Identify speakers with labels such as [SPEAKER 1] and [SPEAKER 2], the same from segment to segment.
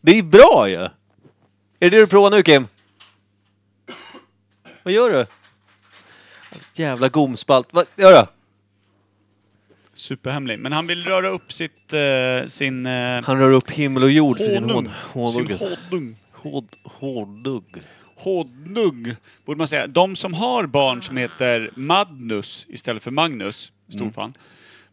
[SPEAKER 1] Det är bra ju! Är det det du provar nu Kim? Vad gör du? Jävla gomspalt. Vad gör du?
[SPEAKER 2] Superhemlig. Men han vill röra upp sitt, eh, sin... Eh,
[SPEAKER 1] Han rör upp himmel och jord för sin alltså. hån.
[SPEAKER 2] honung.
[SPEAKER 1] Hårdugg.
[SPEAKER 2] Sin honung.
[SPEAKER 1] Hård- Hårdugg.
[SPEAKER 2] Honung, borde man säga. De som har barn som heter Madnus istället för Magnus, storfan,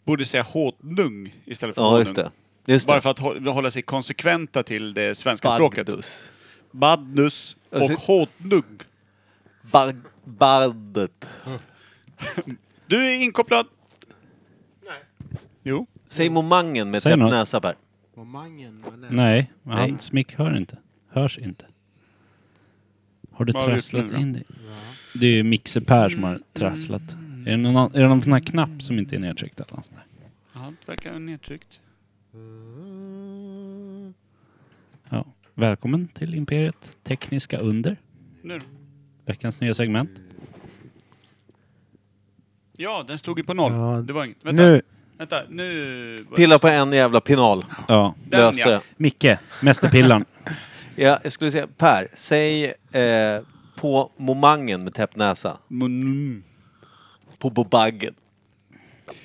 [SPEAKER 2] borde säga honung istället för
[SPEAKER 1] Mm. Ja,
[SPEAKER 2] honung.
[SPEAKER 1] just det. Just
[SPEAKER 2] Bara
[SPEAKER 1] det.
[SPEAKER 2] för att hå- hålla sig konsekventa till det svenska språket.
[SPEAKER 1] Bardus.
[SPEAKER 2] Badnus och
[SPEAKER 1] Alltså-
[SPEAKER 2] honung.
[SPEAKER 1] Bard- Bardet.
[SPEAKER 2] Du är inkopplad. Nej. Jo.
[SPEAKER 1] Säg momangen med
[SPEAKER 3] Säg
[SPEAKER 1] täppt
[SPEAKER 3] något.
[SPEAKER 1] näsa Per.
[SPEAKER 4] Momangen? vad är det?
[SPEAKER 3] Nej, men
[SPEAKER 1] Nej.
[SPEAKER 3] hans mick hör inte. Hörs inte. Har du
[SPEAKER 2] Vad har du gjort
[SPEAKER 3] trasslat
[SPEAKER 2] nu då?
[SPEAKER 3] in dig? Det är ju Mixer Per som har trasslat. Är det någon, an- är det någon sån här knapp som inte är nedtryckt eller något sånt där?
[SPEAKER 2] Allt verkar nedtryckt.
[SPEAKER 3] Ja. Välkommen till Imperiet Tekniska Under.
[SPEAKER 2] Nu.
[SPEAKER 3] Veckans nya segment.
[SPEAKER 2] Ja, den stod ju på noll.
[SPEAKER 4] Ja,
[SPEAKER 2] Det var inget. Vänta,
[SPEAKER 4] Nu!
[SPEAKER 2] vänta. nu...
[SPEAKER 1] Pilla på en jävla pinal.
[SPEAKER 3] Ja.
[SPEAKER 2] Den,
[SPEAKER 1] Löste det.
[SPEAKER 2] ja.
[SPEAKER 3] Micke, mästerpillaren.
[SPEAKER 1] Ja, jag skulle säga Per, säg eh, på momangen med täppt näsa.
[SPEAKER 2] Mm.
[SPEAKER 1] På bobaggen.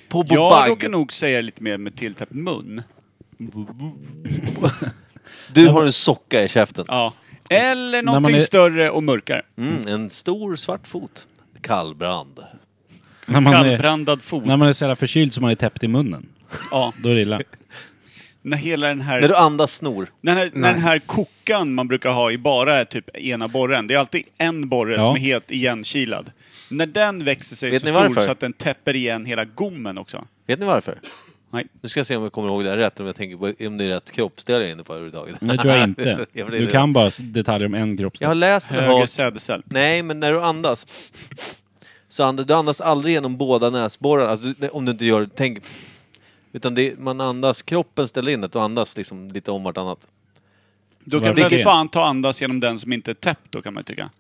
[SPEAKER 1] På
[SPEAKER 2] Jag råkar
[SPEAKER 1] bobaggen.
[SPEAKER 2] nog säga lite mer med tilltäppt mun.
[SPEAKER 1] Du har en socka i käften.
[SPEAKER 2] Ja. Eller någonting
[SPEAKER 3] man är-
[SPEAKER 2] större och mörkare.
[SPEAKER 1] Mm, en stor svart fot. Kallbrand.
[SPEAKER 3] när, man är,
[SPEAKER 2] Kallbrandad fot.
[SPEAKER 3] när man är så jävla förkyld som man är täppt i munnen.
[SPEAKER 2] Ja.
[SPEAKER 3] Då är det illa.
[SPEAKER 2] När hela den här...
[SPEAKER 1] När du andas snor.
[SPEAKER 2] När, den här- när den här kokan man brukar ha i bara är typ ena borren. Det är alltid en borre
[SPEAKER 3] Ja.
[SPEAKER 2] som är helt igenkilad. När den växer sig
[SPEAKER 1] Vet
[SPEAKER 2] så
[SPEAKER 1] ni
[SPEAKER 2] stor
[SPEAKER 1] varför?
[SPEAKER 2] så att den täpper igen hela gommen också.
[SPEAKER 1] Vet ni varför?
[SPEAKER 2] Nej.
[SPEAKER 1] Nu ska jag se om jag kommer ihåg det här rätt, om jag tänker på om det är rätt kroppsdel jag är inne på överhuvudtaget.
[SPEAKER 3] Det tror jag inte.
[SPEAKER 1] så jävla
[SPEAKER 3] Du
[SPEAKER 1] illa.
[SPEAKER 3] kan bara detaljer om en
[SPEAKER 1] Jag har
[SPEAKER 3] kroppsdel.
[SPEAKER 1] läst och
[SPEAKER 2] Höger
[SPEAKER 1] hört
[SPEAKER 2] sädescell.
[SPEAKER 1] Nej, men när du andas så andas du andas aldrig genom båda näsborrarna. Alltså, du- nej, om du inte gör tänk. Utan det, man andas, kroppen ställer in att du andas liksom lite om vartannat.
[SPEAKER 2] Då kan
[SPEAKER 3] Varför
[SPEAKER 2] man
[SPEAKER 3] det?
[SPEAKER 2] fan ta andas genom den som inte är täppt då kan man tycka.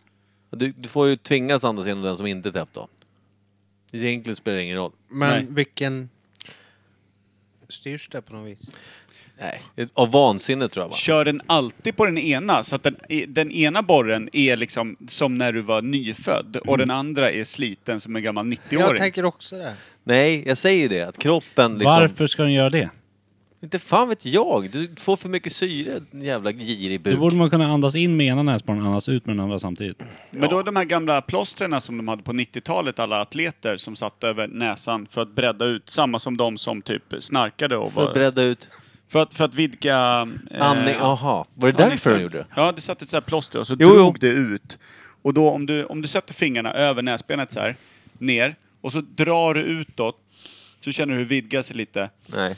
[SPEAKER 1] Du, du får ju tvingas andas genom den som inte är täppt då. Egentligen spelar det ingen roll.
[SPEAKER 4] Men
[SPEAKER 2] Nej.
[SPEAKER 4] vilken... Styrs det på något vis?
[SPEAKER 1] Nej. Av vansinne tror jag va?
[SPEAKER 2] Kör den alltid på den ena så att den, den ena borren är liksom som när du var nyfödd och den andra är sliten som en gammal 90-åring.
[SPEAKER 4] Jag tänker också det.
[SPEAKER 1] Nej, jag säger ju det. Att kroppen liksom...
[SPEAKER 3] Varför ska den göra det?
[SPEAKER 1] Inte fan vet jag. Du får för mycket syre, din jävla girig
[SPEAKER 3] Då
[SPEAKER 1] buk.
[SPEAKER 3] borde man kunna andas in med ena näsborren och andas ut med den andra samtidigt.
[SPEAKER 2] Men då de här gamla plåsterna som de hade på 90-talet, alla atleter som satt över näsan för att bredda ut, samma som de som typ snarkade och
[SPEAKER 1] För att
[SPEAKER 2] var...
[SPEAKER 1] bredda ut.
[SPEAKER 2] för, att, för att vidga... eh,
[SPEAKER 1] Andning, aha. Var det därför
[SPEAKER 2] andningsväg.
[SPEAKER 1] de gjorde det?
[SPEAKER 2] Ja, det satt ett så här plåster och så
[SPEAKER 1] Jo, jo.
[SPEAKER 2] drog det ut. Och då om du, om du sätter fingrarna över näsbenet så här, ner, och så drar du utåt, så känner du hur det vidgar sig lite.
[SPEAKER 1] Nej.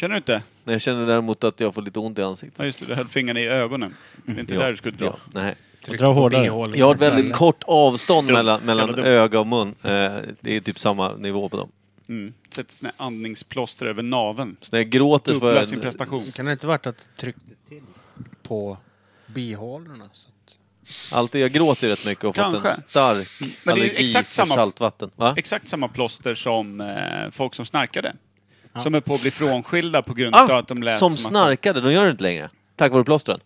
[SPEAKER 2] Känner du inte?
[SPEAKER 1] Nej, Jag känner däremot att jag får lite ont i ansiktet.
[SPEAKER 2] Ja just det, du höll fingrarna i ögonen. Det är inte där du skulle dra.
[SPEAKER 1] Ja, nej.
[SPEAKER 3] Dra hårdare.
[SPEAKER 4] bihålorna
[SPEAKER 1] Jag har ett
[SPEAKER 4] istället.
[SPEAKER 1] väldigt kort avstånd
[SPEAKER 2] Dumt.
[SPEAKER 1] mellan,
[SPEAKER 2] Jävla
[SPEAKER 1] mellan
[SPEAKER 2] dumt.
[SPEAKER 1] öga och mun. Eh, det är typ samma nivå på dem.
[SPEAKER 2] Mm. Sätt såna här andningsplåster över naveln.
[SPEAKER 1] Så när jag gråter så får
[SPEAKER 2] Dubbla
[SPEAKER 1] jag...
[SPEAKER 2] sin prestation.
[SPEAKER 4] Kan det inte varit att det tryckte till på bihålorna? Så att...
[SPEAKER 1] Alltid, jag gråter ju rätt mycket och fått
[SPEAKER 2] Kanske.
[SPEAKER 1] en stark
[SPEAKER 2] Men det är ju
[SPEAKER 1] allergi
[SPEAKER 2] exakt
[SPEAKER 1] för
[SPEAKER 2] samma-
[SPEAKER 1] saltvatten. Va?
[SPEAKER 2] exakt samma plåster som eh, folk som snarkade. Som är på att bli frånskilda på grund av
[SPEAKER 1] Ah,
[SPEAKER 2] att de lät
[SPEAKER 1] som
[SPEAKER 2] att-
[SPEAKER 1] snarkade, de gör det inte längre. Tack vare plåstren.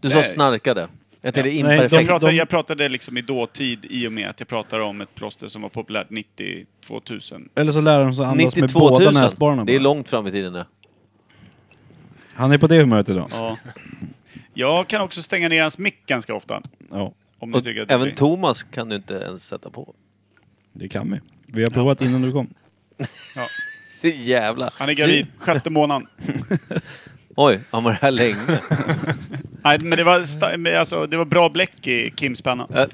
[SPEAKER 1] Du sa
[SPEAKER 2] Nej.
[SPEAKER 1] snarkade. Jag tänkte
[SPEAKER 3] Nej, de
[SPEAKER 1] imperfekt.
[SPEAKER 2] Jag pratade,
[SPEAKER 3] de-
[SPEAKER 2] jag pratade liksom i dåtid i och med att jag pratade om ett plåster som var populärt 90 2000.
[SPEAKER 3] Eller så lär de sig andas
[SPEAKER 1] 92
[SPEAKER 3] med
[SPEAKER 1] 000.
[SPEAKER 3] båda näsborrarna.
[SPEAKER 1] Det är
[SPEAKER 3] bara.
[SPEAKER 1] långt fram i tiden nu.
[SPEAKER 3] Han är på det humöret idag.
[SPEAKER 2] Ja. Jag kan också stänga ner hans mick ganska ofta.
[SPEAKER 3] Ja,
[SPEAKER 2] Om ni
[SPEAKER 1] Och
[SPEAKER 2] tycker att det
[SPEAKER 1] även
[SPEAKER 2] blir-
[SPEAKER 1] Thomas kan du inte ens sätta på.
[SPEAKER 3] det kan vi. Vi har provat innan du kom.
[SPEAKER 2] ja.
[SPEAKER 1] Så jävla...
[SPEAKER 2] Han är gravid, sjätte månaden.
[SPEAKER 1] Oj, har man det här länge?
[SPEAKER 2] Nej, men det var, sta- men alltså, det var bra bläck i Kims penna.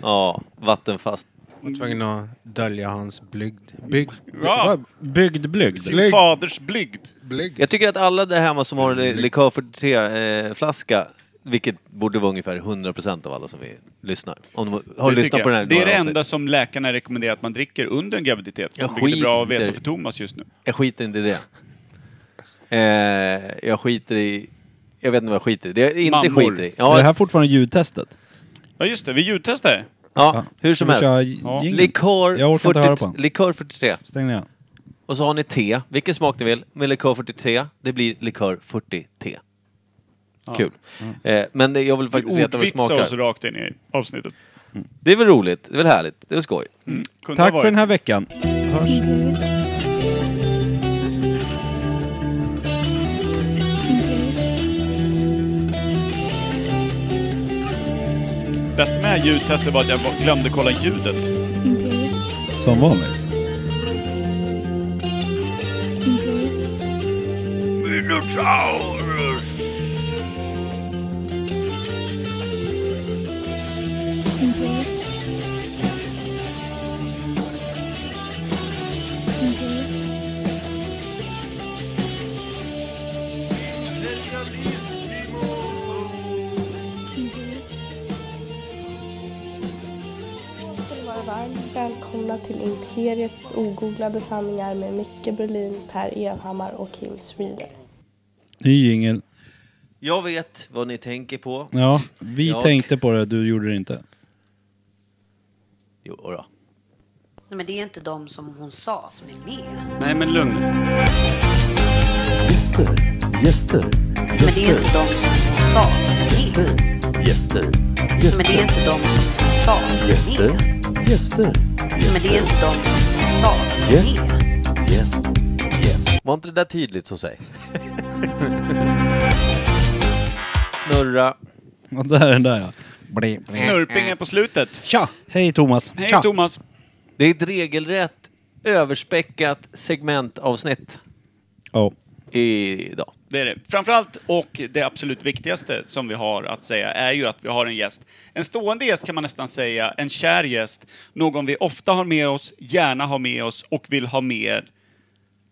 [SPEAKER 1] ja, vattenfast.
[SPEAKER 4] Jag var tvungen att dölja hans blygd. Bygd.
[SPEAKER 2] Ja.
[SPEAKER 4] Vad?
[SPEAKER 3] Bygd blygd.
[SPEAKER 4] Blygd.
[SPEAKER 2] Faders blygd.
[SPEAKER 4] Blygd?
[SPEAKER 1] Jag tycker att alla där hemma som har en likör 43-flaska, vilket borde vara ungefär 100% av alla som vi lyssnar. Om de har
[SPEAKER 2] Det tycker
[SPEAKER 1] lyssnat på den här
[SPEAKER 2] jag. det är
[SPEAKER 1] några
[SPEAKER 2] det
[SPEAKER 1] avsnitt.
[SPEAKER 2] enda som läkarna rekommenderar att man dricker under en graviditet.
[SPEAKER 1] Jag
[SPEAKER 2] Vilket är bra att veta
[SPEAKER 1] skiter.
[SPEAKER 2] för Thomas just nu.
[SPEAKER 1] Jag skiter inte i det. Eh, jag skiter i... Jag vet inte vad jag skiter i. Det jag inte
[SPEAKER 2] Mammor.
[SPEAKER 1] skiter i.
[SPEAKER 3] Är det
[SPEAKER 1] Ja,
[SPEAKER 3] här fortfarande ljudtestet?
[SPEAKER 2] Ja just det, vi ljudtestar.
[SPEAKER 1] ja, hur som
[SPEAKER 3] Ska
[SPEAKER 1] helst.
[SPEAKER 3] vi köra
[SPEAKER 2] Ja.
[SPEAKER 3] jingeln?
[SPEAKER 1] Likör,
[SPEAKER 3] Jag orkar inte höra på
[SPEAKER 1] 40,
[SPEAKER 3] den.
[SPEAKER 1] likör 43.
[SPEAKER 3] Stäng ner.
[SPEAKER 1] Och så har ni te, vilken smak ni vill, med likör 43. Det blir likör 40T. Kul. Eh, men det, jag vill faktiskt veta vad det alltså,
[SPEAKER 2] Ordvitsa oss
[SPEAKER 1] smakar.
[SPEAKER 2] rakt in i avsnittet.
[SPEAKER 1] Det är väl roligt, det är väl härligt, det är skoj.
[SPEAKER 2] Kunde ha
[SPEAKER 3] Tack för
[SPEAKER 2] varit.
[SPEAKER 3] den här veckan. Hörs.
[SPEAKER 2] Bästa med ljudtestet var att jag bara glömde kolla ljudet.
[SPEAKER 5] Imperial,
[SPEAKER 3] Som vanligt.
[SPEAKER 5] Imperial, Imperial. Imperial.
[SPEAKER 6] ska ni vara varmt välkomna till Imperiet ogooglade sanningar med Micke Berlin, Per Evhammar och Kim Schreeder.
[SPEAKER 3] Ny jingel.
[SPEAKER 1] Jag vet vad ni tänker på.
[SPEAKER 3] Ja, vi
[SPEAKER 1] Jag-
[SPEAKER 3] tänkte på det, du gjorde det inte.
[SPEAKER 1] Jo, då.
[SPEAKER 7] Nej, men det är inte de som hon sa som är med.
[SPEAKER 2] Nej men lugn.
[SPEAKER 8] Gäster, gäster,
[SPEAKER 7] Men det är
[SPEAKER 8] gäster,
[SPEAKER 7] inte de som hon sa som är med.
[SPEAKER 8] gäster,
[SPEAKER 7] Men det är
[SPEAKER 8] gäster,
[SPEAKER 7] inte de som hon sa som är
[SPEAKER 8] gäster,
[SPEAKER 7] med.
[SPEAKER 8] gäster,
[SPEAKER 7] Men det är inte de som hon sa som
[SPEAKER 8] Yes.
[SPEAKER 7] är med.
[SPEAKER 8] gäst, gäst.
[SPEAKER 1] Var inte det där tydligt så säg. Snurra.
[SPEAKER 3] Ja, där är den där ja.
[SPEAKER 2] Snurpingen på slutet.
[SPEAKER 4] Tja!
[SPEAKER 3] Hej Thomas.
[SPEAKER 2] Hej
[SPEAKER 4] Tja.
[SPEAKER 2] Thomas.
[SPEAKER 1] Det är ett regelrätt överspäckat segmentavsnitt
[SPEAKER 3] Ja.
[SPEAKER 1] idag.
[SPEAKER 2] Det är det. Framförallt, och det absolut viktigaste som vi har att säga, är ju att vi har en gäst. En stående gäst kan man nästan säga, en kär gäst. Någon vi ofta har med oss, gärna har med oss och vill ha mer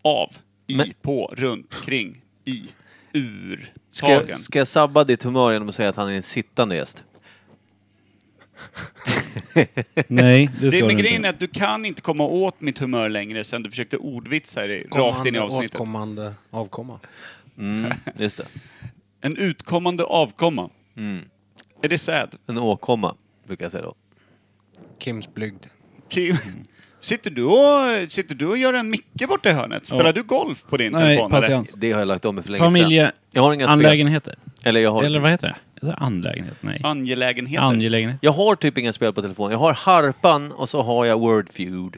[SPEAKER 2] av. I,
[SPEAKER 1] Men-
[SPEAKER 2] på, runt, kring, i, ur,
[SPEAKER 1] Ska,
[SPEAKER 2] tagen.
[SPEAKER 1] jag- ska jag sabba ditt humör genom att säga att han är en sittande gäst?
[SPEAKER 3] Nej, det
[SPEAKER 2] Det
[SPEAKER 3] sa
[SPEAKER 2] med
[SPEAKER 3] du
[SPEAKER 2] grejen är
[SPEAKER 3] inte.
[SPEAKER 2] att du kan inte komma åt mitt humör längre sen du försökte ordvitsa dig rakt in i
[SPEAKER 4] Kommande,
[SPEAKER 2] avsnittet.
[SPEAKER 4] åtkommande avkomma.
[SPEAKER 1] Mm, just det.
[SPEAKER 2] En utkommande avkomma. Är det sad?
[SPEAKER 1] En åkomma, brukar jag säga då.
[SPEAKER 4] Kims blygd.
[SPEAKER 2] Kim,
[SPEAKER 3] Mm.
[SPEAKER 2] Sitter du, och, sitter du och gör en micke borta i hörnet? Spelar
[SPEAKER 3] Ja.
[SPEAKER 2] du golf på din
[SPEAKER 3] Nej,
[SPEAKER 2] telefon? eller?
[SPEAKER 3] patiens.
[SPEAKER 1] Det har jag lagt om mig för länge sedan. Jag har inga spel.
[SPEAKER 3] Familjeanlägenheter.
[SPEAKER 1] Eller jag har...
[SPEAKER 3] Eller vad heter det? Är det anlägenhet? Nej.
[SPEAKER 2] Angelägenheter.
[SPEAKER 3] Angelägenhet.
[SPEAKER 1] Jag har typ inga spel på telefon. Jag har harpan och så har jag Wordfeud.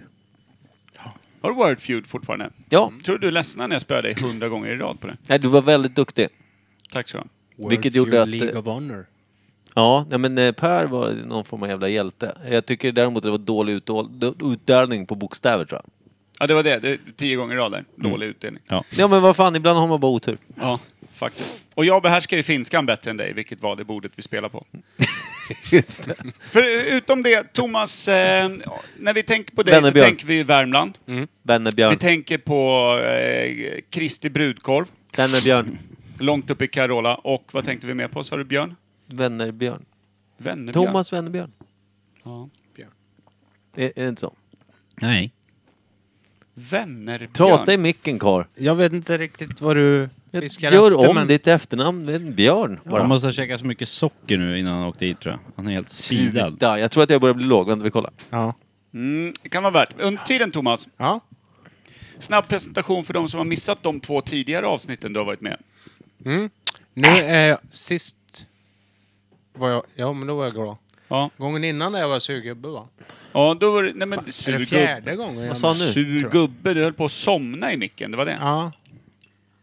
[SPEAKER 2] Har du Wordfeud fortfarande? Mm.
[SPEAKER 1] Ja,
[SPEAKER 2] Tror du du ledsnade när jag spöade dig hundra gånger i rad på det?
[SPEAKER 1] nej, du var väldigt duktig.
[SPEAKER 2] Tack så du ha.
[SPEAKER 4] World
[SPEAKER 1] Vilket
[SPEAKER 4] Feud
[SPEAKER 1] gjorde att-
[SPEAKER 4] League of Honor.
[SPEAKER 1] Ja, nej, men eh, Per var någon form av jävla hjälte. Jag tycker däremot att det var dålig utdål- utdelning på bokstäver tror jag.
[SPEAKER 2] Ja, det var det. det är tio gånger i rad där. Dålig utdelning.
[SPEAKER 3] Mm. Ja.
[SPEAKER 1] Ja men vad fan, ibland har man bara otur.
[SPEAKER 2] Ja, faktiskt. Och jag behärskar ju finskan bättre än dig, vilket var det bordet vi spelade på.
[SPEAKER 1] Just det.
[SPEAKER 2] För utom det, Thomas, eh, när vi tänker på dig så
[SPEAKER 1] Vännerbjörn.
[SPEAKER 2] tänker vi Värmland. Vi
[SPEAKER 3] Mm.
[SPEAKER 1] Vännebjörn.
[SPEAKER 2] tänker på eh, Kristi brudkorv,
[SPEAKER 1] Vännebjörn.
[SPEAKER 2] långt upp i Carola. Och vad tänkte vi mer på, sa du Björn?
[SPEAKER 1] Vännebjörn.
[SPEAKER 2] Vännerbjörn?
[SPEAKER 1] Thomas Vännebjörn.
[SPEAKER 2] Ja.
[SPEAKER 1] Är, är det inte så?
[SPEAKER 3] Nej.
[SPEAKER 2] Vännerbjörn.
[SPEAKER 1] Prata i micken karl.
[SPEAKER 4] Jag vet inte riktigt vad du fiskar
[SPEAKER 1] Gör
[SPEAKER 4] efter,
[SPEAKER 1] om
[SPEAKER 4] men...
[SPEAKER 1] ditt efternamn med en björn
[SPEAKER 3] Han
[SPEAKER 1] bara.
[SPEAKER 3] måste ha käkat så mycket socker nu innan han åkte hit tror jag. Han är helt sidad.
[SPEAKER 1] Sluta. Jag tror att jag börjar bli låg. Vänta, vi kollar.
[SPEAKER 4] Ja.
[SPEAKER 2] Mm, det kan vara värt. Under tiden, Thomas,
[SPEAKER 4] ja.
[SPEAKER 2] snabb presentation för de som har missat de två tidigare avsnitten du har varit med.
[SPEAKER 4] Mm. Nu är jag... Sist var jag... Ja, men då var jag glad.
[SPEAKER 2] Ja,
[SPEAKER 4] Gången innan där jag var surgubbe, va?
[SPEAKER 2] ja då var det... Nej, men
[SPEAKER 4] Är det
[SPEAKER 2] surgubbe.
[SPEAKER 4] fjärde gången? jag-
[SPEAKER 1] sa nu?
[SPEAKER 2] Sur gubbe, du höll på att somna i micken, det var det.
[SPEAKER 4] Ja.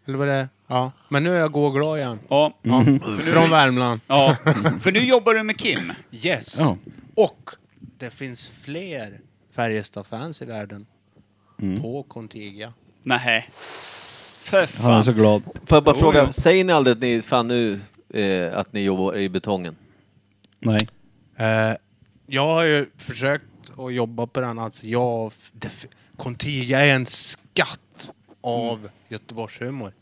[SPEAKER 4] Eller var det... Ja. Men nu är jag gå och glad igen.
[SPEAKER 2] Ja.
[SPEAKER 4] Mm. Från Värmland.
[SPEAKER 2] ja. För nu jobbar du med Kim.
[SPEAKER 4] Yes!
[SPEAKER 3] Ja.
[SPEAKER 4] Och det finns fler Färjestad-fans i världen. På Contiga.
[SPEAKER 2] Nej. För
[SPEAKER 3] Han är
[SPEAKER 2] fan.
[SPEAKER 3] så glad.
[SPEAKER 1] Får jag bara
[SPEAKER 2] Jo,
[SPEAKER 1] fråga,
[SPEAKER 2] ja.
[SPEAKER 1] säger ni aldrig att ni, fan nu, eh, att ni jobbar i betongen?
[SPEAKER 3] Nej.
[SPEAKER 4] Eh, jag har ju försökt att jobba på den. Alltså jag, det, f- Contiga är en skatt av Göteborgshumor.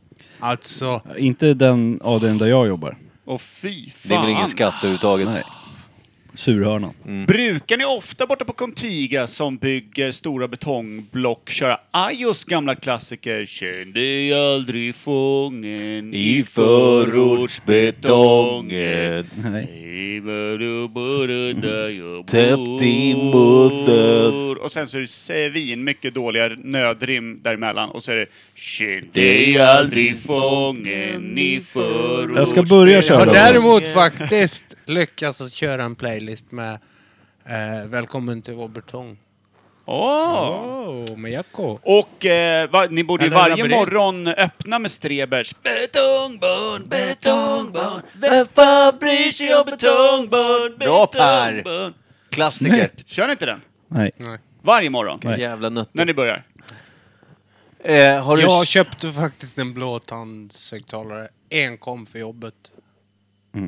[SPEAKER 4] Alltså,
[SPEAKER 3] Inte den avdelningen där jag jobbar.
[SPEAKER 2] Och fy fan.
[SPEAKER 1] Det är väl ingen skatt överhuvudtaget?
[SPEAKER 3] Nej. Surhörnan.
[SPEAKER 2] Mm. Brukar ni ofta borta på Contiga som bygger stora betongblock köra Ajos gamla klassiker Kände dig aldrig fången i förortsbetongen
[SPEAKER 3] Nej.
[SPEAKER 2] I Mörröbörre där jag
[SPEAKER 1] Täppt i
[SPEAKER 2] bor.
[SPEAKER 1] munnen.
[SPEAKER 2] Och sen så är det svin mycket dåliga nödrim däremellan och så är det Kände dig aldrig fången i förortsbetongen
[SPEAKER 3] Jag ska börja köra.
[SPEAKER 4] Jag har däremot faktiskt lyckats att köra en playlist med eh, Välkommen till Obertång.
[SPEAKER 2] Åh!
[SPEAKER 4] Oh, med Jacko.
[SPEAKER 2] Och eh, va, ni borde ju
[SPEAKER 4] Eller en
[SPEAKER 2] varje
[SPEAKER 4] labyrint.
[SPEAKER 2] morgon öppna med Strebers Betongbarn, betongbarn, vem
[SPEAKER 1] fan
[SPEAKER 2] bryr sig om betongbarn,
[SPEAKER 1] Bra, Per.
[SPEAKER 2] betongbarn?
[SPEAKER 1] Klassiker.
[SPEAKER 2] Kör ni inte den?
[SPEAKER 3] Nej.
[SPEAKER 2] Varje morgon?
[SPEAKER 3] Nej.
[SPEAKER 1] Jävla
[SPEAKER 2] När
[SPEAKER 1] nötter.
[SPEAKER 2] ni börjar?
[SPEAKER 1] Eh, har du...
[SPEAKER 4] Jag köpte faktiskt en blåtandshögtalare enkom för jobbet.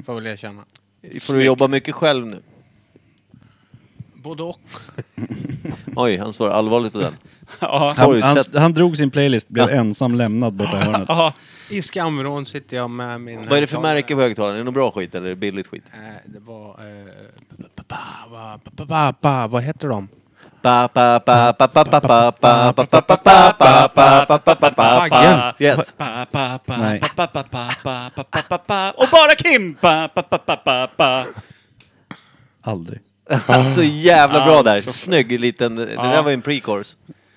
[SPEAKER 4] Får väl erkänna.
[SPEAKER 1] Får du jobba mycket själv nu?
[SPEAKER 4] Både och.
[SPEAKER 1] Oj, han svarar allvarligt på den.
[SPEAKER 2] Ja.
[SPEAKER 1] Sorry,
[SPEAKER 3] Han, han,
[SPEAKER 1] sätt-
[SPEAKER 3] han drog sin playlist, blev ensam lämnad borta i hörnet.
[SPEAKER 2] Ja.
[SPEAKER 4] I Skamvrån sitter jag med min
[SPEAKER 1] Vad är det för
[SPEAKER 4] högtalare.
[SPEAKER 1] märke på högtalaren? Är det någon bra skit eller är det billigt skit?
[SPEAKER 4] Eh, Det var... eh, ba- ba- ba- ba- ba- ba- Vad heter de?
[SPEAKER 1] Pa, pa, pa, pa, pa, pa, pa, pa, pa, pa, pa, pa, pa, pa, pa, pa, pa, pa, pa.
[SPEAKER 4] Baggen.
[SPEAKER 1] Yes.
[SPEAKER 2] Pa, pa, pa,
[SPEAKER 3] Nej.
[SPEAKER 2] pa, pa, pa, pa, pa, pa, pa, pa, pa. Och bara Kim! Pa, pa, pa, pa, pa, pa.
[SPEAKER 3] Aldrig.
[SPEAKER 1] Alltså jävla bra där.
[SPEAKER 2] Alltså.
[SPEAKER 1] Snygg liten... Det där var ju en pre-course.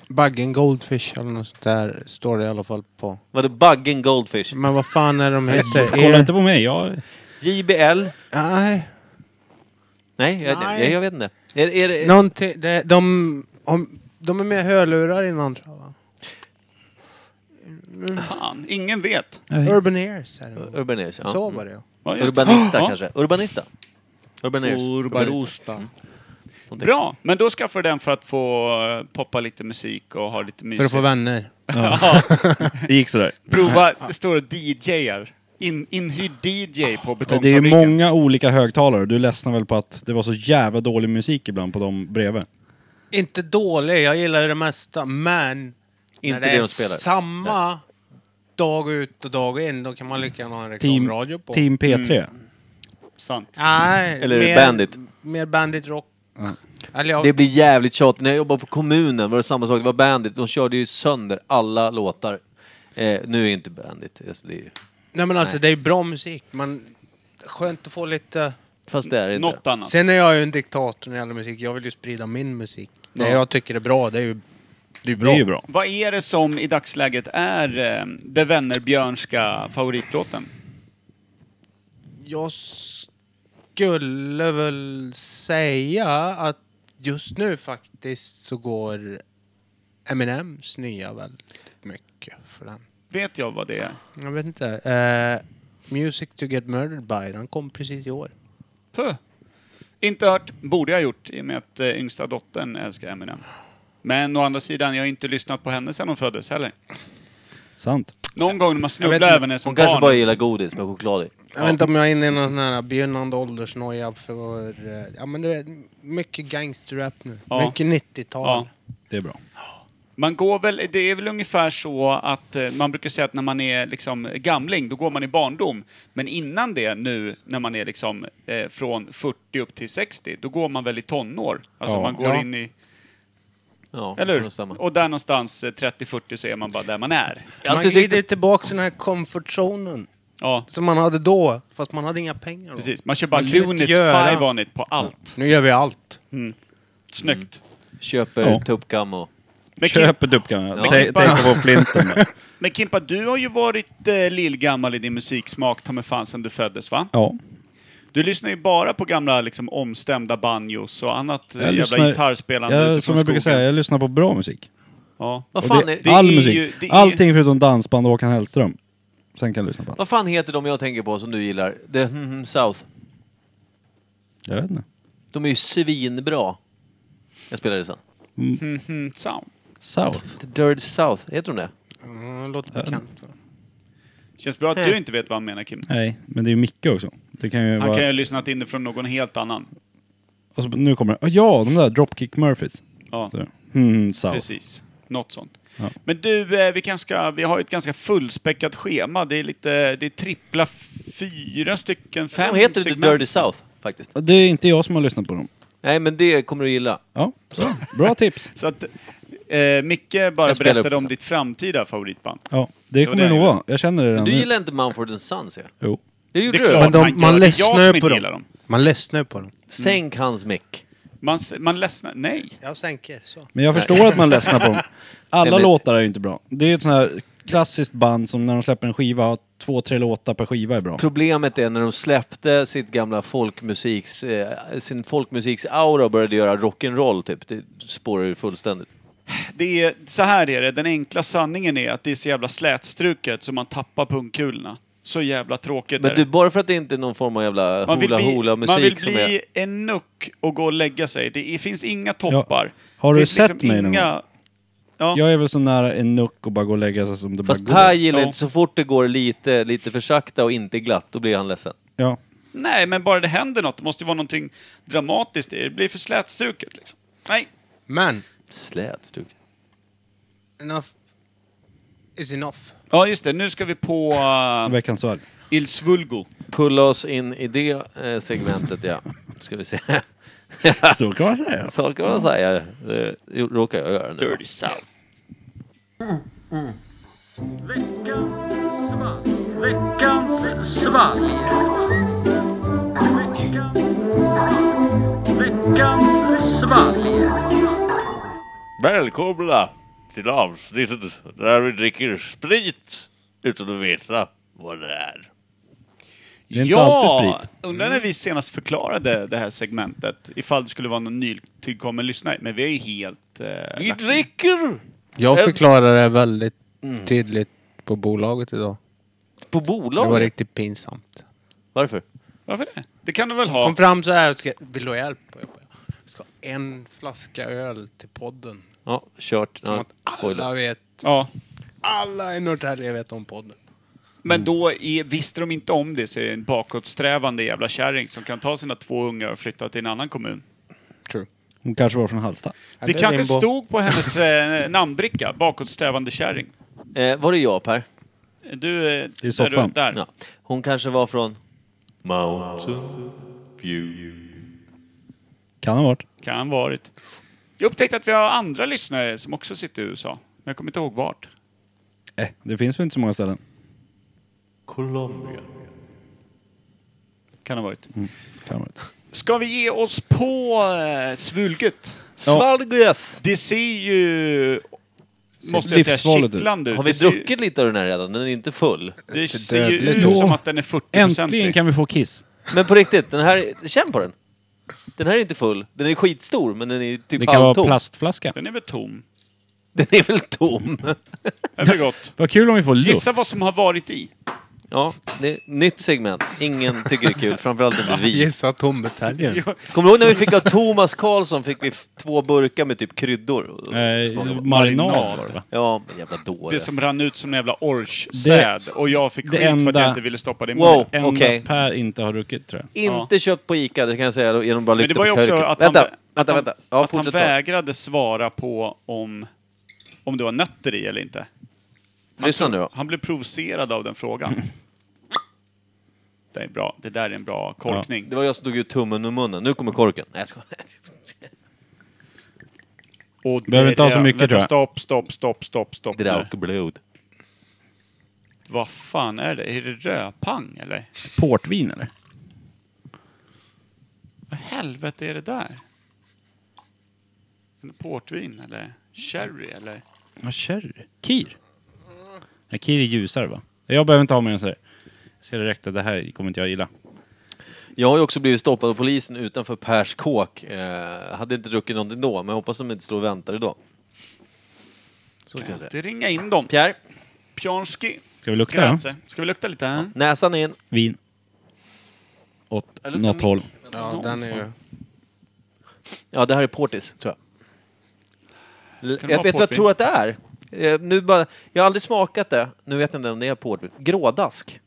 [SPEAKER 4] Baggen Goldfish eller något sånt där står det i alla fall på.
[SPEAKER 1] Vadå Buggen Goldfish?
[SPEAKER 4] Men vad fan är de heter?
[SPEAKER 3] Kolla inte på mig, jag...
[SPEAKER 1] JBL?
[SPEAKER 4] Nej.
[SPEAKER 1] Nej, jag,
[SPEAKER 4] Nej.
[SPEAKER 1] jag, jag vet inte. Är, är, det-
[SPEAKER 4] Någonting... det- De... Om, de är med hörlurar i någon tror jag, va?
[SPEAKER 2] Fan, ingen vet.
[SPEAKER 4] Urban Ears är det.
[SPEAKER 1] Urban Ears, ja. Mm.
[SPEAKER 4] Så var det ja.
[SPEAKER 2] Ja, just det.
[SPEAKER 1] Urbanista
[SPEAKER 2] Ja.
[SPEAKER 1] kanske? Urbanista? Urban Ears? Urbanista. Någonting.
[SPEAKER 2] Bra, men då skaffar du den för att få eh, poppa lite musik och ha lite mysigt.
[SPEAKER 4] För att få vänner.
[SPEAKER 3] Det gick sådär.
[SPEAKER 2] Prova, det står DJ'ar. In, inhyrd DJ på
[SPEAKER 3] Det är
[SPEAKER 2] betongfabriken.
[SPEAKER 3] ju många olika högtalare. Du ledsnar väl på att det var så jävla dålig musik ibland på dem bredvid?
[SPEAKER 4] Inte dålig, jag gillar det mesta, men
[SPEAKER 1] Inte
[SPEAKER 4] när det
[SPEAKER 1] det
[SPEAKER 4] är
[SPEAKER 1] de spelar.
[SPEAKER 4] samma dag ut och dag in, då kan man lika gärna ha en
[SPEAKER 3] Team,
[SPEAKER 4] reklamradio på.
[SPEAKER 3] team P3.
[SPEAKER 2] Mm. Sant.
[SPEAKER 4] Nej,
[SPEAKER 1] Eller
[SPEAKER 4] mer,
[SPEAKER 1] Bandit.
[SPEAKER 4] Mer bandit rock. Eller ja,
[SPEAKER 1] Det blir jävligt tjatigt. När jag jobbade på kommunen var det samma sak. Det var Bandit. De körde ju sönder alla låtar. Eh, nu är inte Bandit. Alltså, det är ju...
[SPEAKER 4] nej men alltså det är bra musik, men skönt att få lite...
[SPEAKER 1] Fast det är det inte.
[SPEAKER 2] Något annat.
[SPEAKER 4] Sen är jag ju en diktator när det gäller musik, jag vill ju sprida min musik. Det jag tycker är bra, det är ju det är
[SPEAKER 3] Det
[SPEAKER 4] bra.
[SPEAKER 3] är ju bra.
[SPEAKER 2] Vad är det som i dagsläget är eh, det Vännerbjörnska favoritlåten?
[SPEAKER 4] Jag skulle väl säga att just nu faktiskt så går Eminems nya väldigt mycket för den.
[SPEAKER 2] Vet jag vad det är?
[SPEAKER 4] Jag vet inte. Eh, Music to get murdered by, den kom precis i år.
[SPEAKER 2] Puh. Inte hört. Borde jag gjort i och med att eh, yngsta dottern älskar Eminem. Men å andra sidan, jag har inte lyssnat på henne sedan hon föddes heller.
[SPEAKER 3] Sant.
[SPEAKER 2] Någon gång när man
[SPEAKER 4] Jag
[SPEAKER 2] snubblar
[SPEAKER 4] vet-
[SPEAKER 2] över henne som
[SPEAKER 1] Hon kanske
[SPEAKER 2] barn.
[SPEAKER 1] bara gillar godis med choklad i.
[SPEAKER 4] Jag vet inte om jag är inne i någon sån här begynnande åldersnoja för... eh, Ja men det är mycket gangsterrap nu.
[SPEAKER 2] Ja.
[SPEAKER 4] Mycket 90-tal.
[SPEAKER 2] Ja.
[SPEAKER 3] Det är bra.
[SPEAKER 2] Man går väl, det är väl ungefär så att eh, man brukar säga att när man är liksom gamling, då går man i barndom. Men innan det nu, när man är liksom eh, från 40 upp till 60, då går man väl i tonår. Alltså
[SPEAKER 3] Ja.
[SPEAKER 2] man går
[SPEAKER 3] Ja.
[SPEAKER 2] in i,
[SPEAKER 1] Ja,
[SPEAKER 2] eller
[SPEAKER 1] det stämmer.
[SPEAKER 2] hur? Och där någonstans eh, 30-40 så är man bara där man är.
[SPEAKER 4] Man
[SPEAKER 1] alltid
[SPEAKER 4] glider
[SPEAKER 1] tyckt-
[SPEAKER 4] tillbaka till den här comfortzonen.
[SPEAKER 2] Ja,
[SPEAKER 4] Som man hade då, fast man hade inga pengar då.
[SPEAKER 2] precis. Man kör bara
[SPEAKER 4] Man kunde inte
[SPEAKER 2] Lunis
[SPEAKER 4] göra-
[SPEAKER 2] Five on it på allt.
[SPEAKER 4] Nu gör vi allt.
[SPEAKER 2] Snyggt.
[SPEAKER 1] Köper
[SPEAKER 3] Ja.
[SPEAKER 1] tuppkam och...
[SPEAKER 2] Men, Kim,
[SPEAKER 3] Köp dubbkan.
[SPEAKER 1] Ja.
[SPEAKER 3] Tänk på flinten. då.
[SPEAKER 2] men Kimpa, du har ju varit eh, lillgammal i din musiksmak, ta mig fan, sen du föddes va?
[SPEAKER 3] Ja.
[SPEAKER 2] Du lyssnar ju bara på gamla liksom, omstämda banjos och annat eh,
[SPEAKER 3] Jag
[SPEAKER 2] jävla
[SPEAKER 3] lyssnar-
[SPEAKER 2] gitarrspelande
[SPEAKER 3] jag,
[SPEAKER 2] utifrån
[SPEAKER 3] Som jag brukar
[SPEAKER 2] skogen.
[SPEAKER 3] säga, jag lyssnar på bra musik.
[SPEAKER 2] Ja.
[SPEAKER 1] Vad
[SPEAKER 3] Och
[SPEAKER 1] fan,
[SPEAKER 3] det,
[SPEAKER 1] är,
[SPEAKER 2] det
[SPEAKER 3] all
[SPEAKER 2] är ju-
[SPEAKER 3] musik.
[SPEAKER 2] det är-
[SPEAKER 3] Allting förutom dansband och Håkan Hellström. Sen kan jag lyssna på allt.
[SPEAKER 1] vad fan heter de jag tänker på som du gillar? The mm, mm, South.
[SPEAKER 3] Jag vet inte.
[SPEAKER 1] De är ju svinbra. Jag spelar det sen.
[SPEAKER 2] Mm, sound.
[SPEAKER 3] South.
[SPEAKER 1] The Dirt South, heter de det?
[SPEAKER 4] Mm, låter
[SPEAKER 2] Äh,
[SPEAKER 4] bekant. va?
[SPEAKER 2] Känns bra att du inte vet vad han menar Kim.
[SPEAKER 3] Nej, men det är ju Micke också. Det kan ju
[SPEAKER 2] Han
[SPEAKER 3] vara...
[SPEAKER 2] kan ju ha lyssnat inifrån någon helt annan.
[SPEAKER 3] Alltså, nu kommer det. Ah, Ja, de där Dropkick Murphys.
[SPEAKER 2] Ja,
[SPEAKER 3] Så. Hmm, South.
[SPEAKER 2] precis. Något sånt.
[SPEAKER 3] Ja.
[SPEAKER 2] Men du, eh, vi, kanske ska, vi har ju ett ganska fullspäckat schema. Det är lite, det är trippla fyra stycken, fem
[SPEAKER 1] De heter The
[SPEAKER 2] segment.
[SPEAKER 1] Dirty South faktiskt.
[SPEAKER 3] Det är inte jag som har lyssnat på dem.
[SPEAKER 1] Nej, men det kommer du gilla.
[SPEAKER 3] Ja, bra, bra tips.
[SPEAKER 2] Så att eh, Micke bara
[SPEAKER 1] Jag spelar upp
[SPEAKER 2] berättade om
[SPEAKER 1] sen.
[SPEAKER 2] ditt framtida favoritband.
[SPEAKER 3] Ja, det
[SPEAKER 2] var
[SPEAKER 3] kommer
[SPEAKER 2] det
[SPEAKER 3] det nog
[SPEAKER 2] jag
[SPEAKER 3] vara. Jag känner det redan
[SPEAKER 1] Du
[SPEAKER 3] nu.
[SPEAKER 1] gillar inte Mumford Sons, ja?
[SPEAKER 3] Jo.
[SPEAKER 1] Det gjorde
[SPEAKER 2] Det är klart. Mm.
[SPEAKER 1] du.
[SPEAKER 4] Men de,
[SPEAKER 2] man gör det. Jag som
[SPEAKER 4] man ledsnar ju
[SPEAKER 2] inte
[SPEAKER 4] på
[SPEAKER 2] gillar
[SPEAKER 4] dem.
[SPEAKER 2] dem.
[SPEAKER 4] Man ledsnar ju på dem.
[SPEAKER 1] Sänk hans mick.
[SPEAKER 2] Man, s- man ledsnar... Nej!
[SPEAKER 4] Jag sänker, så.
[SPEAKER 3] Men jag förstår att man ledsnar på dem. Alla
[SPEAKER 1] Eller-
[SPEAKER 3] låtar är ju inte bra. Det är ett sånt här klassiskt band som när de släpper en skiva, har två, tre låtar per skiva är bra.
[SPEAKER 1] Problemet är när de släppte sitt gamla folkmusiks, eh, sin folkmusiks-aura och började göra rock'n'roll, typ. Det spårar ju fullständigt.
[SPEAKER 2] Det är, så här är det, den enkla sanningen är att det är så jävla slätstruket så man tappar pungkulorna. Så jävla tråkigt är
[SPEAKER 1] Men
[SPEAKER 2] det.
[SPEAKER 1] du, bara för att det inte är någon form av jävla
[SPEAKER 2] Man vill bli, man vill
[SPEAKER 1] hula-hula-musik som är...
[SPEAKER 2] bli en nuck och gå och lägga sig. Det är- finns inga toppar.
[SPEAKER 3] Har
[SPEAKER 2] Det
[SPEAKER 3] du
[SPEAKER 2] finns liksom
[SPEAKER 3] sett mig någon
[SPEAKER 2] inga... Ja.
[SPEAKER 3] Jag är väl så nära en nuck och bara gå och lägga sig som det
[SPEAKER 1] Fast
[SPEAKER 3] bara
[SPEAKER 1] Per
[SPEAKER 3] går.
[SPEAKER 1] gillar
[SPEAKER 2] Ja.
[SPEAKER 1] inte, så fort det går lite, lite för sakta och inte glatt, då blir han ledsen.
[SPEAKER 3] Ja.
[SPEAKER 2] Nej, men bara det händer något. Det måste ju vara någonting dramatiskt i det. Det blir för slätstruket liksom. Nej.
[SPEAKER 4] Men,
[SPEAKER 1] Slätstruk.
[SPEAKER 4] enough is enough.
[SPEAKER 2] Ja, just det. Nu ska vi på uh,
[SPEAKER 3] Veckans val.
[SPEAKER 2] Il Svulgo.
[SPEAKER 1] Pulla oss in i det eh, segmentet, ja. Ska vi se.
[SPEAKER 3] Så kan man säga.
[SPEAKER 1] Så kan man säga. Det råkar jag göra nu.
[SPEAKER 2] Dirty South.
[SPEAKER 9] Välkomna till avsnittet där vi dricker sprit utan att veta vad det är.
[SPEAKER 3] Det är inte alltid sprit.
[SPEAKER 2] undrar när vi senast förklarade det här segmentet. Ifall det skulle vara någon nytillkommen lyssnare. Men vi är ju helt... eh,
[SPEAKER 9] Vi
[SPEAKER 2] lack.
[SPEAKER 9] dricker!
[SPEAKER 4] Jag
[SPEAKER 2] Äh.
[SPEAKER 4] förklarade det väldigt
[SPEAKER 2] Mm.
[SPEAKER 4] tydligt på bolaget idag.
[SPEAKER 1] På
[SPEAKER 4] Det var
[SPEAKER 1] bolaget?
[SPEAKER 4] riktigt pinsamt.
[SPEAKER 1] Varför?
[SPEAKER 2] Varför det? Det kan du väl ha?
[SPEAKER 4] Kom fram så här och ska, vill du ha hjälp? Och jag bara, "Jag ska ha en flaska öl till podden.
[SPEAKER 1] Ja, kört.
[SPEAKER 4] Som
[SPEAKER 1] Ja,
[SPEAKER 4] att
[SPEAKER 1] spoiler.
[SPEAKER 4] alla vet.
[SPEAKER 2] Ja.
[SPEAKER 4] Alla i Norrtälje vet om podden.
[SPEAKER 2] Men då är, visste de inte om det så är det en bakåtsträvande jävla kärring som kan ta sina två ungar och flytta till en annan kommun.
[SPEAKER 4] True.
[SPEAKER 3] Hon kanske var från Halsta.
[SPEAKER 2] Det kanske stod på hennes eh, namnbricka, bakåtsträvande kärring.
[SPEAKER 1] Eh, var det jag, Per?
[SPEAKER 2] Du, eh,
[SPEAKER 3] I soffan.
[SPEAKER 2] Där, du, där.
[SPEAKER 1] Ja. Hon kanske var från... Mountain View.
[SPEAKER 3] Kan ha varit.
[SPEAKER 2] Kan han varit. Jag upptäckte att vi har andra lyssnare som också sitter i USA. Men jag kommer inte ihåg vart.
[SPEAKER 3] Eh, det finns väl inte så många ställen.
[SPEAKER 9] Colombia.
[SPEAKER 2] Kan ha varit.
[SPEAKER 3] Kan ha varit.
[SPEAKER 2] Ska vi ge oss på eh, svulget?
[SPEAKER 1] Svalgus!
[SPEAKER 2] Det ser ju... Måste jag säga,
[SPEAKER 3] livsfarligt ut.
[SPEAKER 2] kittlande ut.
[SPEAKER 1] Har vi
[SPEAKER 2] Det ser ju-
[SPEAKER 1] druckit lite av den här redan? Den är inte full.
[SPEAKER 2] Det
[SPEAKER 4] Ser
[SPEAKER 2] ser ju
[SPEAKER 4] dödligt
[SPEAKER 2] ut
[SPEAKER 4] ut.
[SPEAKER 2] som att den är 40-procentig.
[SPEAKER 3] Äntligen kan vi få Kiss.
[SPEAKER 1] Men på riktigt, den här... Känn på den. Den här är inte full. Den är skitstor, men den är
[SPEAKER 3] Det
[SPEAKER 1] typ
[SPEAKER 3] kan vara
[SPEAKER 1] halvtom.
[SPEAKER 3] plastflaska.
[SPEAKER 2] Den är väl tom?
[SPEAKER 1] Den är väl tom?
[SPEAKER 2] Det är väl gott.
[SPEAKER 3] Vad kul om vi får luft.
[SPEAKER 2] Gissa vad som har varit i.
[SPEAKER 1] Ja, det är nytt segment. Ingen tycker det är kul, framförallt inte vi.
[SPEAKER 4] Gissa tombuteljen.
[SPEAKER 1] Kommer du ihåg när vi fick av Thomas Karlsson fick vi f- två burkar med typ kryddor? och- och smaka
[SPEAKER 3] Eh,
[SPEAKER 1] på?
[SPEAKER 3] marinad var det va?
[SPEAKER 1] Ja, men jävla dåre.
[SPEAKER 2] Det som rann ut som en jävla orchsäd. Och jag fick
[SPEAKER 3] det
[SPEAKER 2] skit för att jag
[SPEAKER 3] enda-
[SPEAKER 2] inte ville stoppa det i
[SPEAKER 1] Wow.
[SPEAKER 2] munnen.
[SPEAKER 3] Enda
[SPEAKER 1] Okej.
[SPEAKER 3] Per inte har druckit tror jag.
[SPEAKER 1] Inte köpt på Ica, det kan jag säga då, genom att bara
[SPEAKER 2] Men det
[SPEAKER 1] lukta
[SPEAKER 2] var ju
[SPEAKER 1] på
[SPEAKER 2] också
[SPEAKER 1] curry.
[SPEAKER 2] att han,
[SPEAKER 1] Vänta,
[SPEAKER 2] att
[SPEAKER 1] vänta,
[SPEAKER 2] han,
[SPEAKER 1] vänta. Ja,
[SPEAKER 2] att han
[SPEAKER 1] fortsätt prata.
[SPEAKER 2] vägrade svara på om, om det var nötter i eller inte.
[SPEAKER 1] Lyssna nu då.
[SPEAKER 2] Han blev provocerad av den frågan. Det, är bra. det där är en bra korkning.
[SPEAKER 1] Det var jag som tog ut tummen ur munnen. Nu kommer korken. Nej, jag skojar.
[SPEAKER 2] Och det
[SPEAKER 3] Behöver inte ha så
[SPEAKER 2] är-
[SPEAKER 3] mycket,
[SPEAKER 2] vänta,
[SPEAKER 3] tror jag.
[SPEAKER 2] Stopp, stopp, stopp, stopp, stopp.
[SPEAKER 1] Det där åker blod.
[SPEAKER 2] Vad fan är det? Är det rödpang eller?
[SPEAKER 3] Portvin eller?
[SPEAKER 2] Vad helvete är det där? En portvin eller? Sherry eller?
[SPEAKER 3] Vad kör Kir? Ja, kir är ljusare va? Jag behöver inte ha mer än så här. Jag ser direkt att det här kommer inte jag gilla.
[SPEAKER 1] Jag har ju också blivit stoppad av polisen utanför Pers kåk. Eh, hade inte druckit någonting då, men jag hoppas de inte står och väntar idag. Så kan
[SPEAKER 2] Kan
[SPEAKER 1] jag
[SPEAKER 2] jag
[SPEAKER 1] säga.
[SPEAKER 2] inte ringa in dem?
[SPEAKER 1] Pierre,
[SPEAKER 2] Pjonski.
[SPEAKER 3] Ska vi lukta den?
[SPEAKER 2] Grazie. Ska vi lukta lite? Här?
[SPEAKER 1] näsan in.
[SPEAKER 3] Vin. Åt
[SPEAKER 1] Jag luktar
[SPEAKER 3] något
[SPEAKER 1] mick.
[SPEAKER 3] håll.
[SPEAKER 4] Ja, den är ju...
[SPEAKER 1] Ja, det här är portis, tror jag. L-
[SPEAKER 2] Kan det
[SPEAKER 1] jag
[SPEAKER 2] vara
[SPEAKER 1] vet vad jag
[SPEAKER 2] portvin?
[SPEAKER 1] tror att det är. Eh, Nu bara, jag har aldrig smakat det. Nu vet jag inte om det är portvin. Grådask.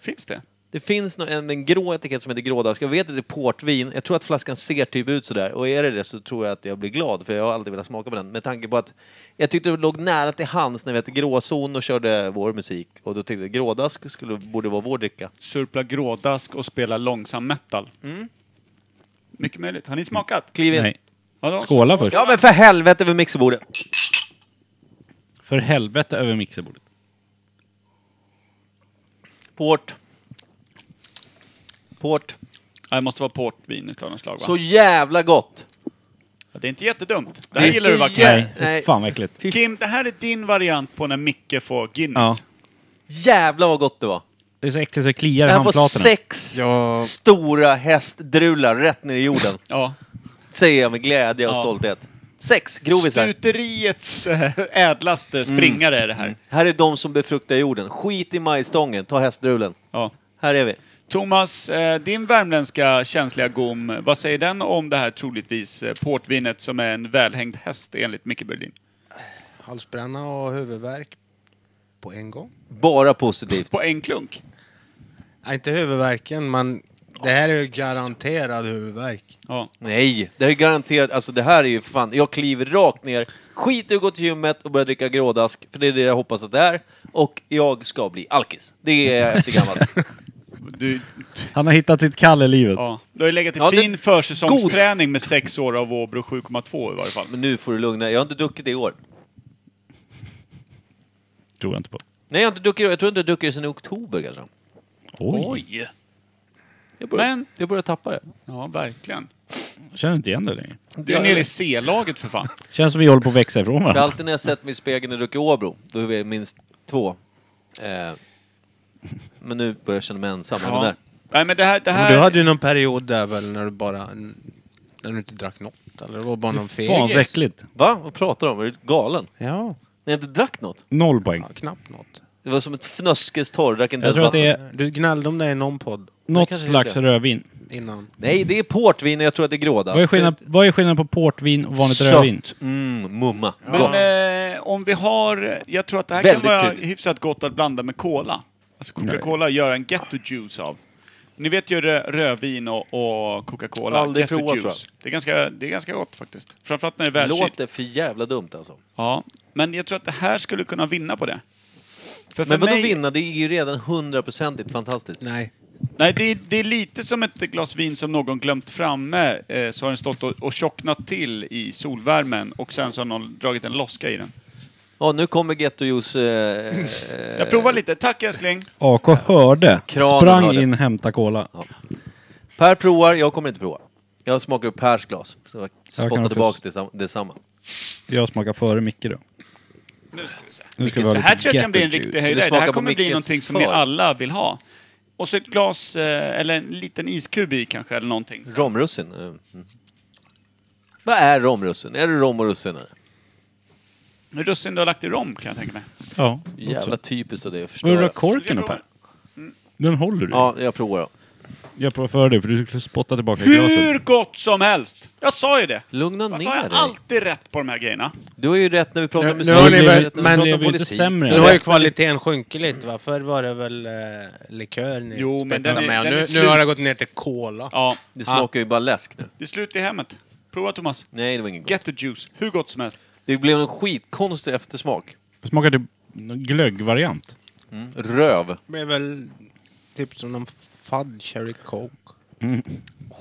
[SPEAKER 2] Finns det?
[SPEAKER 1] Det finns nå- en, en grå etikett som heter grådask. Jag vet att det är portvin. Jag tror att flaskan ser typ ut sådär. Och är det det så tror jag att jag blir glad, för jag har alltid velat smaka på den. Med tanke på att jag tyckte det låg nära till hands när vi hette Gråzon och körde vår musik. Och då tyckte jag grådask skulle, borde vara vår dricka.
[SPEAKER 2] Surpla grådask och spela långsam metal.
[SPEAKER 3] Mm.
[SPEAKER 2] Mycket möjligt. Har ni smakat?
[SPEAKER 1] Kliv in.
[SPEAKER 3] Nej.
[SPEAKER 2] Ja, då.
[SPEAKER 3] Skåla först.
[SPEAKER 1] Ja men för helvete vid mixerbordet!
[SPEAKER 3] För helvete över mixerbordet.
[SPEAKER 1] Port. Port.
[SPEAKER 2] Ja, Det måste vara portvin utav något slag va?
[SPEAKER 1] Så jävla gott!
[SPEAKER 2] Ja, det är inte jättedumt. Det här gillar
[SPEAKER 1] så
[SPEAKER 2] du va
[SPEAKER 1] jä-
[SPEAKER 2] Kim?
[SPEAKER 3] Nej,
[SPEAKER 1] Nej.
[SPEAKER 3] fan vad äckligt.
[SPEAKER 2] Kim, det här är din variant på när Micke får Guinness.
[SPEAKER 1] Jävla vad gott det var!
[SPEAKER 3] Det är så äckligt så det kliar i
[SPEAKER 1] Jag får
[SPEAKER 3] handflatorna.
[SPEAKER 1] sex
[SPEAKER 4] Ja.
[SPEAKER 1] stora hästdrular rätt ner i jorden.
[SPEAKER 2] Ja.
[SPEAKER 1] Säger jag med glädje och
[SPEAKER 2] Ja.
[SPEAKER 1] stolthet. Sex grovisar.
[SPEAKER 2] Stuteriets eh, ädlaste
[SPEAKER 1] Mm.
[SPEAKER 2] springare är det här.
[SPEAKER 1] Här är de som befruktar jorden. Skit i majstången, ta hästdrulen.
[SPEAKER 2] Ja.
[SPEAKER 1] Här är vi.
[SPEAKER 2] Thomas, eh, din värmländska känsliga gom, vad säger den om det här troligtvis eh, portvinet som är en välhängd häst enligt Micke Berlin?
[SPEAKER 4] Halsbränna och huvudvärk på en gång.
[SPEAKER 1] Bara positivt.
[SPEAKER 2] På en klunk?
[SPEAKER 4] Nej, inte huvudvärken, men det här är ju garanterad huvudvärk.
[SPEAKER 2] Ja.
[SPEAKER 1] Nej, det är garanterat. Alltså det här är ju fan, jag kliver rakt ner, skiter i att gå till gymmet och börjar dricka grådask, för det är det jag hoppas att det är. Och jag ska bli alkis. Det är jag efter gammalt.
[SPEAKER 2] Du,
[SPEAKER 3] Han har hittat sitt kall i livet.
[SPEAKER 2] ja. du har ju legat i
[SPEAKER 1] Ja, det-
[SPEAKER 2] fin försäsongsträning med sex år av Åbro 7,2 i varje fall.
[SPEAKER 1] Men nu får du lugna dig. jag har inte druckit det i år.
[SPEAKER 3] Tror jag inte på.
[SPEAKER 1] Nej, jag har inte druckit i år. Jag tror inte jag har druckit det sedan i oktober kanske.
[SPEAKER 3] Oj.
[SPEAKER 1] Jag börjar,
[SPEAKER 2] Men-
[SPEAKER 1] jag börjar tappa det.
[SPEAKER 2] Ja, verkligen.
[SPEAKER 3] Jag Känner inte igen det längre.
[SPEAKER 2] Du är nere i C-laget för fan.
[SPEAKER 3] Känns som vi håller på att växa ifrån
[SPEAKER 1] För
[SPEAKER 3] varandra.
[SPEAKER 1] alltid när jag sett mig i spegeln och druckit Åbro, då är vi minst två. Eh, men nu börjar jag känna mig ensam. även
[SPEAKER 2] Ja.
[SPEAKER 1] Där.
[SPEAKER 2] Nej, men det här... Det
[SPEAKER 4] Men du
[SPEAKER 2] här...
[SPEAKER 4] hade ju någon period där väl när du bara... När du inte drack något, eller det var bara någon
[SPEAKER 3] Fan
[SPEAKER 4] fegis?
[SPEAKER 3] så äckligt.
[SPEAKER 1] Va? Vad pratar du om? Är du galen?
[SPEAKER 4] Ja,
[SPEAKER 1] När jag inte drack något?
[SPEAKER 3] Noll poäng.
[SPEAKER 4] ja, knappt något.
[SPEAKER 1] Det var som ett fnöskestorr, drack inte ens
[SPEAKER 3] Jag tror att det
[SPEAKER 1] vatten.
[SPEAKER 3] är
[SPEAKER 4] Du gnällde om det i någon podd
[SPEAKER 3] något
[SPEAKER 1] kanske
[SPEAKER 3] slags
[SPEAKER 1] inte.
[SPEAKER 3] rödvin.
[SPEAKER 4] innan.
[SPEAKER 1] Nej, det är portvin och jag tror att det är alltså. grådask.
[SPEAKER 3] Vad är, skillnad, vad är skillnaden på portvin och vanligt
[SPEAKER 1] Sött.
[SPEAKER 3] rödvin?
[SPEAKER 1] Mm, mumma. Gott.
[SPEAKER 2] Men eh, om vi har... Jag tror att det här
[SPEAKER 1] Väldigt
[SPEAKER 2] kan vara
[SPEAKER 1] tydligt.
[SPEAKER 2] hyfsat gott att blanda med cola. Alltså Coca-Cola gör en getto juice av. Ni vet ju rö- rödvin och, och Coca-Cola.
[SPEAKER 1] Aldrig
[SPEAKER 2] Getto
[SPEAKER 1] provat, tror
[SPEAKER 2] juice. Det är, ganska, det är ganska gott faktiskt. Framförallt när det är välkylt.
[SPEAKER 1] Låter för jävla dumt alltså.
[SPEAKER 2] Ja. Men jag tror att det här skulle kunna vinna på det. För
[SPEAKER 1] Men
[SPEAKER 2] för
[SPEAKER 1] vadå
[SPEAKER 2] mig-
[SPEAKER 1] vinna? Det är ju redan hundraprocentigt fantastiskt.
[SPEAKER 4] Nej.
[SPEAKER 2] Nej, det är, det är lite som ett glas vin som någon glömt framme. Eh, så har den stått och, och tjocknat till i solvärmen och sen så har någon dragit en loska i den.
[SPEAKER 1] Ja, nu kommer Getto Juice... Eh, eh,
[SPEAKER 2] Jag provar lite. Tack älskling!
[SPEAKER 3] AK hörde,
[SPEAKER 1] Kranen
[SPEAKER 3] sprang
[SPEAKER 1] hörde.
[SPEAKER 3] in, hämta cola.
[SPEAKER 1] per provar, jag kommer inte prova. Jag smakar upp Pers glas. Så jag spottar
[SPEAKER 3] också-
[SPEAKER 1] tillbaka detsam- detsamma.
[SPEAKER 3] Jag smakar före Micke då.
[SPEAKER 2] Nu ska vi se.
[SPEAKER 3] Nu ska det
[SPEAKER 2] Så
[SPEAKER 3] vara
[SPEAKER 2] här
[SPEAKER 3] lite
[SPEAKER 2] tror jag kan bli en
[SPEAKER 3] getto
[SPEAKER 2] riktig
[SPEAKER 3] juice.
[SPEAKER 1] Så det
[SPEAKER 2] höjdare. Det
[SPEAKER 1] smakar
[SPEAKER 2] här
[SPEAKER 1] på
[SPEAKER 2] kommer bli
[SPEAKER 1] Mickes
[SPEAKER 2] någonting som ni
[SPEAKER 1] far.
[SPEAKER 2] alla vill ha. Och så ett glas, eh, eller en liten iskub i kanske, eller någonting. Så.
[SPEAKER 1] Romrussin. eh, Mm. Vad är romrussin? Är det rom och russin? eller?
[SPEAKER 2] Med russin du har lagt i rom, kan jag tänka mig.
[SPEAKER 3] Ja,
[SPEAKER 1] Jävla
[SPEAKER 3] också.
[SPEAKER 1] typiskt av dig, jag förstår.
[SPEAKER 3] Var är
[SPEAKER 1] det.
[SPEAKER 3] korken upp här? Den håller du.
[SPEAKER 1] Ja, jag provar då.
[SPEAKER 3] Jag provar före dig för du skulle spotta tillbaka i
[SPEAKER 2] Hur
[SPEAKER 3] glaset.
[SPEAKER 2] gott som helst! Jag sa ju det!
[SPEAKER 1] Lugna
[SPEAKER 2] Varför har
[SPEAKER 1] ner
[SPEAKER 2] jag
[SPEAKER 1] dig.
[SPEAKER 2] alltid rätt på de här grejerna?
[SPEAKER 1] Du har ju rätt när vi pratar
[SPEAKER 4] Nu-
[SPEAKER 1] om
[SPEAKER 4] nu
[SPEAKER 1] musik.
[SPEAKER 4] har ni
[SPEAKER 1] du har
[SPEAKER 4] väl-
[SPEAKER 1] rätt när
[SPEAKER 4] men-
[SPEAKER 1] vi pratar
[SPEAKER 4] Det
[SPEAKER 3] blev
[SPEAKER 1] om
[SPEAKER 3] ju inte
[SPEAKER 1] politik.
[SPEAKER 3] sämre.
[SPEAKER 4] Nu har ju kvaliteten sjunkit lite va? Förr var det väl eh, likör ni
[SPEAKER 2] Jo, men
[SPEAKER 4] spetsade
[SPEAKER 2] den är-
[SPEAKER 4] med.
[SPEAKER 2] den är
[SPEAKER 4] Nu,
[SPEAKER 2] slut.
[SPEAKER 4] nu har det gått ner till cola.
[SPEAKER 2] Ja,
[SPEAKER 1] Det smakar ju bara läsk nu.
[SPEAKER 2] det är slut i hemmet. Prova Thomas.
[SPEAKER 1] Nej, det var inget gott.
[SPEAKER 2] Get the juice. Hur gott som helst.
[SPEAKER 1] Det blev en skitkonstig eftersmak.
[SPEAKER 3] Smakar typ någon glöggvariant.
[SPEAKER 1] Röv.
[SPEAKER 4] Det blev väl typ som någon fadd cherry coke.
[SPEAKER 1] Mm.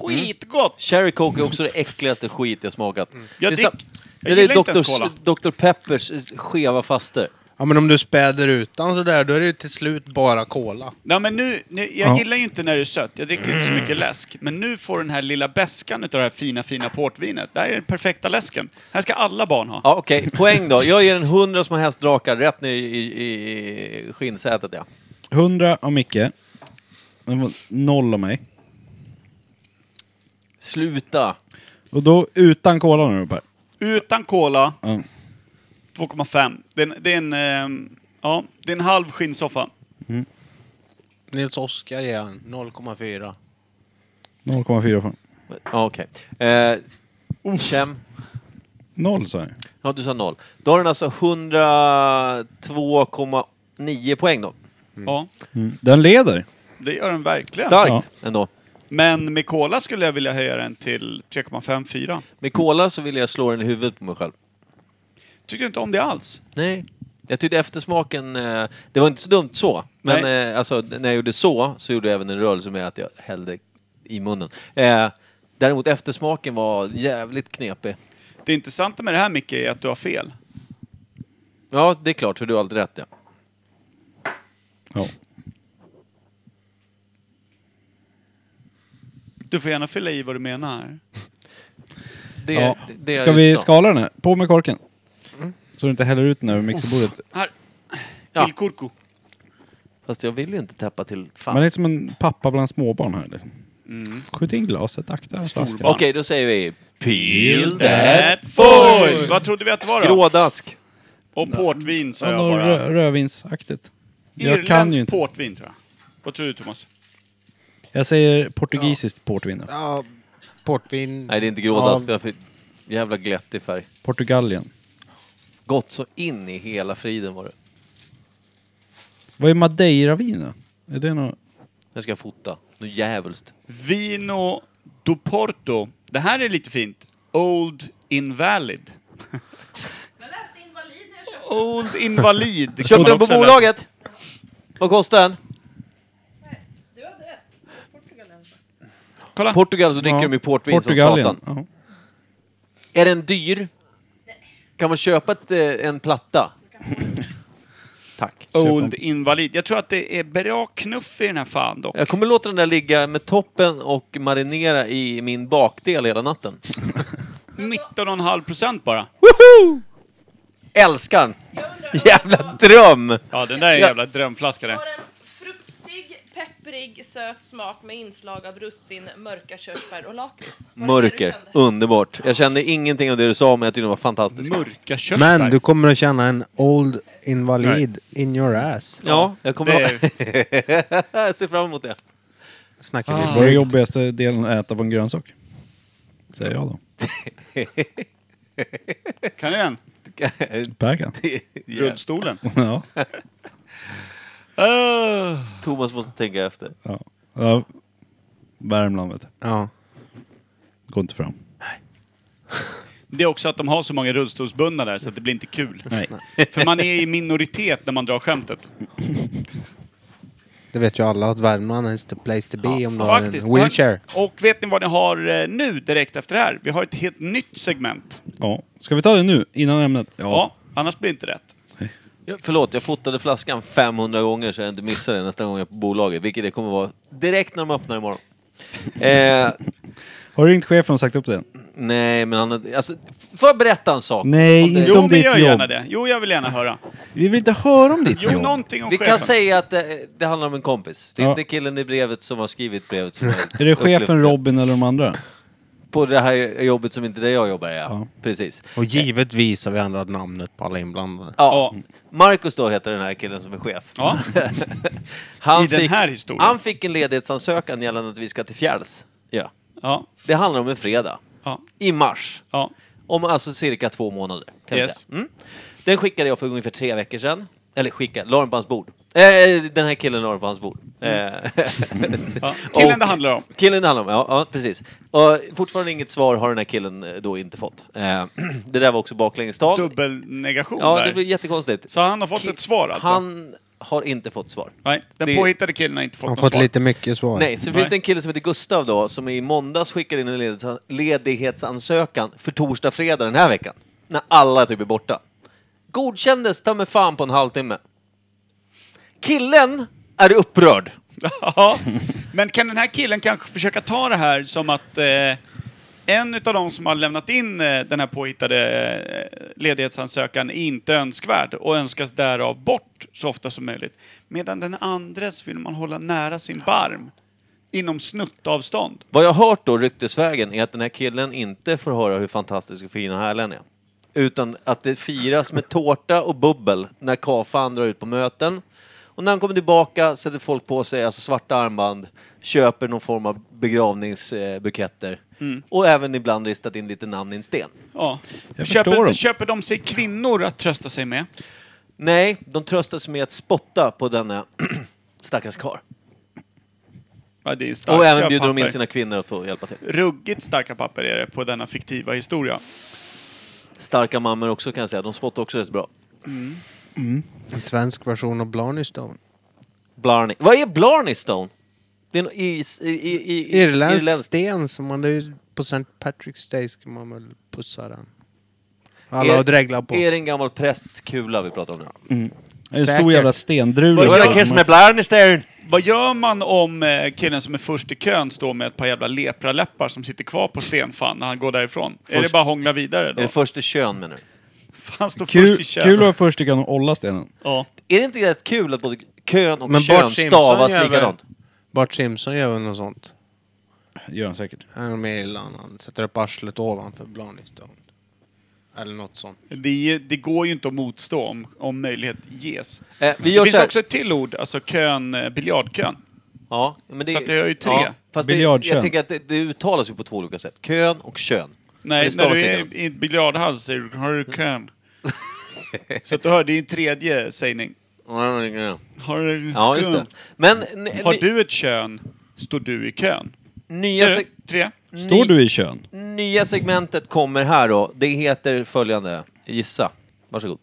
[SPEAKER 2] Skitgott!
[SPEAKER 1] Cherry Coke är också det äckligaste skit jag smakat.
[SPEAKER 2] Jag
[SPEAKER 1] det är, sa-
[SPEAKER 2] drick-
[SPEAKER 1] det
[SPEAKER 2] Mm. jag
[SPEAKER 1] är
[SPEAKER 2] gillar inte ens
[SPEAKER 1] Dr.
[SPEAKER 2] cola.
[SPEAKER 1] Dr. Peppers eh, skeva faster.
[SPEAKER 4] Ja men om du späder utan sådär, då är det ju till slut bara cola.
[SPEAKER 2] Nej, men nu, nu, jag
[SPEAKER 3] Ja.
[SPEAKER 2] gillar ju inte när det är sött. Jag dricker inte så mycket läsk. Men nu får den här lilla beskan utav det här fina, fina portvinet. Det här är den perfekta läsken. Här ska alla barn ha.
[SPEAKER 1] Ja, okej. Poäng då. Jag ger en hundra små hästdrakar rätt ner i, i, i skinnsätet, ja.
[SPEAKER 3] 100 av Micke. Den var Noll av mig.
[SPEAKER 1] Sluta!
[SPEAKER 3] Och då utan cola nu Per.
[SPEAKER 2] Utan cola,
[SPEAKER 3] Ja.
[SPEAKER 2] 2,5. Det är en, det är en, ehm, ja, det är en halv skinnsoffa.
[SPEAKER 4] Nils Oskar ger han 0,4.
[SPEAKER 3] 0,4 från.
[SPEAKER 1] Ja, Okej. Eh, Kem.
[SPEAKER 3] Noll sa jag.
[SPEAKER 1] Ja, du sa noll. Då har den alltså 102,9 poäng då.
[SPEAKER 2] Ja.
[SPEAKER 3] Mm. Den leder.
[SPEAKER 2] Det gör den verkligen.
[SPEAKER 1] Starkt ändå.
[SPEAKER 2] Men med cola skulle jag vilja höja den till 3,54.
[SPEAKER 1] Med cola så ville jag slå den i huvudet på mig själv.
[SPEAKER 2] Tycker inte om det alls.
[SPEAKER 1] Nej. Jag tyckte eftersmaken, eh, det var inte så dumt så. Men eh, alltså, när jag gjorde så, så gjorde jag även en rörelse med att jag hällde i munnen. Eh, däremot eftersmaken var jävligt knepig.
[SPEAKER 2] Det intressanta med det här Micke är att du har fel.
[SPEAKER 1] Ja, det är klart, för du har alltid rätt ja.
[SPEAKER 3] Ja.
[SPEAKER 2] Du får gärna fylla i vad du menar.
[SPEAKER 1] Det,
[SPEAKER 3] Ja.
[SPEAKER 1] det- det är
[SPEAKER 3] Ska
[SPEAKER 1] just
[SPEAKER 3] vi
[SPEAKER 1] så. Mm.
[SPEAKER 3] skala den här? På med korken. Så du inte häller ut den
[SPEAKER 1] Oh,
[SPEAKER 3] över mixerbordet.
[SPEAKER 2] Här.
[SPEAKER 1] Ja.
[SPEAKER 2] Il Curco.
[SPEAKER 1] Fast jag vill ju inte täppa till. Fan.
[SPEAKER 3] Man är som en pappa bland småbarn här liksom.
[SPEAKER 1] Mm.
[SPEAKER 3] Skjut in glaset, akta
[SPEAKER 1] Okej,
[SPEAKER 3] flaskan.
[SPEAKER 1] då säger vi... Peel
[SPEAKER 2] That foil! Vad trodde vi att det var då?
[SPEAKER 1] Grådask.
[SPEAKER 2] Och portvin sa
[SPEAKER 3] Ja,
[SPEAKER 2] jag
[SPEAKER 3] något
[SPEAKER 2] bara.
[SPEAKER 3] rö- rödvinsaktigt. Jag kan ju
[SPEAKER 2] Irländsk
[SPEAKER 3] inte.
[SPEAKER 2] portvin tror jag. Vad tror du Thomas?
[SPEAKER 3] Jag säger portugisiskt portvin. då.
[SPEAKER 4] Ja, portvin.
[SPEAKER 1] Nej, det är inte grådask.
[SPEAKER 4] Ja.
[SPEAKER 1] Det var för jävla glättig färg.
[SPEAKER 3] Portugalien.
[SPEAKER 1] Gott så in i hela friden var det.
[SPEAKER 3] Vad är madeiravin då? Är det något...
[SPEAKER 1] Jag ska fota. Något djävulskt.
[SPEAKER 2] Vino do Porto. Det här är lite fint. Old Invalid. Old Invalid. kan man
[SPEAKER 1] Köpte den på
[SPEAKER 2] också läsa.
[SPEAKER 1] bolaget? Vad kostar den?
[SPEAKER 2] Kolla.
[SPEAKER 1] Portugal så dricker
[SPEAKER 3] Ja.
[SPEAKER 1] de ju portvin som
[SPEAKER 3] Portugalien.
[SPEAKER 1] satan.
[SPEAKER 3] Ja.
[SPEAKER 1] Är den dyr? Kan man köpa ett, eh, en platta? Tack.
[SPEAKER 2] Old Invalid. Jag tror att det är bra knuff i den här fan dock.
[SPEAKER 1] Jag kommer låta den där ligga med toppen och marinera i min bakdel hela natten.
[SPEAKER 2] 19,5 procent bara.
[SPEAKER 1] Älskar den! Jävla dröm!
[SPEAKER 2] Ja, den där är en
[SPEAKER 1] Ja.
[SPEAKER 2] jävla drömflaska det.
[SPEAKER 10] Har en fruktig, pepprig, söt smak med inslag av russin, mörka körsbär och lakrits. Var det det du
[SPEAKER 1] Mörker.
[SPEAKER 10] kände?
[SPEAKER 1] Underbart. Jag kände ingenting av det du sa, men jag tyckte det var fantastiskt.
[SPEAKER 2] Mörka körsbär.
[SPEAKER 4] Men du kommer att känna en old invalid in your ass.
[SPEAKER 1] Ja, jag kommer
[SPEAKER 2] Det
[SPEAKER 1] jag ser fram emot det.
[SPEAKER 4] Snackar
[SPEAKER 3] Det
[SPEAKER 4] vi
[SPEAKER 3] är den
[SPEAKER 4] jobb.
[SPEAKER 3] jobbigaste delen att äta på en grönsak. Säger jag då.
[SPEAKER 2] Kan du den?
[SPEAKER 3] Bergan.
[SPEAKER 2] Rullstolen.
[SPEAKER 3] ja.
[SPEAKER 2] Ah.
[SPEAKER 1] Thomas måste tänka efter.
[SPEAKER 3] Ja. ja. Värmland vet du.
[SPEAKER 4] Ja.
[SPEAKER 3] Går inte fram.
[SPEAKER 2] Det är också att de har så många rullstolsbundna där så att det blir inte kul.
[SPEAKER 3] Nej.
[SPEAKER 2] För man är i minoritet när man drar skämtet.
[SPEAKER 4] Det vet ju alla att Värmland is the place to be om du har
[SPEAKER 2] Faktiskt.
[SPEAKER 4] en wheelchair.
[SPEAKER 2] Och vet ni vad ni har eh, nu direkt efter det här? Vi har ett helt nytt segment.
[SPEAKER 3] Ja. Ska vi ta det nu, innan ämnet?
[SPEAKER 2] Ja, annars blir det inte rätt.
[SPEAKER 1] Ja, Förlåt, jag fotade flaskan 500 gånger så jag inte missar det nästa gång jag är på bolaget. Vilket det kommer vara direkt när de öppnar imorgon. Eh,
[SPEAKER 3] Har du ringt chefen och sagt upp det än?
[SPEAKER 1] nej, men han... Alltså, får jag berätta en sak?
[SPEAKER 3] Nej, inte
[SPEAKER 2] Jo,
[SPEAKER 3] om
[SPEAKER 2] men
[SPEAKER 3] ditt
[SPEAKER 2] gör
[SPEAKER 3] jobb.
[SPEAKER 2] gärna det. Jo, jag vill gärna höra.
[SPEAKER 3] Vi vill inte höra om ditt
[SPEAKER 2] Jo,
[SPEAKER 3] jobb.
[SPEAKER 2] någonting om
[SPEAKER 1] Vi
[SPEAKER 2] chefen.
[SPEAKER 1] kan säga att det, det handlar om en kompis. Det är
[SPEAKER 3] Ja.
[SPEAKER 1] inte killen i brevet som har skrivit brevet. Som har
[SPEAKER 3] Är det
[SPEAKER 1] upplyft
[SPEAKER 3] chefen Robin eller de andra?
[SPEAKER 1] På det här jobbet som inte där jag jobbar, ja.
[SPEAKER 3] Ja.
[SPEAKER 1] Precis.
[SPEAKER 4] Och givetvis har vi ändrat namnet på alla inblandade.
[SPEAKER 1] Ja.
[SPEAKER 2] Ja.
[SPEAKER 1] Marcus då heter den här killen som är chef.
[SPEAKER 2] Ja.
[SPEAKER 1] Han
[SPEAKER 2] I den här historien.
[SPEAKER 1] Han fick en ledighetsansökan gällande att vi ska till fjälls. Ja.
[SPEAKER 2] Ja,
[SPEAKER 1] Det handlar om en fredag.
[SPEAKER 2] ja,
[SPEAKER 1] I mars.
[SPEAKER 2] ja.
[SPEAKER 1] Om alltså cirka två månader. Kan vi
[SPEAKER 2] Yes.
[SPEAKER 1] säga. Mm. Den skickade jag för ungefär tre veckor sedan. Eller skickade, la den på hans bord. Eh, den här killen la den på hans bord. Eh,
[SPEAKER 2] ja. Mm. Killen
[SPEAKER 1] Och-
[SPEAKER 2] det handlar om.
[SPEAKER 1] Killen det handlar om, ja, ja precis. Och fortfarande inget svar har den här killen eh, då inte fått. Eh, det där var också baklängestal.
[SPEAKER 2] Dubbelnegation
[SPEAKER 1] Ja,
[SPEAKER 2] där.
[SPEAKER 1] det blir jättekonstigt.
[SPEAKER 2] Så han har fått ett svar alltså?
[SPEAKER 1] Han har inte fått svar.
[SPEAKER 2] Nej, den
[SPEAKER 1] Det-
[SPEAKER 2] påhittade killen har inte fått
[SPEAKER 4] Han
[SPEAKER 2] något
[SPEAKER 4] har fått
[SPEAKER 2] svar.
[SPEAKER 4] lite mycket svar.
[SPEAKER 1] Nej, så finns det en kille som heter Gustav då, som i måndags skickade in en ledighets- ledighetsansökan för torsdag, fredag den här veckan. När alla typ är borta. Godkändes ta mig fan på en halvtimme. Killen är upprörd.
[SPEAKER 2] Ja, men kan den här killen kanske försöka ta det här som att eh, en utav de som har lämnat in eh, den här påhittade eh, ledighetsansökan är inte önskvärd och önskas därav bort så ofta som möjligt. Medan den andres vill man hålla nära sin barm inom snuttavstånd.
[SPEAKER 1] Vad jag har hört då, ryktesvägen, är att den här killen inte får höra hur fantastisk och fin och härlig han är. Utan att det firas med tårta och bubbel när Kafan drar ut på möten. Och när han kommer tillbaka sätter folk på sig alltså svarta armband, köper någon form av begravningsbuketter.
[SPEAKER 2] Mm.
[SPEAKER 1] Och även ibland ristat in lite namn i en sten.
[SPEAKER 2] Ja.
[SPEAKER 3] Jag förstår
[SPEAKER 2] Köper,
[SPEAKER 3] dem.
[SPEAKER 2] köper de sig kvinnor att trösta sig med?
[SPEAKER 1] Nej, de tröstas med att spotta på denna stackars karl.
[SPEAKER 2] Ja, det är starka
[SPEAKER 1] Och även bjuder de in
[SPEAKER 2] papper.
[SPEAKER 1] sina kvinnor att få hjälpa till.
[SPEAKER 2] Ruggigt starka papper är det på denna fiktiva historia.
[SPEAKER 1] Starka mammor också kan jag säga, de spottar också rätt bra.
[SPEAKER 4] En svensk version av Blarney Stone.
[SPEAKER 1] Blarney. Vad är Blarney Stone? Det är en is, i, i, i,
[SPEAKER 4] Irländsk
[SPEAKER 1] irländsk-
[SPEAKER 4] sten som man... Det är ju på St. Patrick's Day ska man väl pussa den.
[SPEAKER 1] Är-
[SPEAKER 4] Alla har dreglat på.
[SPEAKER 1] Är det en gammal prästkula vi pratar om nu?
[SPEAKER 3] En stor
[SPEAKER 4] Säkert.
[SPEAKER 3] jävla stendrula.
[SPEAKER 9] Vad gör kiss med Blarney Stone?
[SPEAKER 2] Vad gör man om eh, killen som är först i kön står med ett par jävla lepraläppar som sitter kvar på Stenfan när han går därifrån? Är det bara att hångla vidare då?
[SPEAKER 1] Är det första kön menar du?
[SPEAKER 2] Han står
[SPEAKER 3] Kul,
[SPEAKER 2] först i kön.
[SPEAKER 3] kul att vara först i kön och olla stenen.
[SPEAKER 2] Ja.
[SPEAKER 1] Är det inte rätt kul att både kön och
[SPEAKER 4] Men
[SPEAKER 1] kön
[SPEAKER 4] Bart Simpson
[SPEAKER 1] stavas
[SPEAKER 4] gör väl...
[SPEAKER 1] likadant?
[SPEAKER 4] Bart Simpson gör väl något sånt.
[SPEAKER 3] Gör han säkert.
[SPEAKER 4] Han är med i Irland. Han sätter upp arslet ovanför Blarney Stone. Eller något sånt.
[SPEAKER 2] Det, är ju- det går ju inte att motstå om, om möjlighet ges.
[SPEAKER 1] Eh, vi
[SPEAKER 2] det
[SPEAKER 1] gör
[SPEAKER 2] finns
[SPEAKER 1] så här.
[SPEAKER 2] också ett till ord, alltså kön, eh, biljardkön.
[SPEAKER 1] Ja, men det,
[SPEAKER 2] Så att det är ju tre.
[SPEAKER 1] fast det,
[SPEAKER 3] Biljardkön.
[SPEAKER 1] jag tänker att det, det uttalas ju på två olika sätt. Kön och kön. Men
[SPEAKER 2] Nej,
[SPEAKER 1] det
[SPEAKER 2] när
[SPEAKER 1] stavas
[SPEAKER 2] du
[SPEAKER 1] likadant.
[SPEAKER 2] är i ett biljardhall säger du har du kön. så att du hör, det är en tredje sägning. Har du
[SPEAKER 1] Ja, just
[SPEAKER 2] kön?
[SPEAKER 1] det. Men n-
[SPEAKER 2] Har
[SPEAKER 1] ny-
[SPEAKER 2] du ett kön, står du i kön.
[SPEAKER 1] nya,
[SPEAKER 2] Ser du?
[SPEAKER 1] se-
[SPEAKER 2] Tre.
[SPEAKER 3] Står
[SPEAKER 1] ny-
[SPEAKER 3] du i kön?
[SPEAKER 1] nya segmentet kommer här då. Det heter följande. Gissa. Varsågod.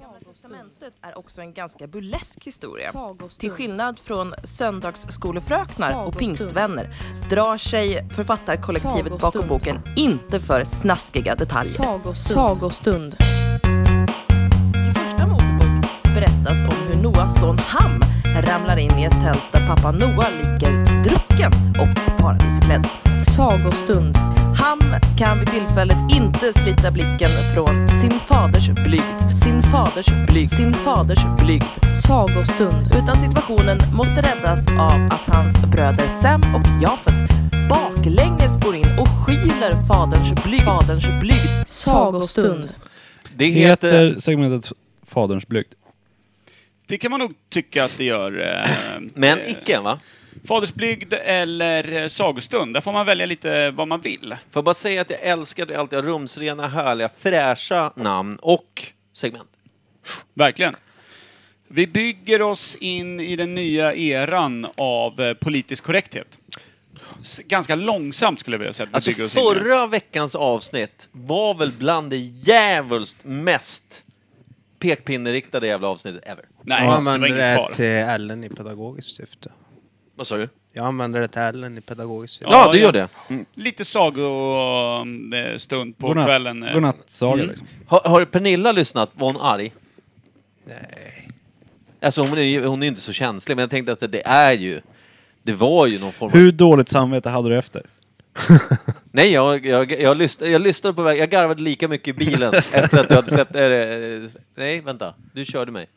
[SPEAKER 11] Gamla testamentet är också en ganska burlesk historia. Till skillnad från söndagsskolefröknar och
[SPEAKER 5] Sagostund.
[SPEAKER 11] pingstvänner drar sig författarkollektivet bakom
[SPEAKER 5] Sagostund.
[SPEAKER 11] boken inte för snaskiga detaljer.
[SPEAKER 5] Sagostund.
[SPEAKER 11] I första Mosebok berättas om hur Noahs son Ham ramlar in i ett tält där pappa Noah ligger drucken och paradisklädd.
[SPEAKER 5] Sagostund.
[SPEAKER 11] Ham kan vid tillfället inte slita blicken från sin faders blygd, sin faders blygd, sin faders blygd.
[SPEAKER 5] Sagostund.
[SPEAKER 11] utan situationen måste räddas av att hans bröder Sam och Jafet baklänges går in och skyler faderns blygd. Faderns blygd.
[SPEAKER 5] Sagostund.
[SPEAKER 1] Det heter...
[SPEAKER 3] Heter segmentet Faderns blygd?
[SPEAKER 2] Det kan man nog tycka att det gör. Eh,
[SPEAKER 1] Men
[SPEAKER 2] eh,
[SPEAKER 1] icke, va?
[SPEAKER 2] Fadersblygd eller eh, sagostund. Där får man välja lite vad man vill.
[SPEAKER 1] Får jag bara säga att jag älskar att jag alltid har rumsrena, härliga, fräscha namn och segment.
[SPEAKER 2] Verkligen. Vi bygger oss in i den nya eran av eh, politisk korrekthet. S- Ganska långsamt skulle jag vilja säga att
[SPEAKER 1] Alltså
[SPEAKER 2] vi bygger oss in i det.
[SPEAKER 1] förra veckans avsnitt var väl bland det jävulst mest pekpinneriktade jävla avsnittet ever.
[SPEAKER 2] Nej,
[SPEAKER 4] Jag
[SPEAKER 2] det var
[SPEAKER 4] använder
[SPEAKER 2] ingen
[SPEAKER 4] det
[SPEAKER 2] fara.
[SPEAKER 4] till Ellen i pedagogiskt syfte.
[SPEAKER 1] Vad sa du?
[SPEAKER 4] Jag använder det till Ellen i pedagogiskt syfte.
[SPEAKER 1] Ja, du
[SPEAKER 2] ja.
[SPEAKER 1] gör det.
[SPEAKER 2] Mm. Lite sagostund på kvällen. eh.
[SPEAKER 3] Godnattsaga liksom.
[SPEAKER 1] Har, har Pernilla lyssnat? Var hon arg? Nej. Alltså hon är ju hon är ju inte så känslig, men jag tänkte att alltså, det är ju... Det var ju någon form av...
[SPEAKER 3] Hur dåligt samvete hade du efter?
[SPEAKER 1] Nej, jag, jag, jag, lyssnade, jag lyssnade på väg... Jag garvade lika mycket i bilen efter att du hade släppt... Äh, nej, vänta. Du körde mig.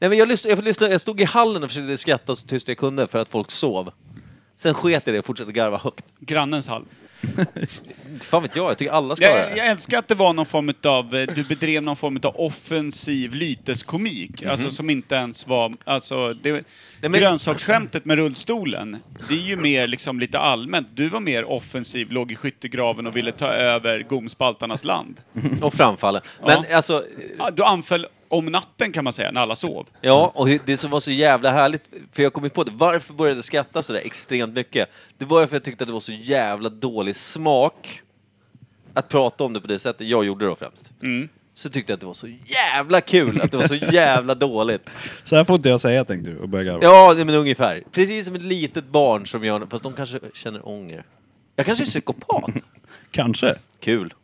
[SPEAKER 1] Nej, men jag, lyssnade, jag, lyssnade, jag stod i hallen och försökte skratta så tyst jag kunde för att folk sov. Sen sket jag i det och fortsatte garva högt.
[SPEAKER 2] Grannens hall.
[SPEAKER 1] Inte fan vet jag, jag tycker alla ska göra
[SPEAKER 2] Jag,
[SPEAKER 1] det.
[SPEAKER 2] jag älskar att det var någon form av, du bedrev någon form av offensiv lyteskomik. Alltså som inte ens var, alltså det,
[SPEAKER 1] Mhm. men-
[SPEAKER 2] grönsaksskämtet med rullstolen. Det är ju mer liksom lite allmänt. Du var mer offensiv, låg i skyttegraven och ville ta över gomspaltarnas land.
[SPEAKER 1] Och framfallen. Men
[SPEAKER 2] Ja.
[SPEAKER 1] alltså,
[SPEAKER 2] Ja, Du anföll om natten kan man säga, när alla sov.
[SPEAKER 1] Ja, och det som var så jävla härligt, för jag kom ju på det, varför började jag skratta sådär extremt mycket? Det var ju för att jag tyckte att det var så jävla dålig smak att prata om det på det sättet jag gjorde då främst.
[SPEAKER 2] Mm.
[SPEAKER 1] Så tyckte jag att det var så jävla kul att det var så jävla dåligt.
[SPEAKER 3] Så här får inte jag säga tänkte du och började garva.
[SPEAKER 1] Ja, nej, men ungefär. Precis som ett litet barn som gör fast de kanske känner ånger. Jag kanske är psykopat.
[SPEAKER 3] Kanske.
[SPEAKER 1] Kul.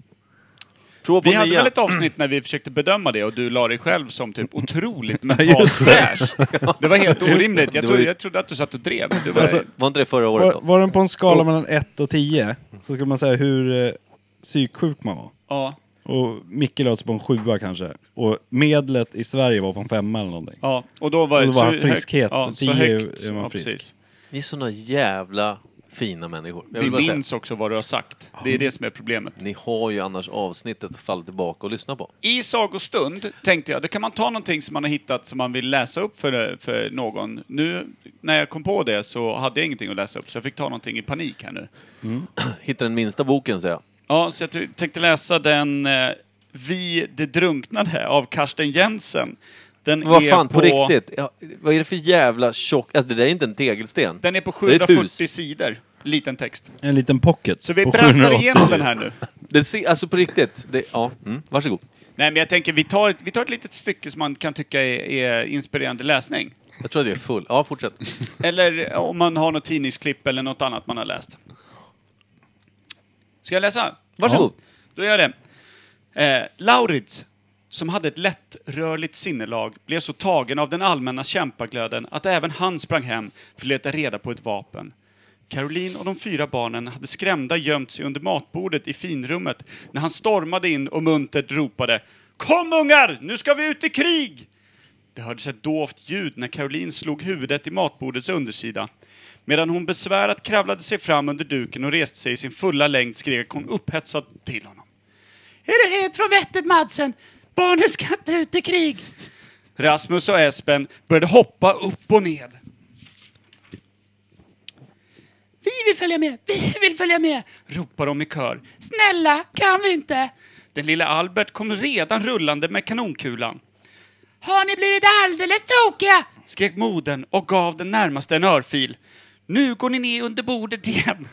[SPEAKER 1] Prova på
[SPEAKER 2] Vi hade
[SPEAKER 1] nya.
[SPEAKER 2] väl ett avsnitt när vi försökte bedöma det och du la dig själv som typ otroligt mentalt fräsch. Det var helt orimligt. Jag
[SPEAKER 1] Det var
[SPEAKER 2] trodde,
[SPEAKER 1] ju- Alltså-
[SPEAKER 2] jag trodde att du satt och drev. men Du var,
[SPEAKER 1] Var inte det förra året
[SPEAKER 3] Var,
[SPEAKER 1] då?
[SPEAKER 3] var den på en skala mellan 1 och 10 så skulle man säga hur eh, psyksjuk man var.
[SPEAKER 2] ja.
[SPEAKER 3] Och Micke låts på en sjua kanske. Och medlet i Sverige var på en femma eller någonting.
[SPEAKER 2] Ja, och då var,
[SPEAKER 3] Och då var
[SPEAKER 2] så
[SPEAKER 3] han
[SPEAKER 2] högt-
[SPEAKER 3] friskhet.
[SPEAKER 2] Ja, så
[SPEAKER 3] Tio
[SPEAKER 2] högt.
[SPEAKER 3] är man
[SPEAKER 2] ja,
[SPEAKER 3] frisk.
[SPEAKER 2] precis.
[SPEAKER 1] Ni är såna jävla fina människor. Jag
[SPEAKER 2] Vi
[SPEAKER 1] vill bara säga.
[SPEAKER 2] minns också vad du har sagt. Det är det som är problemet.
[SPEAKER 1] Ni har ju annars avsnittet att falla tillbaka och lyssna på.
[SPEAKER 2] I sagostund tänkte jag, då kan man ta någonting som man har hittat som man vill läsa upp för, för någon. Nu när jag kom på det så hade jag ingenting att läsa upp, så jag fick ta någonting i panik här nu.
[SPEAKER 1] Hitta den minsta boken, säger jag.
[SPEAKER 2] Ja, så jag t- tänkte läsa den eh, Vi det drunknade av Karsten Jensen. Den
[SPEAKER 1] Men vad
[SPEAKER 2] är
[SPEAKER 1] fan, E på,
[SPEAKER 2] på-
[SPEAKER 1] riktigt? Ja, vad är det för jävla tjock... Alltså det där är inte en tegelsten.
[SPEAKER 2] Den är på
[SPEAKER 1] Det ett hus.
[SPEAKER 2] 740 sidor. Liten text.
[SPEAKER 3] En liten pocket.
[SPEAKER 2] Så vi
[SPEAKER 3] på
[SPEAKER 2] brassar
[SPEAKER 3] 780.
[SPEAKER 2] igenom den här nu.
[SPEAKER 1] Det ser, alltså på riktigt. Det, ja, mm, varsågod.
[SPEAKER 2] Nej, men jag tänker vi tar, ett- vi tar ett litet stycke som man kan tycka är, är inspirerande läsning.
[SPEAKER 1] Jag tror att jag är full. Ja, fortsätt.
[SPEAKER 2] Eller om man har något tidningsklipp eller något annat man har läst. Ska jag läsa?
[SPEAKER 1] Varsågod.
[SPEAKER 2] Ja. Då gör jag det. Eh, Lauritz, som hade ett lättrörligt sinnelag, blev så tagen av den allmänna kämpaglöden att även han sprang hem för att leta reda på ett vapen. Caroline och de fyra barnen hade skrämda gömt sig under matbordet i finrummet när han stormade in och muntert ropade Kom ungar, nu ska vi ut i krig! Det hördes ett dovt ljud när Caroline slog huvudet i matbordets undersida. Medan hon besvärat kravlade sig fram under duken och reste sig i sin fulla längd skrek hon upphetsad till honom. Är du helt från vettet, Madsen? Barnen ska inte ut i krig! Rasmus och Espen började hoppa upp och ned. Vi vill följa med! Vi vill följa med! ropar de i kör. Snälla, kan vi inte? Den lilla Albert kom redan rullande med kanonkulan. Har ni blivit alldeles tokiga? skrek modern och gav den närmaste en örfil. Nu går ni ner under bordet igen.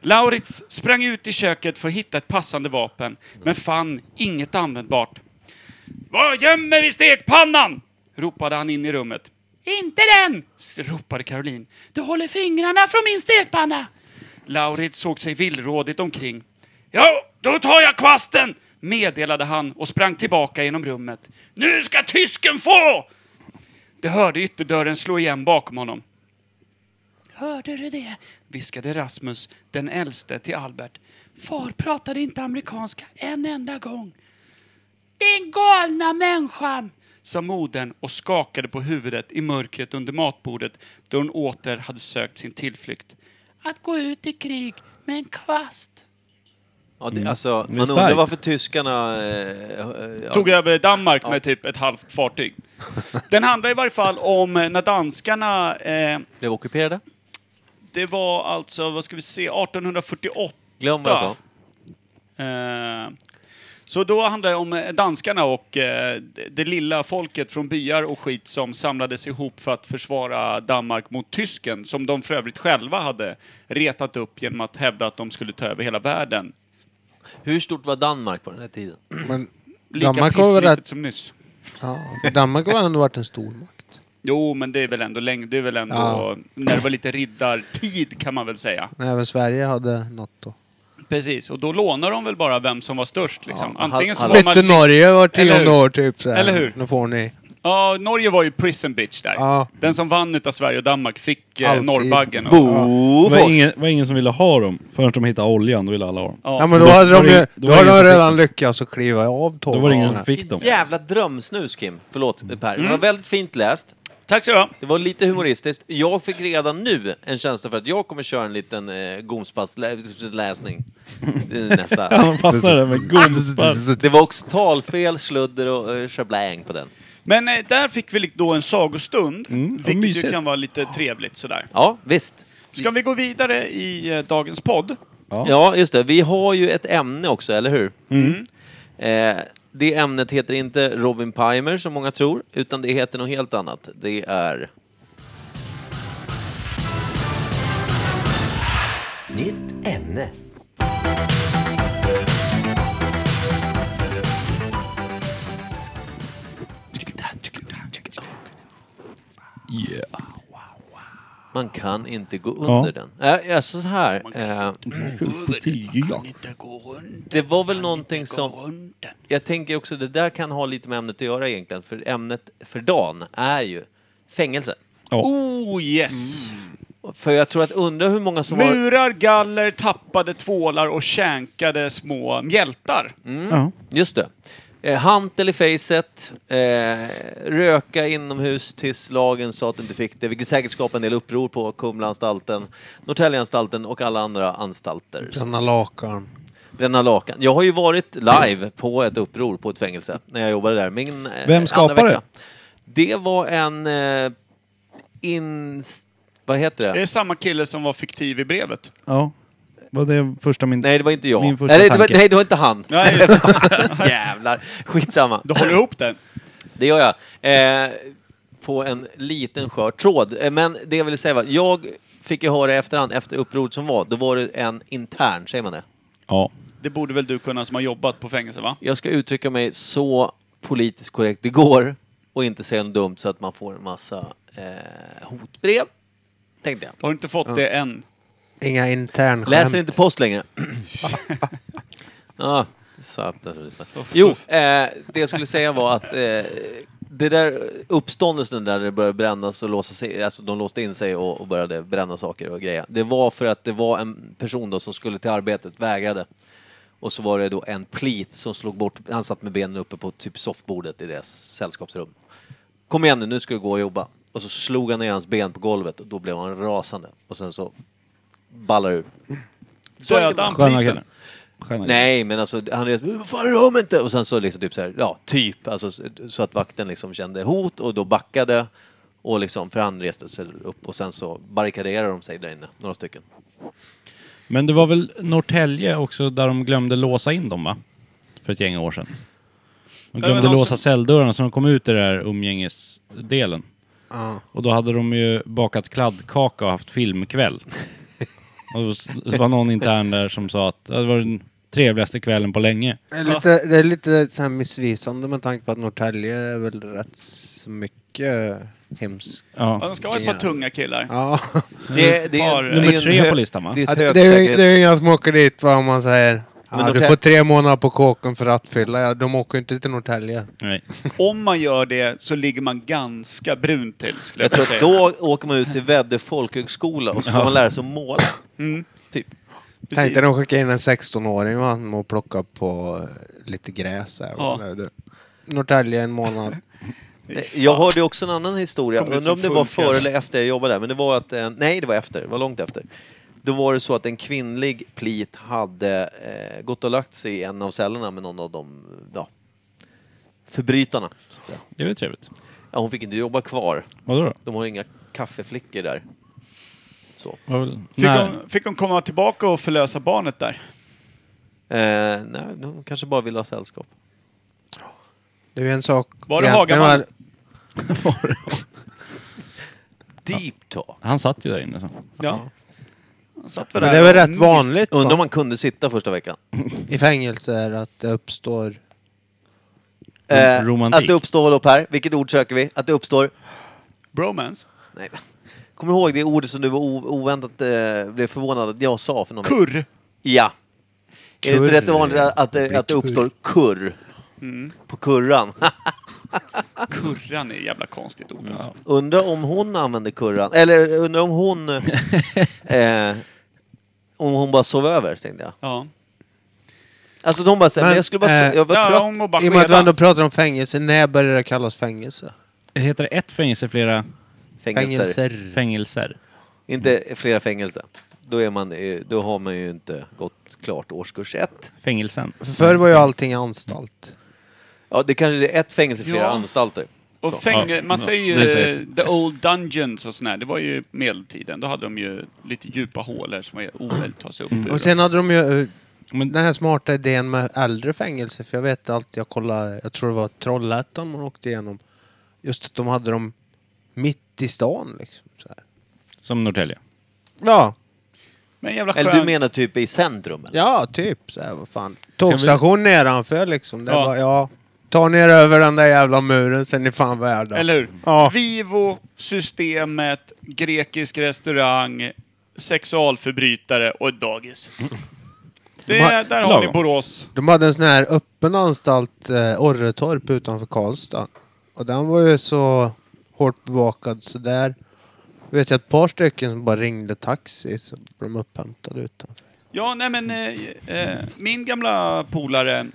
[SPEAKER 2] Lauritz sprang ut i köket för att hitta ett passande vapen, men fann inget användbart. Vad gömmer vi stekpannan? ropade han in i rummet. Inte den! ropade Caroline. Du håller fingrarna från min stekpanna! Lauritz såg sig villrådigt omkring. Ja, då tar jag kvasten! meddelade han och sprang tillbaka genom rummet. Nu ska tysken få! Det hörde ytterdörren slå igen bakom honom. Hörde du det? viskade Rasmus, den äldste, till Albert. Far pratade inte amerikanska en enda gång. Den galna människan! sa modern och skakade på huvudet i mörkret under matbordet då hon åter hade sökt sin tillflykt. Att gå ut i krig med en kvast.
[SPEAKER 1] Ja, det, alltså,
[SPEAKER 2] Men
[SPEAKER 1] man
[SPEAKER 2] starkt.
[SPEAKER 1] undrar varför tyskarna... Eh, eh, ja.
[SPEAKER 2] Tog över Danmark med typ ett halvt fartyg. Den handlar i varje fall om eh, när danskarna... Eh,
[SPEAKER 1] Blev ockuperade.
[SPEAKER 2] det var alltså, vad ska vi se, 1848.
[SPEAKER 1] Glöm alltså. vad jag sa.
[SPEAKER 2] Eh, Så då handlar det om eh, danskarna och eh, det- det lilla folket från byar och skit som samlades ihop för att försvara Danmark mot tysken, som de för övrigt själva hade retat upp genom att hävda att de skulle ta över hela världen.
[SPEAKER 1] Hur stort var Danmark på den här tiden?
[SPEAKER 4] Men
[SPEAKER 2] Lika
[SPEAKER 4] Danmark har väl
[SPEAKER 2] pisslitet
[SPEAKER 4] rätt-
[SPEAKER 2] som nyss.
[SPEAKER 4] Ja, men Danmark har ändå varit en stor makt.
[SPEAKER 2] Jo, men det är väl ändå länge, det är väl ändå
[SPEAKER 4] Ja.
[SPEAKER 2] när det var lite riddartid kan man väl säga.
[SPEAKER 4] Men även Sverige hade något då.
[SPEAKER 2] Precis, och då lånar de väl bara vem som var störst liksom.
[SPEAKER 4] Ja,
[SPEAKER 2] Antingen så
[SPEAKER 4] hal-
[SPEAKER 2] var man...
[SPEAKER 4] Bytte Norge var
[SPEAKER 2] Eller
[SPEAKER 4] tionde
[SPEAKER 2] hur?
[SPEAKER 4] år typ så här.
[SPEAKER 2] Eller hur?
[SPEAKER 4] Nu får ni...
[SPEAKER 2] Ja, Norge var ju prison bitch där.
[SPEAKER 4] Ja.
[SPEAKER 2] Den som vann utav Sverige och Danmark fick eh,
[SPEAKER 4] Alltid.
[SPEAKER 2] Norrbaggen.
[SPEAKER 3] Ja. Det var ingen, var ingen som ville ha dem förrän de hittade oljan, då ville alla ha dem.
[SPEAKER 4] Ja, men då hade de ju... Då hade de redan lyckats att kliva av tåget.
[SPEAKER 3] Då var det ingen som fick
[SPEAKER 1] Vilket
[SPEAKER 3] dem.
[SPEAKER 1] jävla drömsnus, Kim. Förlåt, Per. Det var
[SPEAKER 2] Mm.
[SPEAKER 1] väldigt fint läst.
[SPEAKER 2] Tack så du ha.
[SPEAKER 1] Det var lite humoristiskt. Jag fick redan nu en känsla för att jag kommer köra en liten eh, gomspassläsning. Nästa.
[SPEAKER 3] Ja, de passar det med gomspar.
[SPEAKER 1] Det var också talfel, sludder och eh, schabläng på den.
[SPEAKER 2] Men eh, där fick vi då en sagostund, vilket ju
[SPEAKER 3] mysigt.
[SPEAKER 2] kan vara lite trevligt sådär.
[SPEAKER 1] Ja, visst.
[SPEAKER 2] Ska vi gå vidare i eh, dagens podd?
[SPEAKER 1] Ja. just det. Vi har ju ett ämne också, eller hur? Eh, det ämnet heter inte Robin Pimer, som många tror, utan det heter något helt annat. Det är...
[SPEAKER 8] Nytt ämne.
[SPEAKER 1] Man kan inte gå under den. Eh, alltså så här. Eh, det var väl någonting som... Jag tänker också, det där kan ha lite med ämnet att göra egentligen. För ämnet för dagen är ju fängelse.
[SPEAKER 2] Oh yes!
[SPEAKER 1] För jag tror att undra hur många som har...
[SPEAKER 2] Murar, galler, tappade tvålar och känkade små mjältar.
[SPEAKER 3] Ja.
[SPEAKER 1] Just det. Eh, hantel i facet, eh, röka inomhus tills lagen sa att du inte fick det, vilket säkert skapade en del uppror på Kumlaanstalten, Norrtäljeanstalten och alla andra anstalter.
[SPEAKER 4] Bränna lakan.
[SPEAKER 1] Bränna lakan. Jag har ju varit live på ett uppror på ett fängelse när jag jobbade där. Min, eh,
[SPEAKER 3] Vem
[SPEAKER 1] andra
[SPEAKER 3] skapade
[SPEAKER 1] vecka. Det var en... Eh, in... Vad heter
[SPEAKER 2] Det är samma kille som var fiktiv i brevet.
[SPEAKER 3] Ja. Var det första min...
[SPEAKER 1] Nej, det var inte jag.
[SPEAKER 3] Min första
[SPEAKER 1] Nej, det var,
[SPEAKER 3] tanke.
[SPEAKER 1] nej, det var inte han.
[SPEAKER 2] Nej, just det.
[SPEAKER 1] Jävlar. Skitsamma.
[SPEAKER 2] Du håller ihop det.
[SPEAKER 1] Det gör jag. Eh, på en liten skör tråd. Eh, Men det jag ville säga var, jag fick ju höra i efterhand, efter upproret som var, då var det en intern, säger man det?
[SPEAKER 3] Ja.
[SPEAKER 2] Det borde väl du kunna som har jobbat på fängelse, va?
[SPEAKER 1] Jag ska uttrycka mig så politiskt korrekt det går och inte säga något dumt så att man får en massa eh, hotbrev, tänkte jag.
[SPEAKER 2] Har du inte fått det än?
[SPEAKER 4] Inga internskämt.
[SPEAKER 1] Läser inte post längre. ja, satans. Jo, eh, det jag skulle säga var att eh, det där uppståndelsen där det började brännas och låsa sig, alltså de låste in sig och, och började bränna saker och grejer. Det var för att det var en person då som skulle till arbetet, vägrade. Och så var det då en plit som slog bort, han satt med benen uppe på typ soffbordet i deras sällskapsrum. Kom igen nu, nu ska du gå och jobba. Och så slog han ner hans ben på golvet och då blev han rasande. Och sen så ballar ur. Så enkelt var det.
[SPEAKER 3] Sköna killar. Sköna killar.
[SPEAKER 1] Nej, men alltså han reste "Vad fan rör mig inte!” och sen så liksom typ så här, ja, typ, alltså så- så att vakten liksom kände hot och då backade och liksom, för han reste sig upp och sen så barrikaderade de sig där inne, några stycken.
[SPEAKER 3] Men det var väl Norrtälje också där de glömde låsa in dem va? För ett gäng år sedan.
[SPEAKER 2] Det var
[SPEAKER 3] De glömde
[SPEAKER 2] någon
[SPEAKER 3] låsa
[SPEAKER 2] som-
[SPEAKER 3] celldörrarna så de kom ut i den här umgängesdelen.
[SPEAKER 4] Ja.
[SPEAKER 3] Och då hade de ju bakat kladdkaka och haft filmkväll. och då s- det var någon intern där som sa att "Ja, det var den trevligaste kvällen på länge.
[SPEAKER 4] Det är lite, det är lite så här missvisande med tanke på att Norrtälje är väl rätt så mycket hemskt.
[SPEAKER 3] Ja.
[SPEAKER 2] Ja, de ska ha ett par tunga killar.
[SPEAKER 4] Ja.
[SPEAKER 1] Det, det är,
[SPEAKER 2] Par-
[SPEAKER 1] en-
[SPEAKER 2] Nummer
[SPEAKER 1] det är en
[SPEAKER 3] tre
[SPEAKER 1] hö-
[SPEAKER 3] på listan, va?
[SPEAKER 1] Det är
[SPEAKER 4] Ja,
[SPEAKER 1] ett
[SPEAKER 4] det, det, är, ju-
[SPEAKER 1] högsäkerhets-
[SPEAKER 4] det är ju ingen som åker dit va, om man säger ja, du
[SPEAKER 1] Norrtälje-
[SPEAKER 4] får tre månader på kåken för rattfylla. Ja, de åker ju inte till Norrtälje.
[SPEAKER 3] Nej.
[SPEAKER 2] Om man gör det så ligger man ganska brun till, skulle jag,
[SPEAKER 1] Jag
[SPEAKER 2] vilja
[SPEAKER 1] tror att
[SPEAKER 2] säga.
[SPEAKER 1] då åker man ut till Väddö folkhögskola och så får man lära sig att måla. Typ.
[SPEAKER 4] Tänkte
[SPEAKER 2] Mm, Precis.
[SPEAKER 4] de skicka in en 16-åring va, med att plocka på eh, lite gräs. Här,
[SPEAKER 2] Ja.
[SPEAKER 4] Eller du. Norrtälje en månad.
[SPEAKER 1] Eh, Jag hörde ju också en annan historia,
[SPEAKER 2] Kom ut
[SPEAKER 1] undrar om det
[SPEAKER 2] som
[SPEAKER 1] var
[SPEAKER 2] funkis.
[SPEAKER 1] före eller efter jag jobbade där, men det var att, eh, nej det var efter, det var långt efter. Då var det så att en kvinnlig plit hade eh, gått och lagt sig i en av cellerna med någon av de, ja, förbrytarna. Så att säga.
[SPEAKER 3] Det var ju trevligt.
[SPEAKER 1] Ja, hon fick inte jobba kvar,
[SPEAKER 3] Vadå då?
[SPEAKER 1] de har inga kaffeflickor där. Så.
[SPEAKER 3] Var väl...
[SPEAKER 2] Fick
[SPEAKER 3] Nej.
[SPEAKER 2] hon, fick hon komma tillbaka och förlösa barnet där?
[SPEAKER 1] Eh, nej, de kanske bara ville ha sällskap.
[SPEAKER 4] Det är ju en sak...
[SPEAKER 2] Var det
[SPEAKER 4] egentligen
[SPEAKER 2] Hagaman?
[SPEAKER 4] var-
[SPEAKER 1] Deep talk.
[SPEAKER 3] Han satt ju där inne så.
[SPEAKER 2] Ja. Han Satt väl
[SPEAKER 4] Men
[SPEAKER 2] där Mm.
[SPEAKER 4] det är väl
[SPEAKER 2] och
[SPEAKER 4] rätt
[SPEAKER 2] nys-
[SPEAKER 4] vanligt
[SPEAKER 1] Undrar om
[SPEAKER 4] va,
[SPEAKER 1] man kunde sitta första veckan.
[SPEAKER 4] i fängelser att det uppstår...
[SPEAKER 1] Eh,
[SPEAKER 3] romantik.
[SPEAKER 1] att det uppstår, då Per, vilket ord söker vi? Att det uppstår
[SPEAKER 2] Bromance?
[SPEAKER 1] Nej. Kommer du ihåg det ordet som du var o- oväntat eh, blev förvånad att jag sa för någon vecka-
[SPEAKER 2] Kurr!
[SPEAKER 1] Ja. Är det
[SPEAKER 4] Kurr.
[SPEAKER 1] inte rätt vanligt att, att, det- att det
[SPEAKER 4] Kurr.
[SPEAKER 1] uppstår kurr? På kurran.
[SPEAKER 2] Mm. Kurran är ett jävla konstigt ord alltså.
[SPEAKER 1] undrar om hon använde kurran, eller undrar om hon... eh, om hon bara sov över, tänkte jag.
[SPEAKER 2] Ja.
[SPEAKER 1] Alltså de bara säger,
[SPEAKER 4] Men,
[SPEAKER 1] men jag skulle bara...
[SPEAKER 4] eh,
[SPEAKER 1] jag var
[SPEAKER 2] Ja,
[SPEAKER 1] trött.
[SPEAKER 2] hon mår bara
[SPEAKER 4] I och med att vi
[SPEAKER 2] skeda.
[SPEAKER 4] ändå pratar om fängelse, när började det kallas fängelse?
[SPEAKER 3] Heter det ett fängelse flera
[SPEAKER 1] Fängelser.
[SPEAKER 4] Fängelser.
[SPEAKER 3] fängelser?
[SPEAKER 1] Inte flera fängelser. Då, är man, eh, då har man ju inte gått klart årskurs ett.
[SPEAKER 3] Fängelsen?
[SPEAKER 4] För Förr var ju allting anstalt.
[SPEAKER 1] Ja, det kanske är ett fängelse, flera
[SPEAKER 2] Ja.
[SPEAKER 1] anstalter.
[SPEAKER 2] Och fängel,
[SPEAKER 3] Ja.
[SPEAKER 2] man säger
[SPEAKER 3] Det
[SPEAKER 2] ju
[SPEAKER 3] säger-
[SPEAKER 2] eh, the old dungeons och sån här. Det var ju medeltiden. Då hade de ju lite djupa hålor som var omöjligt att ta sig upp ur.
[SPEAKER 4] Och sen hade de ju eh,
[SPEAKER 3] Men-
[SPEAKER 4] den här smarta idén med äldre fängelser, för jag vet allt jag kollade, jag tror det var Trollhättan man åkte igenom. Just att de hade dem mitt i stan liksom. Så här.
[SPEAKER 3] Som Norrtälje?
[SPEAKER 4] Ja,
[SPEAKER 2] Men jävla skön...
[SPEAKER 1] Eller du menar typ i centrum? Eller?
[SPEAKER 4] ja typ så här, vad fan. Tågstation nedanför liksom. Det
[SPEAKER 2] Ja.
[SPEAKER 4] var, ja. Ta ner över den där jävla muren sen är ni fan värda.
[SPEAKER 2] Eller hur?
[SPEAKER 4] Ja.
[SPEAKER 2] Vivo, Systemet, grekisk restaurang, sexualförbrytare och ett dagis. Det,
[SPEAKER 4] De har-
[SPEAKER 2] där har
[SPEAKER 3] lagom.
[SPEAKER 2] ni Borås.
[SPEAKER 4] De hade en sån här öppen anstalt, eh, Orretorp utanför Karlstad. Och den var ju så hårt bevakad så där vet jag ett par stycken som bara ringde taxi så blev de upphämtade utanför.
[SPEAKER 2] Ja, nej men eh, eh, min gamla polare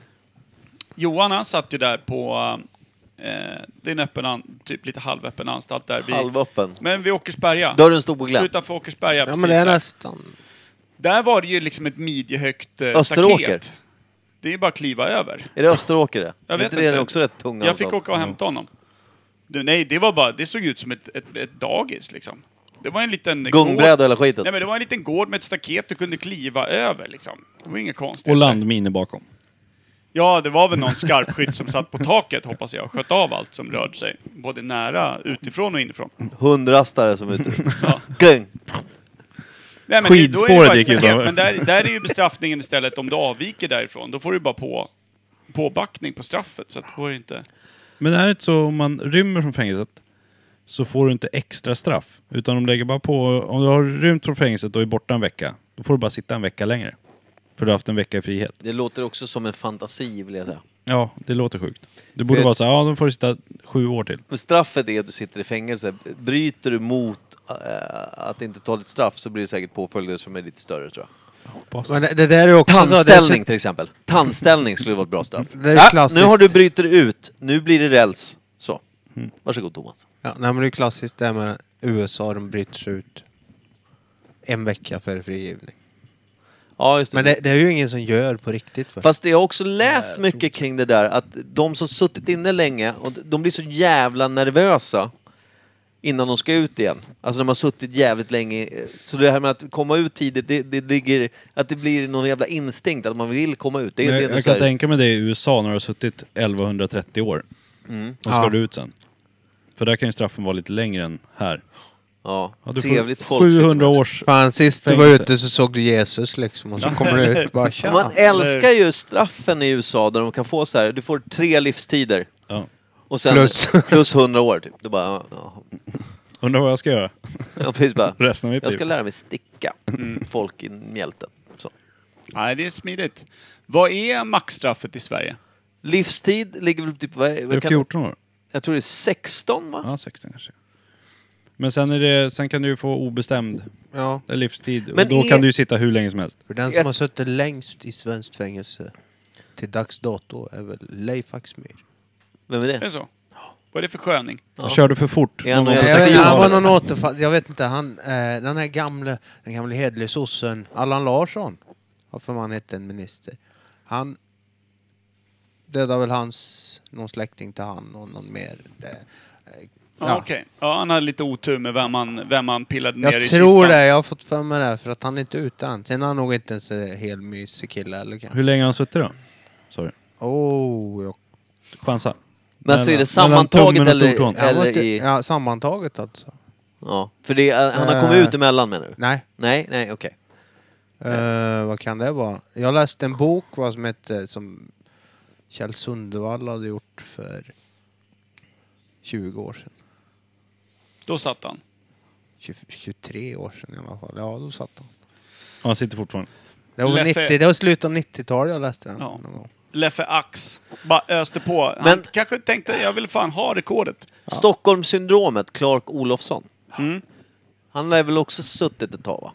[SPEAKER 2] Johan han satt ju där på eh, det är en öppen, an, typ lite halvöppen anstalt där. Vi,
[SPEAKER 1] Halvöppen.
[SPEAKER 2] Men vid Åkersberga.
[SPEAKER 1] Dörren stod på glänt.
[SPEAKER 2] Utanför Åkersberga,
[SPEAKER 4] Ja
[SPEAKER 2] precis
[SPEAKER 4] men det är
[SPEAKER 2] där.
[SPEAKER 4] nästan.
[SPEAKER 2] Där var det ju liksom ett midjehögt eh,
[SPEAKER 1] Österåker.
[SPEAKER 2] staket. Det är ju bara att kliva över.
[SPEAKER 1] Är det Österåker det?
[SPEAKER 2] Jag vet
[SPEAKER 1] Inte
[SPEAKER 2] inte.
[SPEAKER 1] det är också rätt tunga Mm.
[SPEAKER 2] Jag fick
[SPEAKER 1] anstalt?
[SPEAKER 2] åka och hämta honom. Du, nej, det var bara, det såg ut som ett, ett, ett dagis liksom. Det var en liten
[SPEAKER 1] Gångbräda
[SPEAKER 2] gård.
[SPEAKER 1] och hela skiten?
[SPEAKER 2] Nej men det var en liten
[SPEAKER 3] Typ.
[SPEAKER 2] gård med ett staket du kunde kliva över liksom. Det var inget konstigt.
[SPEAKER 3] Och landminer bakom.
[SPEAKER 2] Ja, det var väl någon skarpskytt som satt på taket, hoppas jag, och sköt av allt som rörde sig. Både nära, utifrån och inifrån.
[SPEAKER 1] Hundrastare Mm. som är ute. Gung.
[SPEAKER 2] Nej, men det- då är det ju
[SPEAKER 1] Skidspåret
[SPEAKER 2] faktiskt
[SPEAKER 1] gick
[SPEAKER 2] en
[SPEAKER 1] utanför.
[SPEAKER 2] helt- Men där, där är ju bestraffningen istället, om du avviker därifrån, då får du bara på påbackning på straffet. Så att det går ju inte...
[SPEAKER 3] Men är det inte så om man rymmer från fängelset så får du inte extra straff. Utan de lägger bara på, om du har rymt från fängelset och är borta en vecka, då får du bara sitta en vecka längre. För du har haft en vecka i frihet.
[SPEAKER 1] Det låter också som en fantasi vill jag säga.
[SPEAKER 3] Ja, det låter sjukt. Det borde
[SPEAKER 1] Det-
[SPEAKER 3] vara så här, ja då får du sitta sju år till.
[SPEAKER 1] Men straffet är att du sitter i fängelse. Bryter du mot eh, att inte ta ditt straff så blir det säkert påföljder som är lite större tror jag.
[SPEAKER 4] Men det- det där är också så-
[SPEAKER 1] Tandställning
[SPEAKER 4] det är så-
[SPEAKER 1] till exempel. Tandställning skulle vara ett bra straff.
[SPEAKER 4] Det är
[SPEAKER 1] Ja,
[SPEAKER 4] klassiskt.
[SPEAKER 1] nu har du bryter ut, nu blir det räls. Så.
[SPEAKER 4] Mm.
[SPEAKER 1] Varsågod Thomas.
[SPEAKER 4] Ja, nej, men det är klassiskt det här med USA, de bryts ut en vecka före frigivning.
[SPEAKER 1] Ja, just det.
[SPEAKER 4] Men det, det är ju ingen som gör på riktigt. va?
[SPEAKER 1] Fast jag har också läst mycket kring det där att de som suttit inne länge, och de blir så jävla nervösa innan de ska ut igen. Alltså när man har suttit jävligt länge. Så det här med att komma ut tidigt, det, det ligger... Att det blir någon jävla instinkt att man vill komma ut. Det, är-
[SPEAKER 3] jag
[SPEAKER 1] det är
[SPEAKER 3] jag
[SPEAKER 1] ändå
[SPEAKER 3] kan
[SPEAKER 1] så här,
[SPEAKER 3] tänka mig det i USA när du har suttit 1130 år.
[SPEAKER 1] Mm.
[SPEAKER 3] Och ska
[SPEAKER 1] Ja.
[SPEAKER 3] du ut sen. För där kan ju straffen vara lite längre än här.
[SPEAKER 1] Ja,
[SPEAKER 3] du får
[SPEAKER 1] trevligt folk sitter
[SPEAKER 3] 700 års
[SPEAKER 4] Fan, sist du var
[SPEAKER 3] fängelse.
[SPEAKER 4] ute så såg du Jesus liksom och så kommer du ut bara
[SPEAKER 1] Och
[SPEAKER 4] tja.
[SPEAKER 1] Man älskar ju straffen i USA där de kan få så här, du får tre livstider. Och sen plus.
[SPEAKER 3] Plus.
[SPEAKER 1] 100 år typ. Du bara, ja, ja.
[SPEAKER 3] Undrar vad jag ska göra?
[SPEAKER 1] Ja, precis bara.
[SPEAKER 3] Resten av mitt
[SPEAKER 1] Jag ska
[SPEAKER 3] liv.
[SPEAKER 1] lära mig sticka folk i mjälten. Så.
[SPEAKER 2] Nej, det är smidigt. Vad är maxstraffet i Sverige?
[SPEAKER 1] Livstid ligger väl typ... Vad, är- vad
[SPEAKER 3] Det är 14 år.
[SPEAKER 1] Jag tror det är 16 va?
[SPEAKER 3] Ja, 16 kanske. Men sen, är det, sen kan du ju få obestämd
[SPEAKER 4] Ja.
[SPEAKER 3] eller livstid.
[SPEAKER 4] Men
[SPEAKER 3] och då
[SPEAKER 4] är-
[SPEAKER 3] kan du ju sitta hur länge som helst.
[SPEAKER 4] För den som har suttit längst i svenskt fängelse till dags dato är väl Leif Axmyr.
[SPEAKER 1] Vem är det?
[SPEAKER 2] Är det så? Vad är det för sköning?
[SPEAKER 3] Ja. Körde för fort.
[SPEAKER 4] Jag
[SPEAKER 3] Någon gång på
[SPEAKER 4] vet,
[SPEAKER 3] 60-talet.
[SPEAKER 4] han var någon återfall. Jag vet inte. Han, eh, den här gamle, den gamle hederlige sossen Allan Larsson. Varför man hette en minister. Han dödade väl hans, någon släkting till han och någon mer. eh,
[SPEAKER 2] Ja, Okej. Ja, han hade lite otur med vem han, vem han pillade ner i
[SPEAKER 4] Jag tror
[SPEAKER 2] kistan.
[SPEAKER 4] det. Jag har fått för mig det. här, För att han är inte ute än. Sen är han nog inte ens en hel mysig kille. Eller kanske.
[SPEAKER 3] Hur länge har han suttit då? Sorry.
[SPEAKER 4] Oh, jag...
[SPEAKER 3] Chansa.
[SPEAKER 1] Men alltså är det sammantaget eller,
[SPEAKER 4] Ja,
[SPEAKER 1] eller
[SPEAKER 4] måste-
[SPEAKER 1] i...
[SPEAKER 4] ja, sammantaget alltså.
[SPEAKER 1] Ja, för det är, han har kommit
[SPEAKER 4] Eh,
[SPEAKER 1] ut emellan menar du?
[SPEAKER 4] nej.
[SPEAKER 1] Nej, nej, okej.
[SPEAKER 4] Eh, vad kan det vara? Jag läste en bok vad som hette, som Kjell Sundevall hade gjort för 20 år sedan.
[SPEAKER 2] Då satt han.
[SPEAKER 4] 20, 23 år sedan i alla fall. Ja, då satt han.
[SPEAKER 3] Ja, han sitter fortfarande.
[SPEAKER 4] Det var,
[SPEAKER 2] Leffe-
[SPEAKER 4] 90, det var slutet av 90-talet jag läste den.
[SPEAKER 2] Ja.
[SPEAKER 4] någon gång.
[SPEAKER 2] Leffe Ax. Bara öste på. Han
[SPEAKER 1] Men-
[SPEAKER 2] kanske tänkte, jag vill fan ha rekordet.
[SPEAKER 1] Stockholmssyndromet, Clark Olofsson.
[SPEAKER 2] Mm.
[SPEAKER 1] Han lär väl också suttit ett tag va?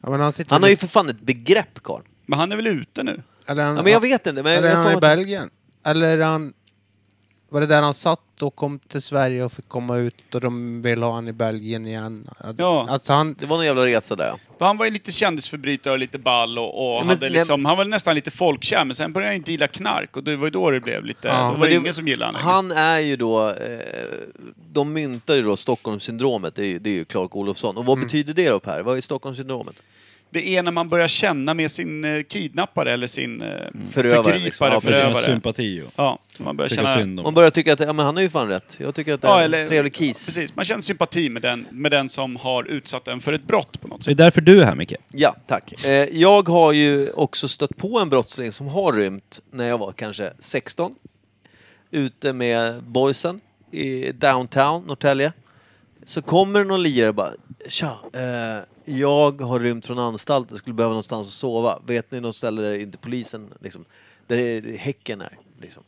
[SPEAKER 4] Ja, men han, sitter
[SPEAKER 1] Han har ju
[SPEAKER 4] lite-
[SPEAKER 1] för fan ett begrepp karln.
[SPEAKER 2] Men han är väl ute nu?
[SPEAKER 4] Eller han,
[SPEAKER 1] Ja, men jag vet inte, men
[SPEAKER 4] eller
[SPEAKER 1] jag
[SPEAKER 4] han
[SPEAKER 1] får
[SPEAKER 4] är i
[SPEAKER 1] att-
[SPEAKER 4] Belgien. Eller han... Var det där han satt och kom till Sverige och fick komma ut och de vill ha han i Belgien igen?
[SPEAKER 2] Ja.
[SPEAKER 4] Alltså han...
[SPEAKER 1] Det var någon jävla resa där ja.
[SPEAKER 3] Mm.
[SPEAKER 2] För han var ju lite kändisförbrytare och lite ball och, och
[SPEAKER 1] men-
[SPEAKER 2] hade liksom, han var nästan lite folkkär, men sen började han inte gilla knark och det var ju då det blev lite, då var
[SPEAKER 1] Men
[SPEAKER 2] det
[SPEAKER 1] det-
[SPEAKER 2] ingen som gillade honom.
[SPEAKER 1] Han är ju då, eh, de myntar ju då Stockholmssyndromet, det är ju, det är ju Clark Olofsson. Och vad
[SPEAKER 3] Mm.
[SPEAKER 1] betyder det då Per? Vad är Stockholmssyndromet?
[SPEAKER 2] Det är när man börjar känna med sin eh, kidnappare eller sin eh,
[SPEAKER 1] Förövare,
[SPEAKER 2] förgripare,
[SPEAKER 1] liksom. Ja, precis.
[SPEAKER 2] förövare.
[SPEAKER 3] Sympati och-
[SPEAKER 2] Ja, man börjar
[SPEAKER 3] Tycka
[SPEAKER 2] känna...
[SPEAKER 3] synd om.
[SPEAKER 1] Man börjar tycka att ja, men han har ju fan rätt. Jag tycker att det är
[SPEAKER 2] Ja,
[SPEAKER 1] en
[SPEAKER 2] eller-
[SPEAKER 1] trevlig kis.
[SPEAKER 2] Precis, man känner sympati med den, med den som har utsatt en för ett brott på något
[SPEAKER 3] Det är
[SPEAKER 2] sätt.
[SPEAKER 3] därför du är här Micke.
[SPEAKER 1] Ja, tack. Eh, Jag har ju också stött på en brottsling som har rymt när jag var kanske 16. Ute med boysen i downtown Norrtälje. Så kommer någon lirare och bara Tja, eh, jag har rymt från anstalten, skulle behöva någonstans att sova. Vet ni något ställe där inte polisen liksom, där är häcken är? Liksom.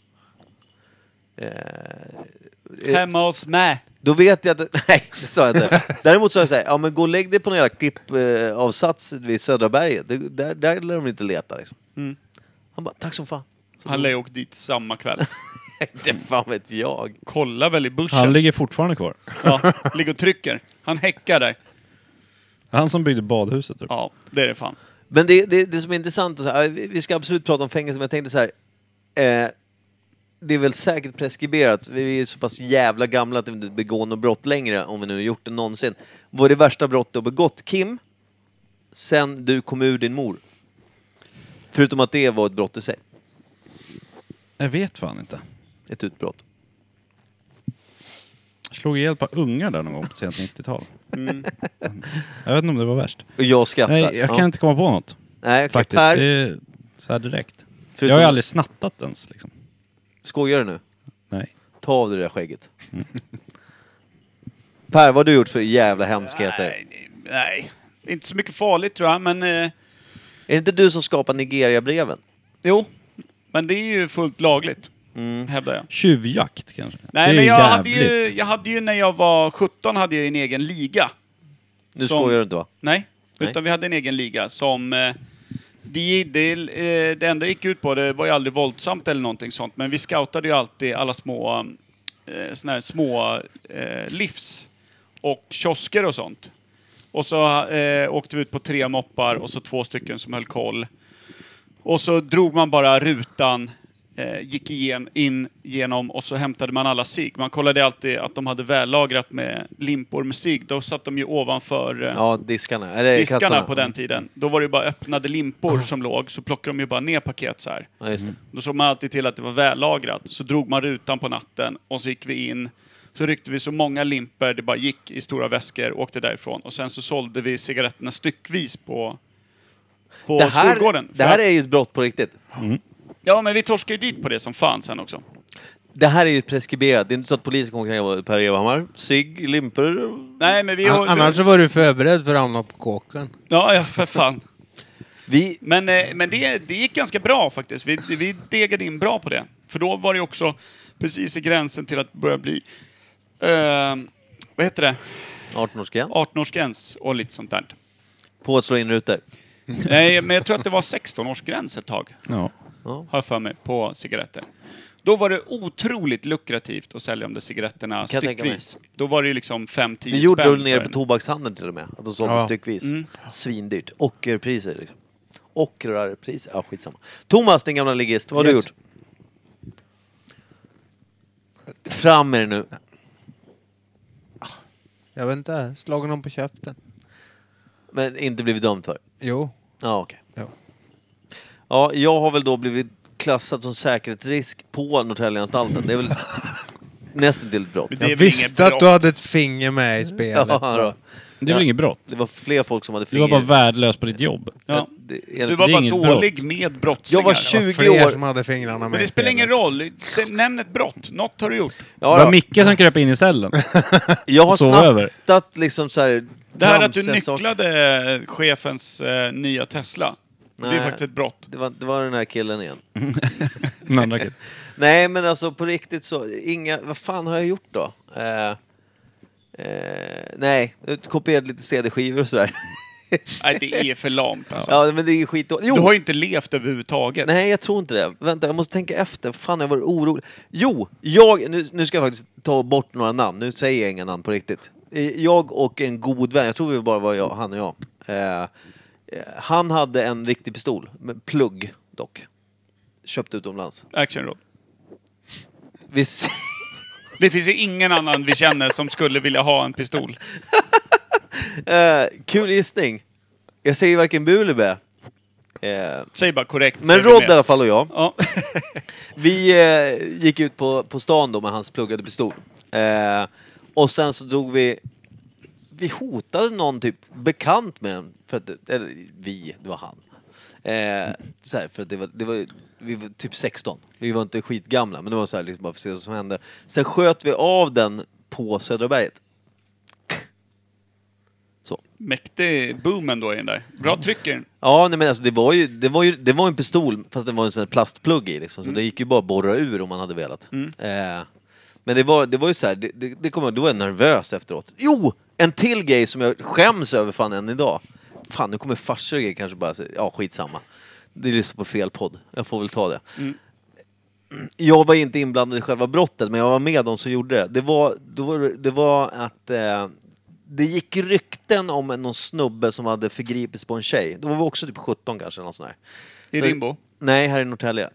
[SPEAKER 1] Eh,
[SPEAKER 2] Hemma hos mig.
[SPEAKER 1] då vet jag att... Nej, det sa jag inte. Däremot sa jag så här, ja men gå och lägg dig på någon jävla klippavsats vid Södra berget. Det- Där, där lär de inte leta liksom.
[SPEAKER 2] Mm.
[SPEAKER 1] Han bara, tack som fan.
[SPEAKER 2] Han lär ju åkt dit samma kväll.
[SPEAKER 1] det fan vet jag.
[SPEAKER 2] Kolla väl i bushen.
[SPEAKER 3] Han ligger fortfarande kvar.
[SPEAKER 2] Ja, ligger och trycker. Han häckar där.
[SPEAKER 3] Han som byggde badhuset. Typ.
[SPEAKER 2] Ja, det är det fan.
[SPEAKER 1] Men det, det, det som är intressant, och så här, vi vi ska absolut prata om fängelse, men jag tänkte så här. Eh, det är väl säkert preskriberat, vi är så pass jävla gamla att vi inte begår något brott längre, om vi nu har gjort det någonsin. Vad är det värsta brott du har begått, Kim? Sen du kom ur din mor. Förutom att det var ett brott i sig.
[SPEAKER 3] Jag vet fan inte.
[SPEAKER 1] Ett utbrott.
[SPEAKER 3] Jag slog ihjäl ett par ungar där någon gång på sent 90-tal.
[SPEAKER 1] Mm.
[SPEAKER 3] Jag vet inte om det var värst.
[SPEAKER 1] Och jag skrattar.
[SPEAKER 3] Nej, jag kan
[SPEAKER 1] Ja.
[SPEAKER 3] inte komma på något.
[SPEAKER 1] Nej, okej.
[SPEAKER 3] Faktiskt.
[SPEAKER 1] Per?
[SPEAKER 3] Det är så här direkt. Jag
[SPEAKER 1] Förutom-
[SPEAKER 3] har ju aldrig snattat ens liksom.
[SPEAKER 1] Skojar du nu?
[SPEAKER 3] Nej.
[SPEAKER 1] Ta av dig det där skägget. Per, vad har du gjort för jävla hemskheter?
[SPEAKER 2] Nej, inte så mycket farligt tror jag, men... Eh,
[SPEAKER 1] Är det inte du som skapar Nigeria-breven?
[SPEAKER 2] Jo, men det är ju fullt lagligt,
[SPEAKER 1] Mm.
[SPEAKER 2] hävdar jag.
[SPEAKER 3] Tjuvjakt kanske?
[SPEAKER 2] Nej,
[SPEAKER 3] det är
[SPEAKER 2] men jag hade,
[SPEAKER 3] jävligt.
[SPEAKER 2] ju, jag hade ju när jag var 17 hade jag en egen liga.
[SPEAKER 1] Nu
[SPEAKER 2] Som-
[SPEAKER 1] skojar du inte va?
[SPEAKER 2] Nej,
[SPEAKER 1] Nej.
[SPEAKER 2] utan vi hade en egen liga som... eh, Det, det, eh, det enda det gick ut på, det var ju aldrig våldsamt eller någonting sånt, men vi scoutade ju alltid alla små, eh, såna här små eh, livs och kiosker och sånt. Och så eh, åkte vi ut på tre moppar och så två stycken som höll koll. Och så drog man bara rutan, eh, gick igen, in genom och så hämtade man alla sig. Man kollade alltid att de hade vällagrat med limpor med sig. Då satt de ju ovanför eh,
[SPEAKER 1] Ja, diskarna. Eller
[SPEAKER 2] diskarna
[SPEAKER 1] kassarna.
[SPEAKER 2] på den tiden. Då var det ju bara öppnade limpor
[SPEAKER 1] Ah.
[SPEAKER 2] som låg, så plockade de ju bara ner paket så här.
[SPEAKER 1] Ja, just det.
[SPEAKER 2] Då såg man alltid till att det var vällagrat. Så drog man rutan på natten och så gick vi in. Så ryckte vi så många limper det bara gick i stora väskor, åkte därifrån. Och sen så sålde vi cigaretterna styckvis på, på
[SPEAKER 1] det här,
[SPEAKER 2] skolgården.
[SPEAKER 1] det här är ju ett brott på riktigt.
[SPEAKER 2] Ja, men vi torskade ju dit på det som fan sen också.
[SPEAKER 1] Det här är ju preskriberat. Det är inte så att polisen kommer kräva Per Evhammar, cigg, limpor.
[SPEAKER 2] Nej, men vi...
[SPEAKER 4] An- Annars så var du förberedd för att hamna på kåken.
[SPEAKER 2] Ja, ja för fan.
[SPEAKER 1] Vi...
[SPEAKER 2] Men, eh, men det, det gick ganska bra faktiskt. Vi, vi degade in bra på det. För då var det också precis i gränsen till att börja bli... Eh, vad heter det?
[SPEAKER 1] 18-årsgräns.
[SPEAKER 2] 18-årsgräns och lite sånt där.
[SPEAKER 1] På att slå in rutor.
[SPEAKER 2] Nej, men jag tror att det var 16-årsgräns ett tag,
[SPEAKER 3] Ja.
[SPEAKER 2] har jag för mig, på cigaretter. Då var det otroligt lukrativt att sälja de där cigaretterna
[SPEAKER 1] Kan jag tänka mig.
[SPEAKER 2] styckvis. Då var det ju liksom 5-10 spänn.
[SPEAKER 1] Det gjorde de
[SPEAKER 2] för
[SPEAKER 1] nere
[SPEAKER 2] en. Mm.
[SPEAKER 1] på tobakshandeln till och med. Att de sålde
[SPEAKER 4] Ja.
[SPEAKER 1] styckvis. Svindyrt. Ockerpriser liksom. Ockrarpriser. Ja, skitsamma. Thomas, din gamla ligist, vad har
[SPEAKER 4] Yes.
[SPEAKER 1] du gjort? Fram med det nu.
[SPEAKER 4] Jag vet inte, slagit någon på käften.
[SPEAKER 1] Men inte blivit dömd för.
[SPEAKER 4] Jo.
[SPEAKER 1] Ja, okej.
[SPEAKER 4] Ja.
[SPEAKER 1] Ja, jag har väl då blivit klassad som säkerhetsrisk på Norrtäljeanstalten. Det är väl nästintill ett brott.
[SPEAKER 2] Men det är
[SPEAKER 4] Jag
[SPEAKER 2] väl inget
[SPEAKER 4] visste att
[SPEAKER 2] brott.
[SPEAKER 4] du hade ett finger med i spelet.
[SPEAKER 1] Ja, då.
[SPEAKER 3] Det är väl
[SPEAKER 1] Ja.
[SPEAKER 3] inget brott?
[SPEAKER 1] Det var fler folk som hade
[SPEAKER 3] Du
[SPEAKER 1] finger.
[SPEAKER 3] var bara värdelös på ditt jobb. Eh,
[SPEAKER 2] Ja.
[SPEAKER 1] Det-
[SPEAKER 2] Du var
[SPEAKER 3] det är
[SPEAKER 2] bara
[SPEAKER 3] inget
[SPEAKER 2] dålig med brottslingar.
[SPEAKER 1] Jag var
[SPEAKER 4] Det var
[SPEAKER 1] 20
[SPEAKER 4] fler
[SPEAKER 1] år.
[SPEAKER 4] som hade fingrarna med
[SPEAKER 2] Men
[SPEAKER 4] i
[SPEAKER 2] det spelar
[SPEAKER 4] spelet.
[SPEAKER 2] ingen roll. Se- Nämn ett brott. Något har du gjort.
[SPEAKER 1] Ja,
[SPEAKER 3] det
[SPEAKER 1] då.
[SPEAKER 3] var Micke som kröp in i cellen.
[SPEAKER 1] Jag har
[SPEAKER 3] och sov över.
[SPEAKER 1] snattat liksom så här...
[SPEAKER 2] Det här att du
[SPEAKER 1] tramsiga saker.
[SPEAKER 2] nycklade eh, chefens eh, nya Tesla. Det
[SPEAKER 1] Nej.
[SPEAKER 2] är faktiskt ett brott.
[SPEAKER 1] Det var, det var den här killen igen.
[SPEAKER 3] Den andra killen.
[SPEAKER 1] Nej, men alltså på riktigt så, inga, vad fan har jag gjort då? Eh, eh, nej, kopierade lite CD-skivor och sådär.
[SPEAKER 2] Nej, det är för lamt alltså.
[SPEAKER 1] Ja, men det är skit Jo,
[SPEAKER 2] Du har ju inte levt överhuvudtaget.
[SPEAKER 1] nej jag tror inte det. Vänta, jag måste tänka efter. Fan, jag var orolig. Jo, jag, nu, nu ska jag faktiskt ta bort några namn. Nu säger jag inga namn på riktigt. Eh, Jag och en god vän, jag tror vi bara var jag, han och jag. Eh, eh, han hade en riktig pistol, med plugg dock. Köpt utomlands.
[SPEAKER 2] Actionråd.
[SPEAKER 1] Vi s-
[SPEAKER 2] Det finns ju ingen annan vi känner som skulle vilja ha en pistol.
[SPEAKER 1] Eh, kul gissning. Jag säger varken bu eller bä. Eh,
[SPEAKER 2] Säg bara korrekt. så
[SPEAKER 1] men
[SPEAKER 2] är vi
[SPEAKER 1] Rod
[SPEAKER 2] med.
[SPEAKER 1] i alla fall och jag,
[SPEAKER 2] Ja.
[SPEAKER 1] vi eh, gick ut på, på stan då med hans pluggade pistol. Eh, och sen så drog vi... Vi hotade någon typ bekant med den. För att, eller vi, det var han. Eh, så här, för att det var, det var, vi var typ 16. Vi var inte skitgamla, men det var så här liksom bara för att se vad som hände. Sen sköt vi av den på Södra berget. Så.
[SPEAKER 2] Mäktig boom ändå i den där. Bra tryck i den.
[SPEAKER 1] Ja, nej, men alltså det var ju, det var ju det var en pistol fast det var en sån här plastplugg i liksom, så det gick ju bara att borra ur om man hade velat. Eh, men det var, det var ju så här, det, det, det kommer jag- då var jag nervös efteråt. Jo! En till grej som jag skäms över fan än idag. Fan, nu kommer farsor och grejer kanske bara säga, ja skitsamma. Det lyssnar på fel podd, jag får väl ta det. Jag var inte inblandad i själva brottet, men jag var med de som gjorde det. Det var, då var, det- det var att eh, det gick rykten om en- någon snubbe som hade förgripits på en tjej. Då var vi också typ 17 kanske, eller något sånt där.
[SPEAKER 2] I Rimbo.
[SPEAKER 1] Nej, här i Norrtälje.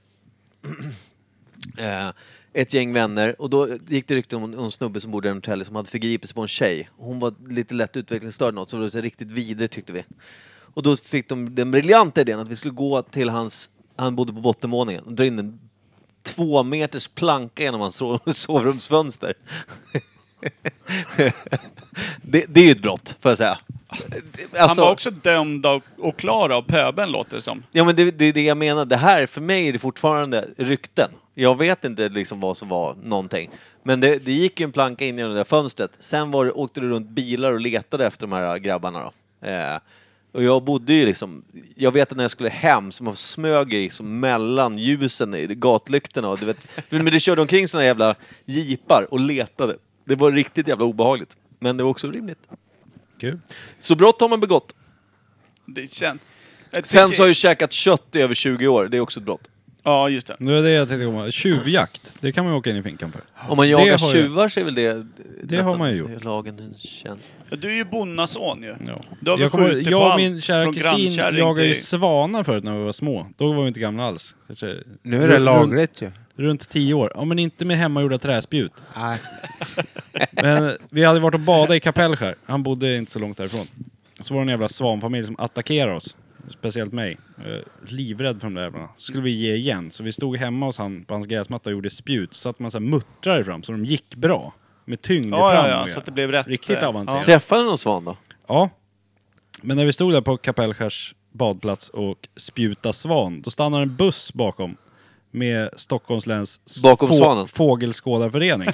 [SPEAKER 1] eh, ett gäng vänner och då gick det rykten om en- om en snubbe som bodde i Norrtälje som hade förgripits på en tjej. Hon var lite lätt utvecklingsstörd något, så det var så här riktigt vidrigt tyckte vi. Och då fick de den briljanta idén att vi skulle gå till hans, han bodde på bottenvåningen, och dra in en två meters planka genom hans sov- sovrumsfönster. det, det är ju ett brott, får jag säga. Det- alltså-
[SPEAKER 2] Han var också dömd av, och klar av pöbeln, låter det som.
[SPEAKER 1] Ja men det, det är det jag menar. Det här, för mig är det fortfarande rykten. Jag vet inte liksom vad som var någonting. Men det, det gick ju en planka in genom det där fönstret. Sen var det, åkte det runt bilar och letade efter de här grabbarna då. Eh, och jag bodde ju liksom, jag vet att när jag skulle hem så man smög ju liksom mellan ljusen i gatlyktorna och du vet. Men det körde omkring såna jävla jeepar och letade. Det var riktigt jävla obehagligt. Men det var också rimligt.
[SPEAKER 3] Kul.
[SPEAKER 1] Så brott har man begått.
[SPEAKER 2] Det känns... Jag
[SPEAKER 1] Sen
[SPEAKER 2] tycker-
[SPEAKER 1] så har jag käkat kött i över 20 år, det är också ett brott.
[SPEAKER 2] Ja, just det.
[SPEAKER 3] Det var det jag tänkte komma. Tjuvjakt, det kan man ju åka in i finkan för.
[SPEAKER 1] Om man
[SPEAKER 3] Det
[SPEAKER 1] jagar
[SPEAKER 3] har jag-
[SPEAKER 1] tjuvar så är väl det...
[SPEAKER 3] Det har man ju gjort.
[SPEAKER 1] Lagen en tjänst.
[SPEAKER 2] Ja, Du är ju bonnason ju. Du har väl
[SPEAKER 3] Jag, kommer,
[SPEAKER 2] skjutit
[SPEAKER 3] jag
[SPEAKER 2] på
[SPEAKER 3] och
[SPEAKER 2] allt
[SPEAKER 3] min kära
[SPEAKER 2] från
[SPEAKER 3] kusin
[SPEAKER 2] grannkärring
[SPEAKER 3] jagade ju
[SPEAKER 2] till-
[SPEAKER 3] svanar förut när vi var små. Då var vi inte gamla alls. Kanske-
[SPEAKER 4] Nu är det
[SPEAKER 3] runt-
[SPEAKER 4] lagligt ju.
[SPEAKER 3] Runt tio år. Ja, men inte med hemmagjorda träspjut. Men vi hade varit och badat i Kapellskär. Han bodde inte så långt därifrån. Så var det en jävla svanfamilj som attackerade oss. Speciellt mig. Eh, Livrädd för de där jävlarna. Så skulle vi ge igen. Så vi stod hemma hos han på hans gräsmatta och gjorde spjut. Så att man så här muttrade fram så de gick bra. Med tyngd
[SPEAKER 2] Ja,
[SPEAKER 3] fram.
[SPEAKER 2] ja, ja,
[SPEAKER 3] och-
[SPEAKER 2] så att det blev rätt,
[SPEAKER 3] Riktigt
[SPEAKER 2] eh,
[SPEAKER 3] avancerat.
[SPEAKER 2] ja.
[SPEAKER 1] Träffade någon svan då?
[SPEAKER 3] Ja. Men när vi stod där på Kapellskärs badplats och spjuta svan, då stannade en buss bakom. Med Stockholms läns s-
[SPEAKER 1] Bakom svanen?
[SPEAKER 3] fågelskådarförening.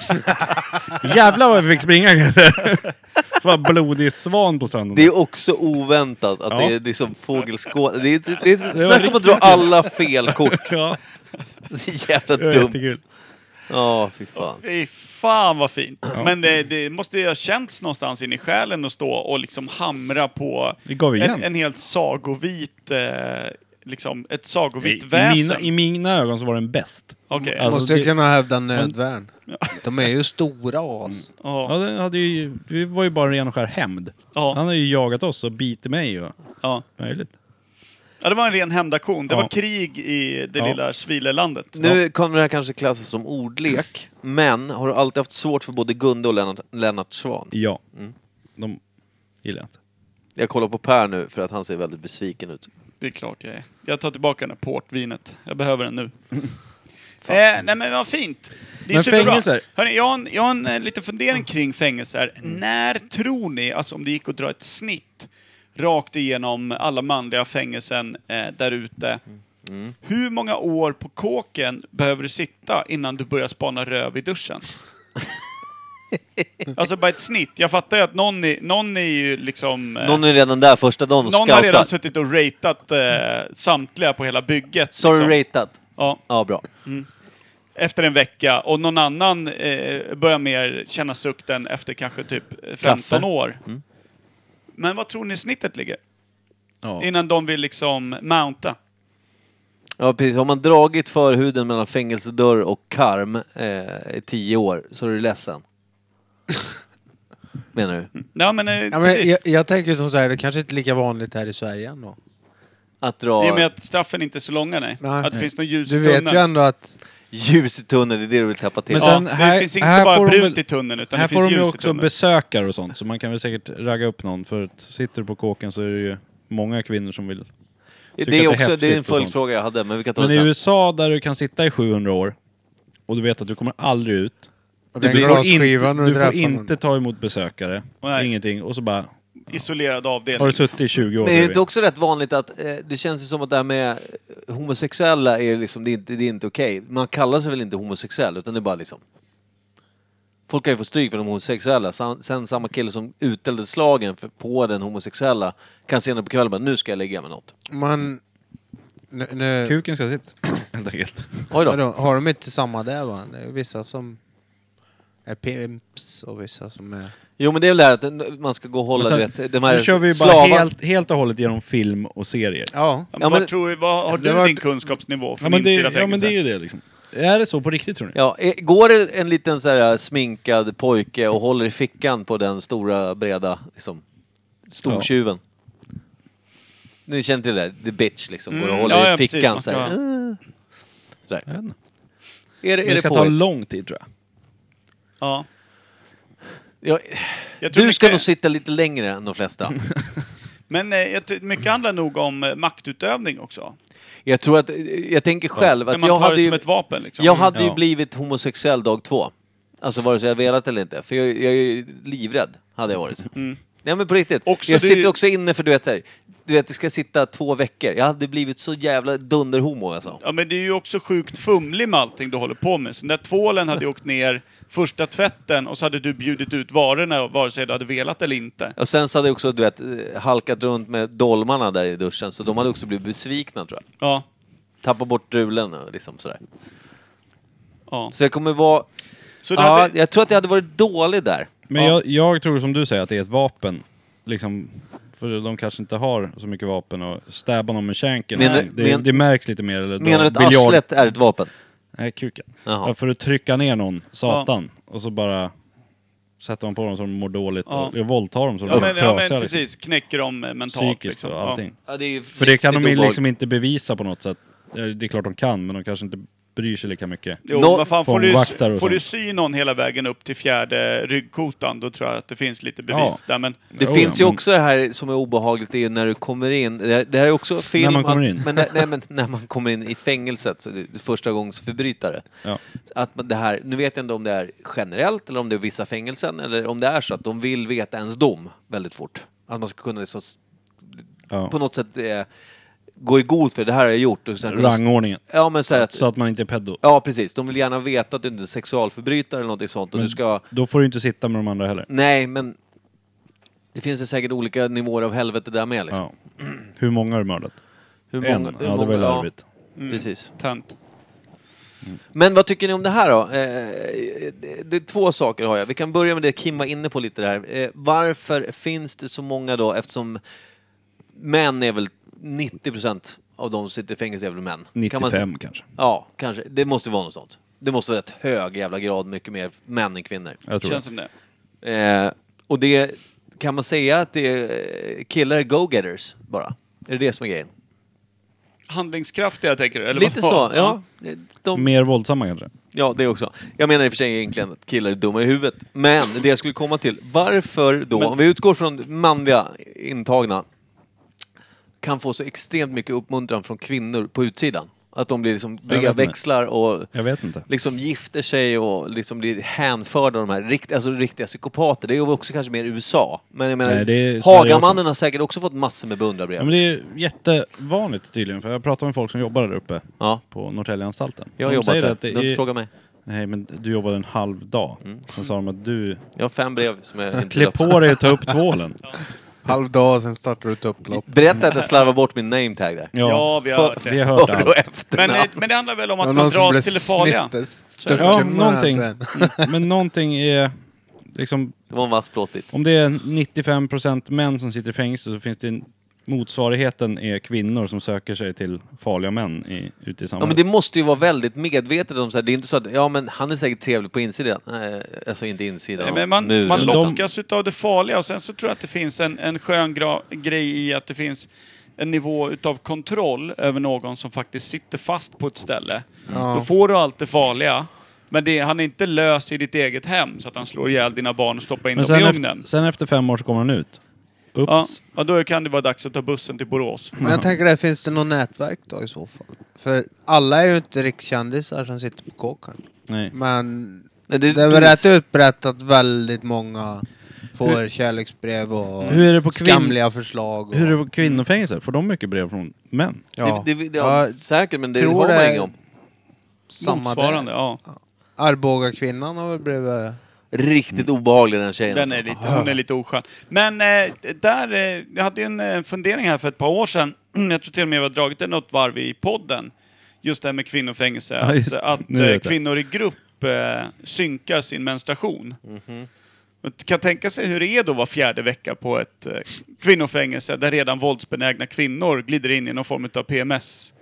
[SPEAKER 3] Jävlar vad vi fick springa! det var en blodig svan på stranden.
[SPEAKER 1] Det är också oväntat att
[SPEAKER 3] Ja.
[SPEAKER 1] det är liksom fågelskåd... Det är, det är,
[SPEAKER 3] Det var
[SPEAKER 1] snacka om att
[SPEAKER 3] riktigt
[SPEAKER 1] dra
[SPEAKER 3] kul.
[SPEAKER 1] alla fel kort!
[SPEAKER 3] ja.
[SPEAKER 1] Så jävla
[SPEAKER 3] Det var
[SPEAKER 1] dumt.
[SPEAKER 3] jättekul.
[SPEAKER 1] Ja, fy fan.
[SPEAKER 2] Fy fan vad fint! Men det, det måste ju ha känts någonstans in i själen att stå och liksom hamra på
[SPEAKER 3] Vi gav igen.
[SPEAKER 2] en, en helt sagovit, eh, liksom ett sagovitt
[SPEAKER 3] I, mina,
[SPEAKER 2] väsen.
[SPEAKER 3] I mina ögon så var den bäst.
[SPEAKER 2] Okej.
[SPEAKER 3] Alltså,
[SPEAKER 4] Måste
[SPEAKER 3] det-
[SPEAKER 4] jag kunna hävda nödvärn. De är ju stora as.
[SPEAKER 3] Ja,
[SPEAKER 2] Ja,
[SPEAKER 3] den hade ju, det var ju bara ren och skär hämnd.
[SPEAKER 2] Ja.
[SPEAKER 3] Han har ju jagat oss och bitit mig och
[SPEAKER 2] ja.
[SPEAKER 3] möjligt.
[SPEAKER 2] ja, det var en ren hämndaktion. Det
[SPEAKER 3] Ja.
[SPEAKER 2] var krig i det
[SPEAKER 3] Ja.
[SPEAKER 2] lilla Svilelandet.
[SPEAKER 1] Nu kommer det här kanske klassas som ordlek, men har du alltid haft svårt för både Gunde och Lennart, Lennart Svan?
[SPEAKER 3] Ja.
[SPEAKER 1] Mm.
[SPEAKER 3] De gillar jag inte.
[SPEAKER 1] Jag kollar på Per nu för att han ser väldigt besviken ut.
[SPEAKER 2] Det är klart jag är. Jag tar tillbaka den här portvinet. Jag behöver den nu. Eh, nej men vad fint. Det är
[SPEAKER 3] Men
[SPEAKER 2] superbra.
[SPEAKER 3] fängelser? Mm.
[SPEAKER 2] Hörrni, jag har en, jag har en eh, liten fundering kring fängelser. När tror ni, alltså om det gick att dra ett snitt rakt igenom alla manliga fängelsen eh, där ute.
[SPEAKER 3] Mm.
[SPEAKER 2] Hur många år på kåken behöver du sitta innan du börjar spana röv i duschen? alltså bara ett snitt. Jag fattar ju att någon är, någon är ju liksom...
[SPEAKER 3] Äh.
[SPEAKER 2] eh,
[SPEAKER 1] Någon är redan där första dagen och
[SPEAKER 2] någon har redan
[SPEAKER 1] scoutat.
[SPEAKER 2] suttit och ratat eh, samtliga på hela bygget.
[SPEAKER 1] Så har
[SPEAKER 2] liksom.
[SPEAKER 1] du ratat?
[SPEAKER 2] Ja,
[SPEAKER 1] Ja, bra.
[SPEAKER 2] efter en vecka. Och någon annan eh, börjar mer känna sukten efter kanske typ 15
[SPEAKER 1] Kaffe. Mm.
[SPEAKER 2] år. Men vad tror ni snittet ligger?
[SPEAKER 3] Ja.
[SPEAKER 2] Innan de vill liksom mounta.
[SPEAKER 1] Ja precis, har man dragit förhuden mellan fängelsedörr och karm eh, i tio år så är du ledsen. Menar du?
[SPEAKER 2] Ja, men, eh,
[SPEAKER 4] Ja, men
[SPEAKER 2] precis.
[SPEAKER 4] jag, jag tänker som så här, det kanske inte är lika vanligt här i Sverige ändå.
[SPEAKER 1] Att
[SPEAKER 2] I och med
[SPEAKER 1] dra
[SPEAKER 2] att straffen inte är så långa, nej.
[SPEAKER 4] Nej.
[SPEAKER 2] Att det finns något ljus
[SPEAKER 4] Du
[SPEAKER 2] i
[SPEAKER 4] vet ju
[SPEAKER 2] tunneln.
[SPEAKER 4] ändå att...
[SPEAKER 1] ljus i tunneln, det är det du vill täppa till.
[SPEAKER 3] Men
[SPEAKER 2] Ja,
[SPEAKER 3] sen-
[SPEAKER 2] det
[SPEAKER 3] här-
[SPEAKER 2] finns inte
[SPEAKER 3] här
[SPEAKER 2] bara
[SPEAKER 3] får de
[SPEAKER 2] brunt
[SPEAKER 3] väl-
[SPEAKER 2] i tunneln, utan
[SPEAKER 3] här
[SPEAKER 2] det finns
[SPEAKER 3] får de ju
[SPEAKER 2] ljus i
[SPEAKER 3] också
[SPEAKER 2] tunneln.
[SPEAKER 3] besökare och sånt, så man kan väl säkert ragga upp någon. För att sitter du på kåken så är det ju många kvinnor som vill...
[SPEAKER 1] det,
[SPEAKER 3] tycker att det
[SPEAKER 1] är
[SPEAKER 3] är
[SPEAKER 1] också, det
[SPEAKER 3] häftigt
[SPEAKER 1] är en
[SPEAKER 3] och sånt.
[SPEAKER 1] följdfråga jag hade, men vi kan ta
[SPEAKER 3] Men i
[SPEAKER 1] det sen.
[SPEAKER 3] USA där du kan sitta i 700 år och du vet att du kommer aldrig ut.
[SPEAKER 4] Och
[SPEAKER 3] Du
[SPEAKER 4] den
[SPEAKER 3] blir-
[SPEAKER 4] glasskivan när
[SPEAKER 3] du
[SPEAKER 4] du
[SPEAKER 3] får
[SPEAKER 4] träffar
[SPEAKER 3] inte
[SPEAKER 4] någon.
[SPEAKER 3] ta emot besökare.
[SPEAKER 2] Nej.
[SPEAKER 3] Ingenting. Och så bara...
[SPEAKER 2] Isolerad
[SPEAKER 3] Har
[SPEAKER 2] avdelning.
[SPEAKER 3] du suttit i 20
[SPEAKER 1] Men är
[SPEAKER 3] år
[SPEAKER 1] det
[SPEAKER 3] bredvid?
[SPEAKER 1] inte också rätt vanligt att eh, det känns ju som att det här med homosexuella är liksom, det är inte, det är inte okej. Man kallar sig väl inte homosexuell, utan det är bara liksom... Folk kan ju få stryk för de homosexuella, sen, sen samma kille som utdelade slagen för, på den homosexuella kan senare på kvällen bara, nu ska jag lägga med något.
[SPEAKER 4] Man... Nu, nu,
[SPEAKER 3] Kuken ska sitta, helt enkelt.
[SPEAKER 1] Oj då.
[SPEAKER 4] vadå, har de inte samma där va? Det är vissa som är pimps och vissa som är...
[SPEAKER 1] Jo men det är väl det här att man ska gå och hålla
[SPEAKER 3] Men sen-
[SPEAKER 1] rätt. De här
[SPEAKER 3] Nu kör vi bara
[SPEAKER 1] slavar-
[SPEAKER 3] helt, helt och hållet genom film och serier.
[SPEAKER 4] Ja.
[SPEAKER 2] Ja, men
[SPEAKER 1] Ja, men-
[SPEAKER 2] vad, tror, du- vad har
[SPEAKER 4] Det
[SPEAKER 2] du
[SPEAKER 4] var-
[SPEAKER 2] din kunskapsnivå från
[SPEAKER 3] Ja men, det,
[SPEAKER 2] insida
[SPEAKER 3] ja men det
[SPEAKER 2] fängelse?
[SPEAKER 3] är ju det liksom. Är det så på riktigt tror ni?
[SPEAKER 1] Ja, eh, går det en liten så här sminkad pojke och håller i fickan på den stora breda liksom, stortjuven. Ni känner till det där, the bitch liksom, går och
[SPEAKER 2] Mm,
[SPEAKER 1] håller
[SPEAKER 2] ja,
[SPEAKER 1] i
[SPEAKER 2] ja, precis.
[SPEAKER 1] fickan
[SPEAKER 2] Man
[SPEAKER 1] så
[SPEAKER 2] ska
[SPEAKER 1] här. eh, Sådär.
[SPEAKER 3] Jag vet inte.
[SPEAKER 1] Är det,
[SPEAKER 3] Det,
[SPEAKER 1] är det
[SPEAKER 3] ska ta
[SPEAKER 1] på?
[SPEAKER 3] lång tid tror jag.
[SPEAKER 2] Ja.
[SPEAKER 1] Ja,
[SPEAKER 2] Jag tror
[SPEAKER 1] du ska
[SPEAKER 2] mycket-
[SPEAKER 1] nog sitta lite längre än de flesta.
[SPEAKER 2] Men eh, jag ty- mycket handlar nog om eh, maktutövning också.
[SPEAKER 1] Jag tror att, jag tänker själv
[SPEAKER 2] Men
[SPEAKER 1] att
[SPEAKER 2] man
[SPEAKER 1] jag
[SPEAKER 2] tar
[SPEAKER 1] hade
[SPEAKER 2] det
[SPEAKER 1] ju,
[SPEAKER 2] som ett vapen, liksom.
[SPEAKER 1] Jag hade ju
[SPEAKER 2] Ja.
[SPEAKER 1] blivit homosexuell dag två. Alltså vare sig jag velat eller inte. För jag, jag är ju livrädd, hade jag varit. Nej men på riktigt.
[SPEAKER 2] Mm. Också
[SPEAKER 1] jag
[SPEAKER 2] det-
[SPEAKER 1] sitter också inne för du vet, så här, du vet, det ska sitta två veckor. Jag hade blivit så jävla dunderhomo alltså.
[SPEAKER 2] Ja, men det är ju också sjukt fumlig med allting du håller på med. Så den där tvålen hade ju åkt ner första tvätten och så hade du bjudit ut varorna vare sig du hade velat eller inte.
[SPEAKER 1] Och sen så hade jag också, du vet, eh, halkat runt med dolmarna där i duschen, så de hade också blivit besvikna tror jag.
[SPEAKER 2] Ja.
[SPEAKER 1] Tappat bort drulen och liksom sådär.
[SPEAKER 2] Ja.
[SPEAKER 1] Så jag kommer vara...
[SPEAKER 2] Så det
[SPEAKER 1] ja,
[SPEAKER 2] hade-
[SPEAKER 1] Jag tror att jag hade varit dålig där.
[SPEAKER 3] Men
[SPEAKER 1] ja.
[SPEAKER 3] jag, jag tror som du säger att det är ett vapen. Liksom, för de kanske inte har så mycket vapen och stäbba någon med känken.
[SPEAKER 1] Menar-
[SPEAKER 3] Nej, det,
[SPEAKER 1] men-
[SPEAKER 3] det märks lite mer. Eller
[SPEAKER 1] Menar du att
[SPEAKER 3] biljard-
[SPEAKER 1] arslet är ett vapen?
[SPEAKER 3] Nej, kuken.
[SPEAKER 1] Jaha.
[SPEAKER 3] Ja, för att trycka ner någon, satan. Och så bara sätter man på dem så de mår dåligt och, och våldtar dem så de
[SPEAKER 2] ja,
[SPEAKER 3] blir
[SPEAKER 2] men, ja,
[SPEAKER 3] trasiga.
[SPEAKER 2] men
[SPEAKER 3] liksom.
[SPEAKER 2] precis. Knäcker dem eh, mentalt.
[SPEAKER 3] Psykiskt
[SPEAKER 2] liksom.
[SPEAKER 3] och allting.
[SPEAKER 1] Ja, det är ju
[SPEAKER 3] För det kan de
[SPEAKER 1] riktigt
[SPEAKER 3] ju
[SPEAKER 1] obehagligt.
[SPEAKER 3] liksom inte bevisa på något sätt. Eh, Det är klart de kan, men de kanske inte bryr sig lika mycket.
[SPEAKER 2] Jo, men fan, får
[SPEAKER 3] Fångvaktare
[SPEAKER 2] du,
[SPEAKER 3] och
[SPEAKER 2] får du
[SPEAKER 3] sånt.
[SPEAKER 2] sy någon hela vägen upp till fjärde ryggkotan, då tror jag att det finns lite bevis
[SPEAKER 3] Ja.
[SPEAKER 2] där. Men
[SPEAKER 1] Det finns ju också det här som är obehagligt, det är ju när du kommer in. Det här- det här är också film...
[SPEAKER 3] När man kommer
[SPEAKER 1] att-
[SPEAKER 3] in.
[SPEAKER 1] Men, när- nej, men när man kommer in i fängelset, så det är första gångs förbrytare.
[SPEAKER 3] Ja.
[SPEAKER 1] Att man- det här, nu vet jag inte om det är generellt eller om det är vissa fängelsen eller om det är så att de vill veta ens dom väldigt fort. Att man ska kunna liksom,
[SPEAKER 3] Ja.
[SPEAKER 1] på något sätt eh, gå i god för det här har jag gjort. Och sen kunna-
[SPEAKER 3] Rangordningen.
[SPEAKER 1] Ja, men så, här att,
[SPEAKER 3] Så att man inte är pedo.
[SPEAKER 1] ja, precis. De vill gärna veta att du inte är sexualförbrytare eller något sånt och
[SPEAKER 3] Men
[SPEAKER 1] du ska...
[SPEAKER 3] Då får du inte sitta med de andra heller.
[SPEAKER 1] Nej, men det finns ju säkert olika nivåer av helvete där med. Liksom.
[SPEAKER 3] Ja. Hur många har du mördat?
[SPEAKER 1] Hur
[SPEAKER 3] en?
[SPEAKER 1] många- hur
[SPEAKER 3] ja, det var
[SPEAKER 1] många-
[SPEAKER 3] ju
[SPEAKER 1] ja. Mm.
[SPEAKER 3] larvigt.
[SPEAKER 1] Precis.
[SPEAKER 2] Tönt.
[SPEAKER 1] Men vad tycker ni om det här då? Eh, det- det är två saker har jag. Vi kan börja med det Kim var inne på lite där. Eh, varför finns det så många då, eftersom män är väl 90% av de som sitter i fängelse är väl män? Kan man säga.
[SPEAKER 3] 95 kanske.
[SPEAKER 1] Ja, kanske. Det måste vara något sånt. Det måste vara rätt hög jävla grad, mycket mer män än kvinnor.
[SPEAKER 3] Jag tror
[SPEAKER 2] Känns
[SPEAKER 3] det.
[SPEAKER 2] som det.
[SPEAKER 1] Eh, och det, kan man säga att det är eh, killar är go-getters bara? Är det det som är grejen?
[SPEAKER 2] Handlingskraftiga, tänker du? Eller
[SPEAKER 1] Lite
[SPEAKER 2] vad?
[SPEAKER 1] så, ja. De,
[SPEAKER 3] Mer våldsamma kanske.
[SPEAKER 1] ja, det också. Jag menar i och för sig egentligen att killar är dumma i huvudet. Men det jag skulle komma till, varför då,
[SPEAKER 2] Men-
[SPEAKER 1] om vi utgår från manliga intagna, kan få så extremt mycket uppmuntran från kvinnor på utsidan? Att de blir liksom
[SPEAKER 3] vet inte.
[SPEAKER 1] brevväxlar och
[SPEAKER 3] Jag vet inte.
[SPEAKER 1] liksom gifter sig och liksom blir hänförda av de här rikt, alltså riktiga psykopater. Det är ju också kanske mer USA. Men jag menar,
[SPEAKER 3] Nej, det är Sverige
[SPEAKER 1] Hagamannen
[SPEAKER 3] också.
[SPEAKER 1] har säkert också fått massor med beundrarbrev.
[SPEAKER 3] Ja, men det är jättevanligt tydligen, för jag pratar med folk som jobbar där uppe
[SPEAKER 1] Ja.
[SPEAKER 3] på Norrtäljeanstalten.
[SPEAKER 1] Jag har
[SPEAKER 3] De
[SPEAKER 1] jobbat
[SPEAKER 3] säger
[SPEAKER 1] där.
[SPEAKER 3] att
[SPEAKER 1] Du
[SPEAKER 3] det
[SPEAKER 1] har inte
[SPEAKER 3] är...
[SPEAKER 1] frågat mig.
[SPEAKER 3] Nej, men du jobbade en halv dag. Sen sa de att du...
[SPEAKER 1] Jag har fem brev som jag inte
[SPEAKER 3] Klä
[SPEAKER 1] löpt.
[SPEAKER 3] på dig och ta upp tvålen.
[SPEAKER 4] Halv dag, sen startar du ett upplopp.
[SPEAKER 1] Berätta att jag slarvade bort min nametag där.
[SPEAKER 2] Ja, vi har hört
[SPEAKER 3] Vi
[SPEAKER 2] det.
[SPEAKER 3] har hört
[SPEAKER 1] För och
[SPEAKER 3] allt.
[SPEAKER 1] efternamn.
[SPEAKER 2] Men, eh, men det handlar väl om
[SPEAKER 4] Det var
[SPEAKER 2] att man
[SPEAKER 4] någon som blev
[SPEAKER 2] dras till det farliga?
[SPEAKER 4] snittet stucken
[SPEAKER 3] Ja,
[SPEAKER 4] med den här
[SPEAKER 3] någonting.
[SPEAKER 4] träden.
[SPEAKER 3] Men någonting är... Liksom,
[SPEAKER 1] Det var en vass plåtbit.
[SPEAKER 3] om det är 95% män som sitter i fängelse så finns det en... Motsvarigheten är kvinnor som söker sig till farliga män i, ute i
[SPEAKER 1] Ja, men
[SPEAKER 3] samhället.
[SPEAKER 1] det måste ju vara väldigt medvetet om så här. Det är inte så att, ja men han är säkert trevlig på insidan. Nej, alltså inte insidan
[SPEAKER 2] Nej,
[SPEAKER 1] av
[SPEAKER 2] men man,
[SPEAKER 1] muren.
[SPEAKER 2] man
[SPEAKER 3] de-
[SPEAKER 2] lockas utav det farliga och sen så tror jag att det finns en, en skön gra- grej i att det finns en nivå utav kontroll över någon som faktiskt sitter fast på ett ställe. Då får du allt det farliga, men det, han är inte lös i ditt eget hem så att han slår ihjäl dina barn och stoppar in
[SPEAKER 3] Men
[SPEAKER 2] dem i
[SPEAKER 3] sen,
[SPEAKER 2] ugnen.
[SPEAKER 3] efter, sen efter fem år så kommer han ut. Ups.
[SPEAKER 2] Ja, ja, då kan det vara dags att ta bussen till Borås.
[SPEAKER 4] Men jag tänker där, finns det något nätverk då i så fall? För alla är ju inte rikskändisar som sitter på kåkan.
[SPEAKER 3] Nej.
[SPEAKER 4] Men
[SPEAKER 1] Nej,
[SPEAKER 4] det, är väl rätt utbrett att väldigt många får kärleksbrev och
[SPEAKER 3] Hur är det på kvinn-
[SPEAKER 4] skamliga förslag. Och,
[SPEAKER 3] Hur är det på kvinnofängelser? Får de mycket brev från män?
[SPEAKER 4] ja.
[SPEAKER 1] Det, det, det, ja,
[SPEAKER 4] ja,
[SPEAKER 1] säkert, men det
[SPEAKER 4] tror
[SPEAKER 1] har man
[SPEAKER 4] det-
[SPEAKER 1] inget om.
[SPEAKER 4] samma
[SPEAKER 2] Motsvarande,
[SPEAKER 4] där.
[SPEAKER 2] ja.
[SPEAKER 4] Arboga kvinnan har väl blivit...
[SPEAKER 1] Riktigt obehaglig den tjejen.
[SPEAKER 2] Mm. Den
[SPEAKER 1] alltså.
[SPEAKER 2] är lite, hon är lite oskön. Men eh, där, eh, jag hade ju en eh, fundering här för ett par år sedan. Jag tror till och med vi har dragit den något varv i podden. Just det här med kvinnofängelse.
[SPEAKER 3] Ja, just
[SPEAKER 2] att
[SPEAKER 3] det.
[SPEAKER 2] att
[SPEAKER 3] Nu vet
[SPEAKER 2] eh,
[SPEAKER 3] jag.
[SPEAKER 2] kvinnor i grupp eh, synkar sin menstruation.
[SPEAKER 3] Mhm.
[SPEAKER 2] Man Kan tänka sig hur det är då var fjärde vecka på ett eh, kvinnofängelse där redan våldsbenägna kvinnor glider in i någon form av PMS.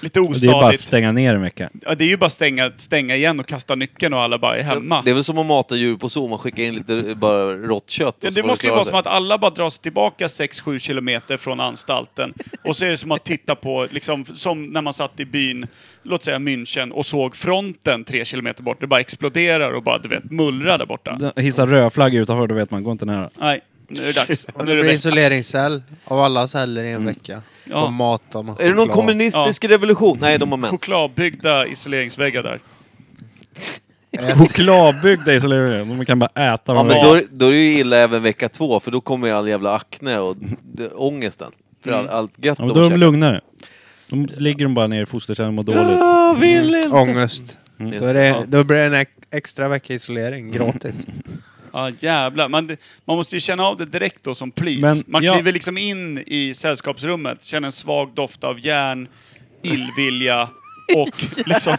[SPEAKER 2] Lite
[SPEAKER 3] Det är bara att
[SPEAKER 2] ostadigt.
[SPEAKER 3] stänga ner en vecka.
[SPEAKER 2] Ja, det är ju bara stänga, stänga igen och kasta nyckeln och alla bara är hemma.
[SPEAKER 1] Det är väl som att mata djur på zoo, man skickar in lite eh, bara rått kött. och
[SPEAKER 2] Ja,
[SPEAKER 1] så
[SPEAKER 2] det
[SPEAKER 1] får
[SPEAKER 2] måste ju
[SPEAKER 1] klara
[SPEAKER 2] vara
[SPEAKER 1] sig.
[SPEAKER 2] som att alla bara dras tillbaka 6-7 kilometer från anstalten. Och så är det som att titta på, liksom, som när man satt i byn, låt säga München, och såg fronten 3 kilometer bort. Det bara exploderar och bara, du vet, mullrar där borta.
[SPEAKER 3] Den- Hissar röd flagg utanför, då vet man, gå inte nära.
[SPEAKER 2] Nej. Nu är det dags.
[SPEAKER 4] Och
[SPEAKER 2] Nu är
[SPEAKER 4] det
[SPEAKER 2] det
[SPEAKER 4] blir
[SPEAKER 2] dags.
[SPEAKER 4] isoleringscell av alla celler i en vecka.
[SPEAKER 2] Ja.
[SPEAKER 4] Och matar med
[SPEAKER 1] Är det någon
[SPEAKER 4] choklad.
[SPEAKER 1] kommunistisk revolution? Nej, de har mens.
[SPEAKER 2] Chokladbyggda isoleringsväggar där.
[SPEAKER 3] Eh, Chokladbyggda isoleringar. De kan bara äta
[SPEAKER 1] Ja,
[SPEAKER 3] vad de
[SPEAKER 1] men
[SPEAKER 3] vill.
[SPEAKER 1] då, då är det ju illa även vecka två, för då kommer ju all jävla akne och d- ångesten. För
[SPEAKER 2] Mm.
[SPEAKER 1] all, allt gött
[SPEAKER 3] Ja, men
[SPEAKER 1] de
[SPEAKER 3] då är
[SPEAKER 1] käkar.
[SPEAKER 3] de lugnare. Då ligger de bara ner i fosterställning och mår dåligt.
[SPEAKER 1] Jag Ah, vill
[SPEAKER 4] Mm.
[SPEAKER 1] inte.
[SPEAKER 4] Ångest.
[SPEAKER 1] Mm.
[SPEAKER 4] Då, är det, då blir det en ex- extra vecka
[SPEAKER 2] Mm.
[SPEAKER 4] isolering gratis.
[SPEAKER 2] Ja, jävlar. Man, man måste ju känna av det direkt då som plit.
[SPEAKER 3] Men
[SPEAKER 2] man
[SPEAKER 3] jag-
[SPEAKER 2] kliver liksom in i sällskapsrummet, känner en svag doft av järn, illvilja och liksom...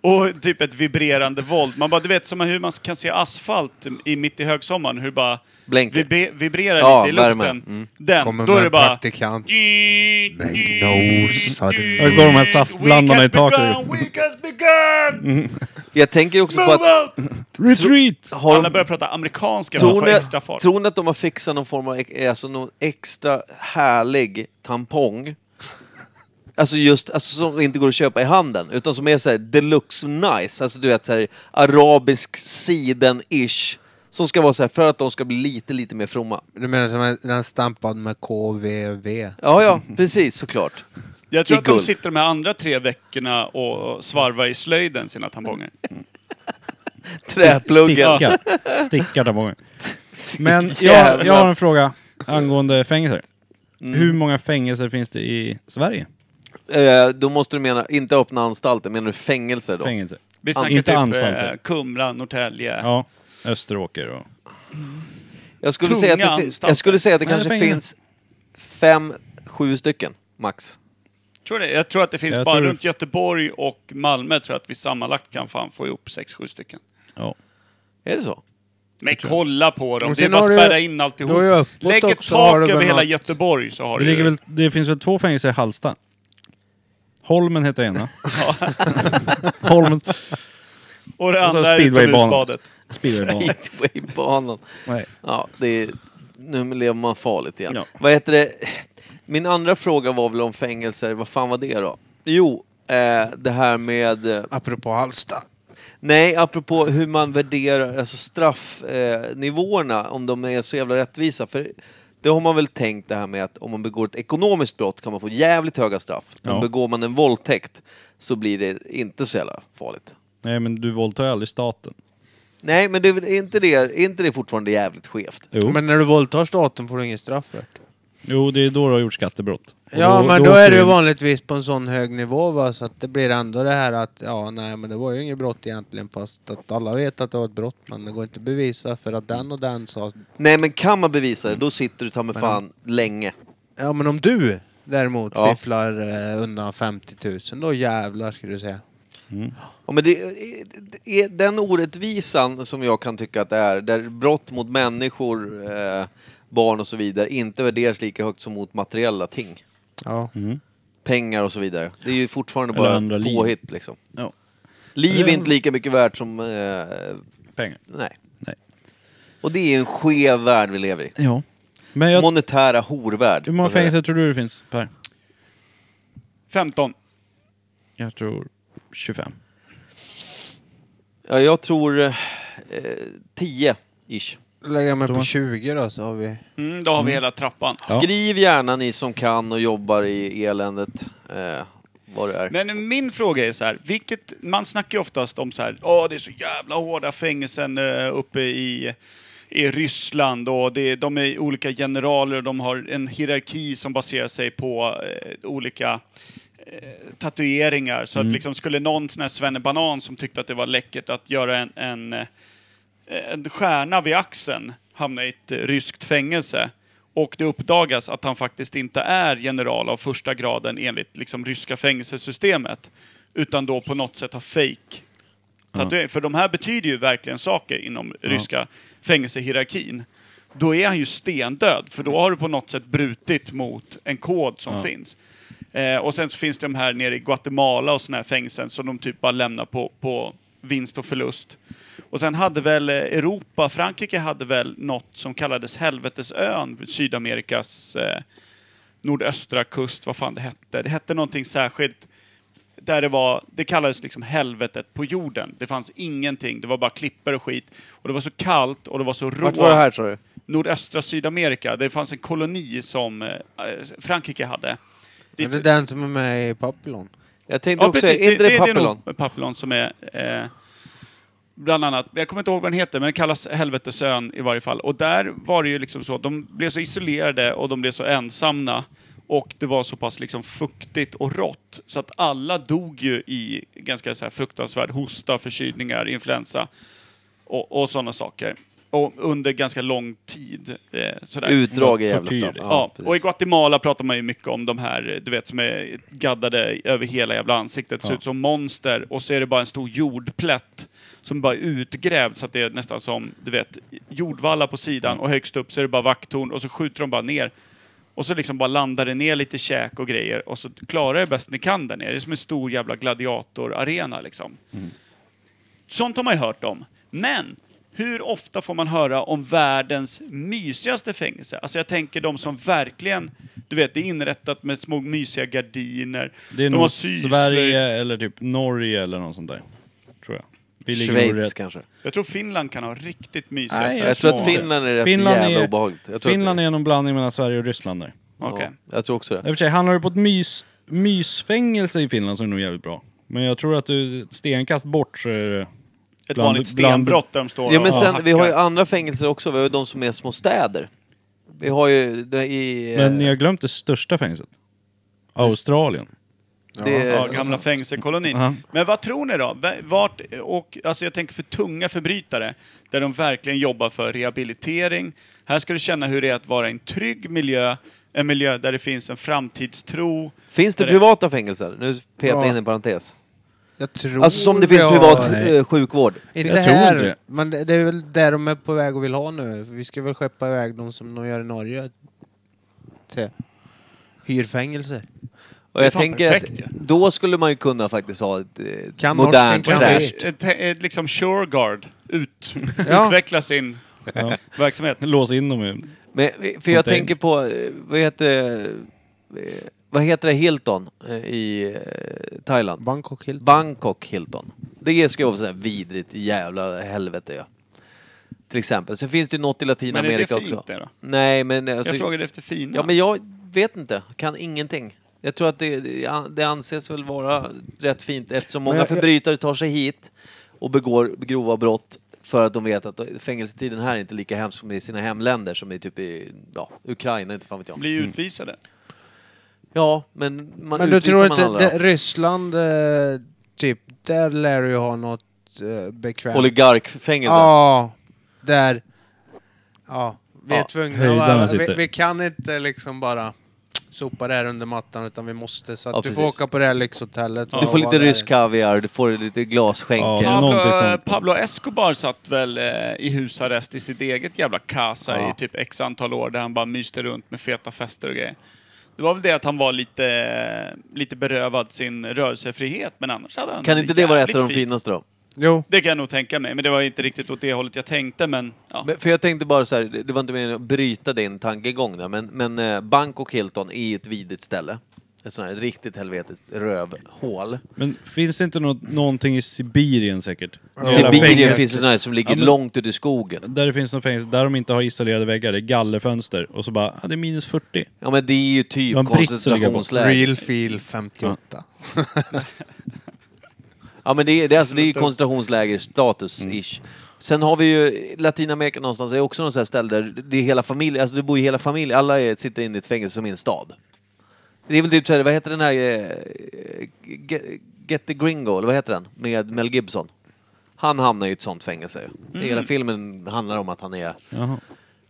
[SPEAKER 2] Och typ ett vibrerande våld. Man bara, du vet som hur man kan se asfalt i, mitt i högsommaren, hur det bara
[SPEAKER 1] Blänker.
[SPEAKER 2] vibe, vibrerar
[SPEAKER 1] Ja,
[SPEAKER 2] lite i luften.
[SPEAKER 1] värmen. Mm.
[SPEAKER 2] Den,
[SPEAKER 4] Kommer
[SPEAKER 2] då
[SPEAKER 4] med
[SPEAKER 2] är det
[SPEAKER 4] en
[SPEAKER 2] bara...
[SPEAKER 4] praktikant. They know sudden.
[SPEAKER 3] Där går de här saftblandarna i
[SPEAKER 2] Week has
[SPEAKER 3] taket.
[SPEAKER 2] begun, week has
[SPEAKER 1] Mm.
[SPEAKER 2] begun!
[SPEAKER 1] Jag tänker också på
[SPEAKER 2] Move
[SPEAKER 1] att...
[SPEAKER 2] out!
[SPEAKER 3] Retreat!
[SPEAKER 1] Har
[SPEAKER 2] Alla
[SPEAKER 1] de,
[SPEAKER 2] börjar prata amerikanska för att
[SPEAKER 1] tror,
[SPEAKER 2] få extra
[SPEAKER 1] ni,
[SPEAKER 2] fart.
[SPEAKER 1] tror ni att de har fixat någon form av ex- alltså någon extra härlig tampong? Alltså just, alltså som inte går att köpa i handeln, utan som är såhär deluxe nice, alltså du vet såhär arabisk siden-ish. Som ska vara såhär för att de ska bli lite, lite mer fromma.
[SPEAKER 4] Du menar som en- den stampad med KVV?
[SPEAKER 1] Ja, ja, precis såklart.
[SPEAKER 2] Jag tror
[SPEAKER 1] i
[SPEAKER 2] att de
[SPEAKER 1] guld.
[SPEAKER 2] sitter de här andra tre veckorna och svarvar i slöjden sina tamponger.
[SPEAKER 1] Träpluggen.
[SPEAKER 3] Stickar. Stickar där många. Men jag, jag har en fråga angående fängelser. Hur många fängelser finns det i Sverige?
[SPEAKER 1] Eh, då måste du mena, inte öppna anstalter, menar du fängelser då?
[SPEAKER 3] Fängelse.
[SPEAKER 2] Vi snackar
[SPEAKER 3] Inte
[SPEAKER 2] typ
[SPEAKER 3] anstalter.
[SPEAKER 2] eh, Kumla, Norrtälje.
[SPEAKER 3] Ja, Österåker och...
[SPEAKER 1] Jag skulle,
[SPEAKER 2] Tunga
[SPEAKER 1] säga att det, fin-
[SPEAKER 2] anstalter.
[SPEAKER 1] jag skulle säga att det
[SPEAKER 3] Nej,
[SPEAKER 1] kanske
[SPEAKER 3] fängelse.
[SPEAKER 1] finns fem, sju stycken, max.
[SPEAKER 2] Tror ni? Jag tror att det finns
[SPEAKER 3] Jag
[SPEAKER 2] bara
[SPEAKER 3] tror-
[SPEAKER 2] runt Göteborg och Malmö tror jag att vi sammanlagt kan fan få ihop sex, sju stycken.
[SPEAKER 3] Ja.
[SPEAKER 1] Är det så?
[SPEAKER 2] Men kolla på dem,
[SPEAKER 4] Och
[SPEAKER 2] det är
[SPEAKER 4] sen
[SPEAKER 2] bara att
[SPEAKER 4] har du-
[SPEAKER 2] spärra in alltihop.
[SPEAKER 4] då är jag uppåt
[SPEAKER 2] Lägg ett
[SPEAKER 4] också, har du
[SPEAKER 2] tak
[SPEAKER 4] väl
[SPEAKER 2] över hela
[SPEAKER 4] något-
[SPEAKER 2] Göteborg så har
[SPEAKER 3] Det,
[SPEAKER 2] du
[SPEAKER 3] ligger väl, det finns väl två fängelser i Hallsta? Holmen heter ena. Holmen...
[SPEAKER 2] Och det
[SPEAKER 3] och så
[SPEAKER 2] andra är
[SPEAKER 3] speedwaybanan.
[SPEAKER 2] utomhusbadet.
[SPEAKER 3] Speedwaybanan.
[SPEAKER 1] Speedwaybanan.
[SPEAKER 3] Nej.
[SPEAKER 1] Ja, det är, nu lever man farligt igen.
[SPEAKER 3] Ja.
[SPEAKER 1] Vad heter det? Min andra fråga var väl om fängelser, vad fan var det då? Jo, eh, det här med... eh,
[SPEAKER 4] Apropå Hallsta.
[SPEAKER 1] Nej, apropå hur man värderar alltså straffnivåerna, eh, nivåerna, om de är så jävla rättvisa. För det har man väl tänkt det här med att om man begår ett ekonomiskt brott kan man få jävligt höga straff. Men
[SPEAKER 3] Ja.
[SPEAKER 1] begår man en våldtäkt så blir det inte så jävla farligt.
[SPEAKER 3] Nej, men du våldtar ju aldrig staten.
[SPEAKER 1] Nej, men det är väl inte det, är inte det fortfarande jävligt skevt?
[SPEAKER 3] Jo.
[SPEAKER 4] Men när du våldtar staten får du inget straff för det.
[SPEAKER 3] jo, det är då du har gjort skattebrott. Och
[SPEAKER 4] Ja, men då
[SPEAKER 3] åker
[SPEAKER 4] är det ju
[SPEAKER 3] du-
[SPEAKER 4] vanligtvis på en sån hög nivå va, så att det blir ändå det här att ja, nej men det var ju inget brott egentligen fast att alla vet att det var ett brott men det går inte att bevisa för att den och den sa
[SPEAKER 1] Nej, men kan man bevisa det, då sitter du ta mig fan länge.
[SPEAKER 4] Ja men om du däremot
[SPEAKER 1] Ja.
[SPEAKER 4] fifflar eh, undan 50 000 då jävlar skulle du säga.
[SPEAKER 1] Ja, men det, det är den orättvisan som jag kan tycka att det är, där brott mot människor, eh, barn och så vidare, inte värderas lika högt som mot materiella ting.
[SPEAKER 4] Ja.
[SPEAKER 1] Pengar och så vidare. Det är ju fortfarande
[SPEAKER 3] Eller
[SPEAKER 1] bara
[SPEAKER 3] andra
[SPEAKER 1] ett
[SPEAKER 3] liv.
[SPEAKER 1] påhitt liksom.
[SPEAKER 3] Ja, Eh.
[SPEAKER 1] Liv är inte lika mycket värt som... Eh,
[SPEAKER 3] pengar.
[SPEAKER 1] nej.
[SPEAKER 3] Nej.
[SPEAKER 1] Och det är ju en skev värld vi lever i.
[SPEAKER 3] Ja. Men jag,
[SPEAKER 1] Monetära horvärld.
[SPEAKER 3] hur många
[SPEAKER 1] så att säga.
[SPEAKER 3] fängelser tror du det finns, Per?
[SPEAKER 2] 15.
[SPEAKER 3] Jag tror 25.
[SPEAKER 1] Ja, jag tror... Eh, 10-ish.
[SPEAKER 4] Lägga mig på
[SPEAKER 3] Thomas?
[SPEAKER 4] 20 då så har vi...
[SPEAKER 2] Mm, då har vi hela trappan.
[SPEAKER 3] Ja.
[SPEAKER 1] Skriv gärna ni som kan och jobbar i eländet. Eh, vad det är.
[SPEAKER 2] Men min fråga är så här, vilket, man snackar ju oftast om så här, åh det är så jävla hårda fängelsen eh, uppe i, i Ryssland och det, de är olika generaler och de har en hierarki som baserar sig på eh, olika eh, tatueringar. Så att liksom skulle någon sån här svennebanan som tyckte att det var läckert att göra en, en, eh, en stjärna vid axeln hamna i ett eh, ryskt fängelse och det uppdagas att han faktiskt inte är general av första graden enligt liksom, ryska fängelsesystemet utan då på något sätt har fake tatuering. För de här betyder ju verkligen saker inom ryska fängelsehierarkin. Då är han ju stendöd, för då har du på något sätt brutit mot en kod som finns. Eh, och sen så finns det de här nere i Guatemala och såna här fängelsen som de typ bara lämnar på, på vinst och förlust. Och sen hade väl eh, Europa, Frankrike hade väl något som kallades Helvetesön, Sydamerikas eh, nordöstra kust, vad fan det hette. Det hette någonting särskilt Där det var, det kallades liksom helvetet på jorden. Det fanns ingenting, det var bara klippor och skit. Och det var så kallt och det var så rått.
[SPEAKER 1] Vart var det här, sa du?
[SPEAKER 2] Nordöstra Sydamerika. Det fanns en koloni som eh, Frankrike hade.
[SPEAKER 4] Är det den som är med i Papillon?
[SPEAKER 1] Jag
[SPEAKER 2] Ja, precis. Det, det, det är nog Papillon som är... Eh, bland annat, jag kommer inte ihåg vad den heter, men den kallas Helvetesön i varje fall. Och där var det ju liksom så, de blev så isolerade och de blev så ensamma. Och det var så pass liksom fuktigt och rått, så att alla dog ju i ganska så här fruktansvärd hosta, förkylningar, influensa och, och sådana saker. Och under ganska lång tid. Eh, sådär.
[SPEAKER 1] Utdrag är jävla Tortyr. straff. Ja,
[SPEAKER 2] Ja,
[SPEAKER 1] precis.
[SPEAKER 2] och i Guatemala pratar man ju mycket om de här, du vet, som är gaddade över hela jävla ansiktet, ser
[SPEAKER 1] Ja.
[SPEAKER 2] ut som monster och så är det bara en stor jordplätt som bara är utgrävd så att det är nästan som, du vet, jordvallar på
[SPEAKER 1] Mm.
[SPEAKER 2] sidan och högst upp så är det bara vakttorn och så skjuter de bara ner. Och så liksom bara landar det ner lite käk och grejer och så klarar det bäst ni kan där nere. Det är som en stor jävla gladiatorarena liksom.
[SPEAKER 3] Mm.
[SPEAKER 2] Sånt har man ju hört om. Men hur ofta får man höra om världens mysigaste fängelse? Alltså jag tänker de som verkligen, du vet, det är inrättat med små mysiga gardiner.
[SPEAKER 3] Det är
[SPEAKER 2] de har
[SPEAKER 3] nog
[SPEAKER 2] syslöjd.
[SPEAKER 3] Sverige eller typ Norge eller något sånt där. Tror jag. ligger nog
[SPEAKER 1] Schweiz
[SPEAKER 3] rätt-
[SPEAKER 1] kanske.
[SPEAKER 2] Jag tror Finland kan ha riktigt mysiga
[SPEAKER 1] Nej,
[SPEAKER 2] så
[SPEAKER 1] jag
[SPEAKER 2] här
[SPEAKER 1] tror att
[SPEAKER 2] små-
[SPEAKER 1] Finland är rätt jävla obehagligt. Jag tror
[SPEAKER 3] Finland är någon blandning mellan Sverige och Ryssland där.
[SPEAKER 2] Okej.
[SPEAKER 1] Ja, jag tror också
[SPEAKER 3] I och för sig, hamnar du på ett mys, mysfängelse i Finland så är det nog jävligt bra. Men jag tror att du ett stenkast bort så är det...
[SPEAKER 2] Ett vanligt stenbrott där de står
[SPEAKER 1] Ja, men
[SPEAKER 2] och
[SPEAKER 1] sen, vi har ju
[SPEAKER 2] hackar.
[SPEAKER 1] andra fängelser också. Vi har ju de som är små städer. Vi har ju det i... eh,
[SPEAKER 3] Men ni har glömt det största fängelset. Australien.
[SPEAKER 2] Det ja,
[SPEAKER 4] Eh,
[SPEAKER 2] gamla fängelsekolonin.
[SPEAKER 3] Ja.
[SPEAKER 2] Men vad tror ni då? V- Vart, och, alltså jag tänker för tunga förbrytare, där de verkligen jobbar för rehabilitering. Här ska du känna hur det är att vara i en trygg miljö, en miljö där det finns en framtidstro.
[SPEAKER 1] Finns det
[SPEAKER 2] Där
[SPEAKER 1] privata fängelser? Nu petar jag
[SPEAKER 2] Ja.
[SPEAKER 1] in en parentes.
[SPEAKER 4] Jag tror
[SPEAKER 1] Alltså som det finns
[SPEAKER 4] jag-
[SPEAKER 1] privat eh, sjukvård.
[SPEAKER 4] Inte här, men det det är väl där de är på väg och vill ha nu. Vi ska väl skeppa iväg dem som de gör i Norge. Till hyrfängelser.
[SPEAKER 1] Och jag tänker att då skulle man ju kunna faktiskt ha ett eh,
[SPEAKER 4] Kan
[SPEAKER 1] modernt
[SPEAKER 2] Ett-
[SPEAKER 1] fräscht...
[SPEAKER 2] ett- ett- Liksom Sureguard, ut,
[SPEAKER 1] Ja.
[SPEAKER 2] utveckla sin
[SPEAKER 1] Ja.
[SPEAKER 2] verksamhet.
[SPEAKER 3] Lås in dem i en
[SPEAKER 1] Men, eh, för jag
[SPEAKER 3] container.
[SPEAKER 1] tänker på, eh, vad heter, eh, vad heter det, Hilton eh, i eh, Thailand?
[SPEAKER 4] Bangkok Hilton.
[SPEAKER 1] Bangkok Hilton. Det ska ju vara sådär vidrigt jävla helvete ja. Till exempel. Sen finns det ju något i Latinamerika
[SPEAKER 2] Men är det
[SPEAKER 1] också.
[SPEAKER 2] fint det då?
[SPEAKER 1] Nej men... Alltså,
[SPEAKER 2] Jag frågade efter fina.
[SPEAKER 1] Ja men jag vet inte, kan ingenting. Jag tror att det, det anses väl vara rätt fint eftersom
[SPEAKER 4] Men
[SPEAKER 1] många
[SPEAKER 4] jag- jag-
[SPEAKER 1] förbrytare tar sig hit och begår grova brott för att de vet att fängelsetiden här är inte lika hemsk som i sina hemländer som i typ i ja, Ukraina, inte fan vet jag.
[SPEAKER 2] Blir ju utvisade.
[SPEAKER 1] Ja, men man
[SPEAKER 4] men du
[SPEAKER 1] utvisar
[SPEAKER 4] tror
[SPEAKER 1] man
[SPEAKER 4] inte
[SPEAKER 1] alla
[SPEAKER 4] det,
[SPEAKER 1] då.
[SPEAKER 4] Ryssland, eh, typ, där lär du ju ha något eh, bekvämt.
[SPEAKER 1] Oligarkfängelse.
[SPEAKER 4] Ja, där. Ja, vi är
[SPEAKER 1] Ja,
[SPEAKER 4] tvungna
[SPEAKER 1] höjdarna
[SPEAKER 4] att vara- vi,
[SPEAKER 1] sitter.
[SPEAKER 4] vi kan inte liksom bara sopa det här under mattan utan vi måste. Så att
[SPEAKER 1] Ja,
[SPEAKER 4] du får
[SPEAKER 1] precis.
[SPEAKER 4] åka på det här lyxhotellet. och
[SPEAKER 1] Du får
[SPEAKER 4] vara
[SPEAKER 1] lite
[SPEAKER 4] där.
[SPEAKER 1] rysk kaviar, du får lite glasskänke.
[SPEAKER 2] Pablo, eh, Pablo Escobar satt väl eh, i husarrest i sitt eget jävla casa
[SPEAKER 1] Ja.
[SPEAKER 2] i typ x antal år där han bara myste runt med feta fester och grejer. Det var väl det att han var lite, eh, lite berövad sin rörelsefrihet, men annars hade han
[SPEAKER 1] Kan inte det vara ett av de
[SPEAKER 2] jävligt fint.
[SPEAKER 1] finaste då?
[SPEAKER 4] Jo.
[SPEAKER 2] Det kan jag nog tänka mig, men det var inte riktigt åt det hållet jag tänkte, men... Ja.
[SPEAKER 1] Men- För jag tänkte bara så här, det det var inte meningen att bryta din tankegång där, men, men eh, Bangkok Hilton är ju ett vidigt ställe. Ett sånt här riktigt helvetiskt rövhål.
[SPEAKER 3] Men finns det inte något, någonting i Sibirien säkert?
[SPEAKER 1] I
[SPEAKER 3] Jävla
[SPEAKER 1] Sibirien
[SPEAKER 3] fängelse.
[SPEAKER 1] finns det sådana här som ligger
[SPEAKER 3] men-
[SPEAKER 1] långt ute i skogen.
[SPEAKER 3] Där det finns någon fängelse, där de inte har isolerade väggar, det är gallerfönster. Och så bara, ah, det är minus 40.
[SPEAKER 1] Ja men det är ju typ
[SPEAKER 3] Det var en britt som ligger bakom.
[SPEAKER 1] koncentrationsläger.
[SPEAKER 4] Real feel 58.
[SPEAKER 1] Ja men det är, det är, alltså, det är ju koncentrationsläger-status-ish. Sen har vi ju Latinamerika någonstans, är också något sånt här ställe där det är hela familj, alltså det bor ju hela familj, alla är, sitter inne i ett fängelse som i en stad. Det är väl typ såhär, vad heter den här... eh, Get, Get the Gringo, eller vad heter den? Med Mel Gibson. Han hamnar i ett sånt fängelse ju. Hela
[SPEAKER 2] Mm.
[SPEAKER 1] filmen handlar om att han är...
[SPEAKER 3] Jaha.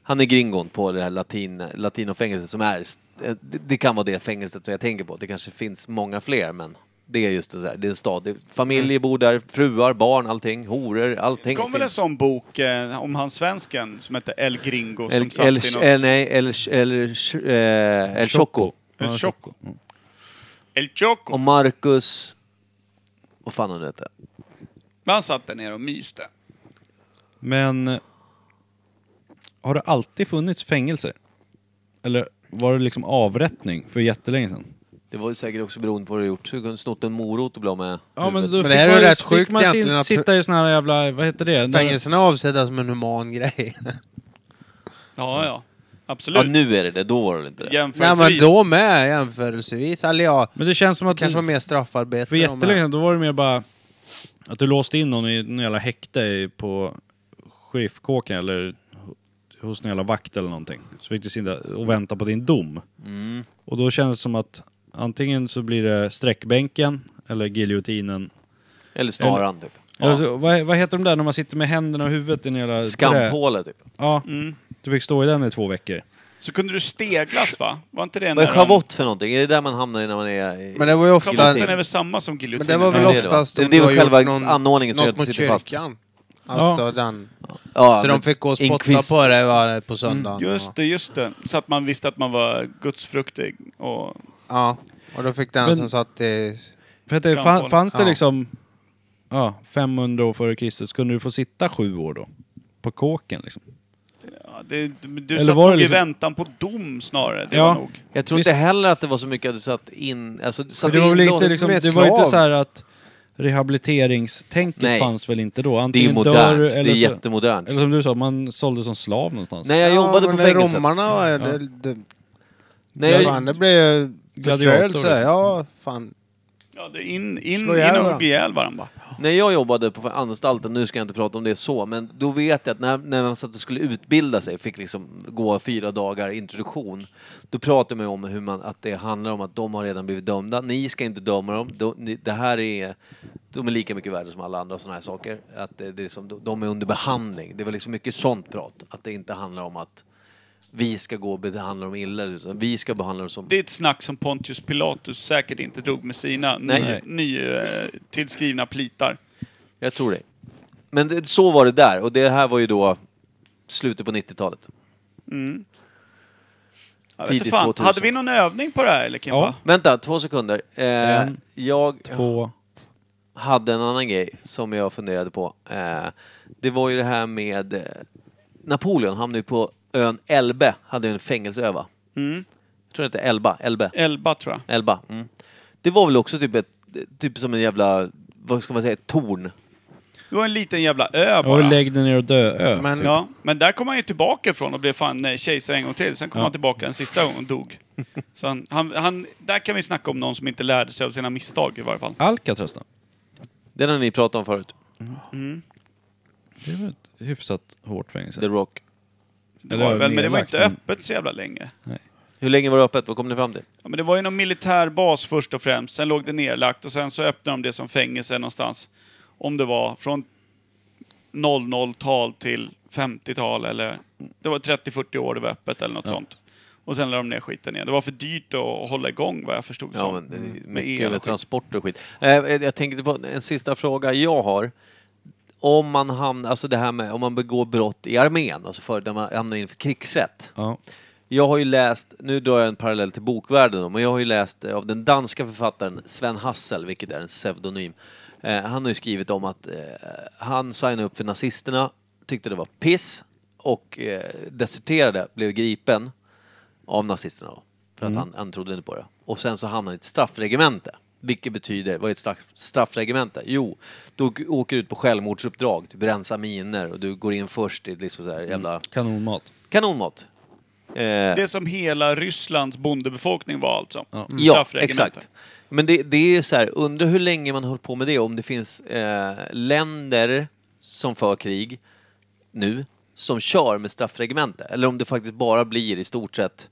[SPEAKER 1] Han är gringon på det här latin, latinofängelset som är... Det, det kan vara det fängelset som jag tänker på. Det kanske finns många fler men det är just det så här. Det är en stad. Det- Familjer bor där, fruar, barn, allting, horor,
[SPEAKER 2] Det
[SPEAKER 1] allting.
[SPEAKER 2] Mm. kom väl en sån bok eh, om han svensken som hette El Gringo som
[SPEAKER 1] El,
[SPEAKER 2] satt
[SPEAKER 1] el,
[SPEAKER 2] i något...
[SPEAKER 1] el, nej, el, el, eh, el Choco.
[SPEAKER 2] El Choco.
[SPEAKER 1] Mm.
[SPEAKER 2] El Choco.
[SPEAKER 1] Och Marcus... Vad fan han nu hette?
[SPEAKER 2] Men han satt där nere och myste.
[SPEAKER 3] Men eh, har det alltid funnits fängelser? Eller var det liksom avrättning för jättelänge sedan?
[SPEAKER 1] Det var ju säkert också beroende på vad du gjort. Så du kunde snott en morot och bli av med
[SPEAKER 3] Ja, men,
[SPEAKER 1] huvudet.
[SPEAKER 3] då
[SPEAKER 4] det
[SPEAKER 3] fick
[SPEAKER 4] här är
[SPEAKER 3] man-
[SPEAKER 4] ju rätt
[SPEAKER 3] fick
[SPEAKER 4] sjukt
[SPEAKER 3] man sin-
[SPEAKER 4] egentligen att-
[SPEAKER 3] sitta i såna här jävla, vad heter det? När-
[SPEAKER 4] Fängelserna är avsedda som en human grej.
[SPEAKER 2] Ja, ja. Absolut.
[SPEAKER 1] Ja, nu är det det. Då var det väl inte det.
[SPEAKER 4] Nej
[SPEAKER 2] Jämförelsevis.
[SPEAKER 4] men då med jämförelsevis. Eller ja,
[SPEAKER 1] Mm.
[SPEAKER 3] Men det känns som att
[SPEAKER 4] kanske var mer straffarbete.
[SPEAKER 3] för
[SPEAKER 4] då
[SPEAKER 3] jättelänge
[SPEAKER 4] med.
[SPEAKER 3] sedan, då var det mer bara att du låste in någon i någon jävla häkte i- på sheriffkåken eller ho- hos någon jävla vakt eller någonting. Så fick du sitta och vänta på din dom.
[SPEAKER 1] Mm.
[SPEAKER 3] Och då kändes det som att antingen så blir det sträckbänken eller giljotinen.
[SPEAKER 1] Eller snaran, typ.
[SPEAKER 3] Eller så, vad, vad heter de där när man sitter med händerna och huvudet i en jävla... trä?
[SPEAKER 1] Skamhålet, typ.
[SPEAKER 3] Ja, du fick stå i den i två veckor.
[SPEAKER 2] Så kunde du steglas va? Var inte det en
[SPEAKER 1] Vad är
[SPEAKER 2] där-
[SPEAKER 1] schavott för någonting? Är det där man hamnar i när man är... i-
[SPEAKER 4] Men det var ju ofta...
[SPEAKER 1] Guillotine.
[SPEAKER 2] Kavotten är väl samma som
[SPEAKER 4] Men
[SPEAKER 2] giljotinen?
[SPEAKER 4] det var väl
[SPEAKER 1] Ja, det är det.
[SPEAKER 4] oftast om
[SPEAKER 1] Det är
[SPEAKER 4] du har
[SPEAKER 1] väl själva
[SPEAKER 4] gjort någon,
[SPEAKER 1] anordningen som gör
[SPEAKER 4] något
[SPEAKER 1] att du
[SPEAKER 4] mot
[SPEAKER 1] sitter fast.
[SPEAKER 4] kyrkan. Alltså den.
[SPEAKER 1] Ja, Mm,
[SPEAKER 4] så
[SPEAKER 1] men
[SPEAKER 4] de fick gå och spotta
[SPEAKER 1] Inquis-
[SPEAKER 4] på dig va, på söndagen.
[SPEAKER 2] Just det, just det. Så att man visste att man var gudsfruktig. Och...
[SPEAKER 4] Ja. Och då fick den
[SPEAKER 3] Men-
[SPEAKER 4] som satt i...
[SPEAKER 3] För att det,
[SPEAKER 2] Skamhål.
[SPEAKER 3] fan, fanns det
[SPEAKER 4] Ja.
[SPEAKER 3] liksom ja, 500 år före Kristus, kunde du få sitta sju år då? På kåken liksom.
[SPEAKER 2] Ja, det, du
[SPEAKER 3] Eller
[SPEAKER 2] satt
[SPEAKER 3] var det
[SPEAKER 2] nog
[SPEAKER 3] liksom-
[SPEAKER 2] i väntan på dom snarare. Det
[SPEAKER 3] Ja.
[SPEAKER 2] var nog.
[SPEAKER 1] Jag tror
[SPEAKER 3] Visst.
[SPEAKER 1] inte heller att det var så mycket att du satt in... Alltså, satt
[SPEAKER 3] det var väl
[SPEAKER 1] in
[SPEAKER 3] inte, liksom,
[SPEAKER 4] med
[SPEAKER 3] det var ju inte
[SPEAKER 4] slav.
[SPEAKER 3] så här att rehabiliteringstänket
[SPEAKER 1] Nej.
[SPEAKER 3] fanns väl inte då?
[SPEAKER 1] Det är ju
[SPEAKER 3] Antingen dör
[SPEAKER 1] modernt. Det är
[SPEAKER 3] du liksom eller, så,
[SPEAKER 1] jättemodernt.
[SPEAKER 3] eller som du sa, man sålde som slav någonstans.
[SPEAKER 1] Nej, jag jobbade på
[SPEAKER 4] men det
[SPEAKER 1] fängelset.
[SPEAKER 4] romarna var ju... Det, det,
[SPEAKER 1] Nej, jag,
[SPEAKER 4] fan, det blev ju förstörelse.
[SPEAKER 3] Gladiator.
[SPEAKER 4] Ja, fan.
[SPEAKER 2] Ja, det in, in, in
[SPEAKER 4] Slå ihjäl
[SPEAKER 2] och
[SPEAKER 4] varandra.
[SPEAKER 2] hugg ihjäl varandra.
[SPEAKER 1] När jag jobbade på anstalten, nu ska jag inte prata om det så, men då vet jag att när, när man satt och skulle utbilda sig, fick liksom gå fyra dagar introduktion, då pratade man ju om hur man, att det handlar om att de har redan blivit dömda, ni ska inte döma dem, de, ni, det här är, de är lika mycket värda som alla andra sådana här saker, att det, det är som, de är under behandling. Det var liksom mycket sånt prat, att det inte handlar om att vi ska gå och behandla dem illa, utan vi ska behandla dem som...
[SPEAKER 2] Det är ett snack som Pontius Pilatus säkert inte drog med sina
[SPEAKER 1] Nej.
[SPEAKER 2] nytillskrivna plitar.
[SPEAKER 1] Jag tror det. Men det, så var det där, och det här var ju då slutet på 90-talet.
[SPEAKER 2] Jag vet
[SPEAKER 1] Tidigt
[SPEAKER 2] inte fan.
[SPEAKER 1] 2000.
[SPEAKER 2] Hade vi någon övning på det här eller Kimpa?
[SPEAKER 3] Ja.
[SPEAKER 1] Vänta, två sekunder. Eh,
[SPEAKER 3] En,
[SPEAKER 1] jag
[SPEAKER 3] På,
[SPEAKER 1] hade en annan grej som jag funderade på. Eh, det var ju det här med eh, Napoleon hamnade ju på ön Elbe, hade ju en fängelseöva.
[SPEAKER 2] Mm.
[SPEAKER 1] Jag tror det hette Elba, Elbe.
[SPEAKER 2] Elba tror jag.
[SPEAKER 1] Elba. Mm. Det var väl också typ ett, typ som en jävla, vad ska man säga, ett torn.
[SPEAKER 2] Det var en liten jävla ö
[SPEAKER 3] och
[SPEAKER 2] bara.
[SPEAKER 3] lägg dig ner och dö ö.
[SPEAKER 4] Men
[SPEAKER 2] Ja, men där kom han ju tillbaka ifrån och blev fan eh, kejsare en gång till. Sen kom han tillbaka en sista gång och dog. Så han, han, han, där kan vi snacka om någon som inte lärde sig av sina misstag i varje fall.
[SPEAKER 3] Alcatraz då?
[SPEAKER 1] Den har ni pratat om förut,
[SPEAKER 3] Det är väl ett hyfsat hårt
[SPEAKER 1] The
[SPEAKER 3] fängelse?
[SPEAKER 1] Rock.
[SPEAKER 2] Det
[SPEAKER 3] Eller
[SPEAKER 2] var väl, men det var
[SPEAKER 3] nedlagt,
[SPEAKER 2] inte
[SPEAKER 3] men-
[SPEAKER 2] öppet så jävla länge.
[SPEAKER 1] Hur länge var det öppet? Vad kom ni fram till?
[SPEAKER 2] Ja, men det var ju någon militärbas först och främst, sen låg det nerlagt och sen så öppnade de det som fängelse någonstans. Om det var från 00-tal till 50-tal eller... Det var 30-40 år det var öppet eller något sånt. Och sen lade de ner skiten igen. Det var för dyrt att hålla igång vad jag förstod
[SPEAKER 1] Ja,
[SPEAKER 2] som. Mm.
[SPEAKER 1] men det är mycket
[SPEAKER 2] Med
[SPEAKER 1] med,
[SPEAKER 2] el och skit.
[SPEAKER 1] transport och skit. Eh, jag tänkte på en sista fråga jag har. Om man hamnar, alltså det här med om man begår brott i armén, alltså för, där man hamnar in för krigsrätt.
[SPEAKER 3] Ja.
[SPEAKER 1] Jag har ju läst, nu drar jag en parallell till bokvärlden då, men jag har ju läst eh, av den danska författaren Sven Hassel, vilket är en pseudonym. Eh, han har ju skrivit om att eh, han signade upp för nazisterna, tyckte det var piss och eh, deserterade, blev gripen av nazisterna då, för att han, han trodde inte på det. Och sen så hamnade han i ett straffregemente. Vilket betyder, vad är ett straff, straffregemente? Jo, då g- åker du ut på självmordsuppdrag, du rensar miner och du går in först i liksom så här
[SPEAKER 3] Mm.
[SPEAKER 1] jävla
[SPEAKER 3] Kanonmat.
[SPEAKER 1] kanonmat. Eh,
[SPEAKER 2] Det som hela Rysslands bondebefolkning var alltså.
[SPEAKER 1] Mm. Ja,
[SPEAKER 2] Straffregemente.
[SPEAKER 1] exakt. Men det, det är ju så här, undrar hur länge man håller på med det, om det finns eh, länder som för krig nu, som kör med straffregemente. Eller om det faktiskt bara blir i stort sett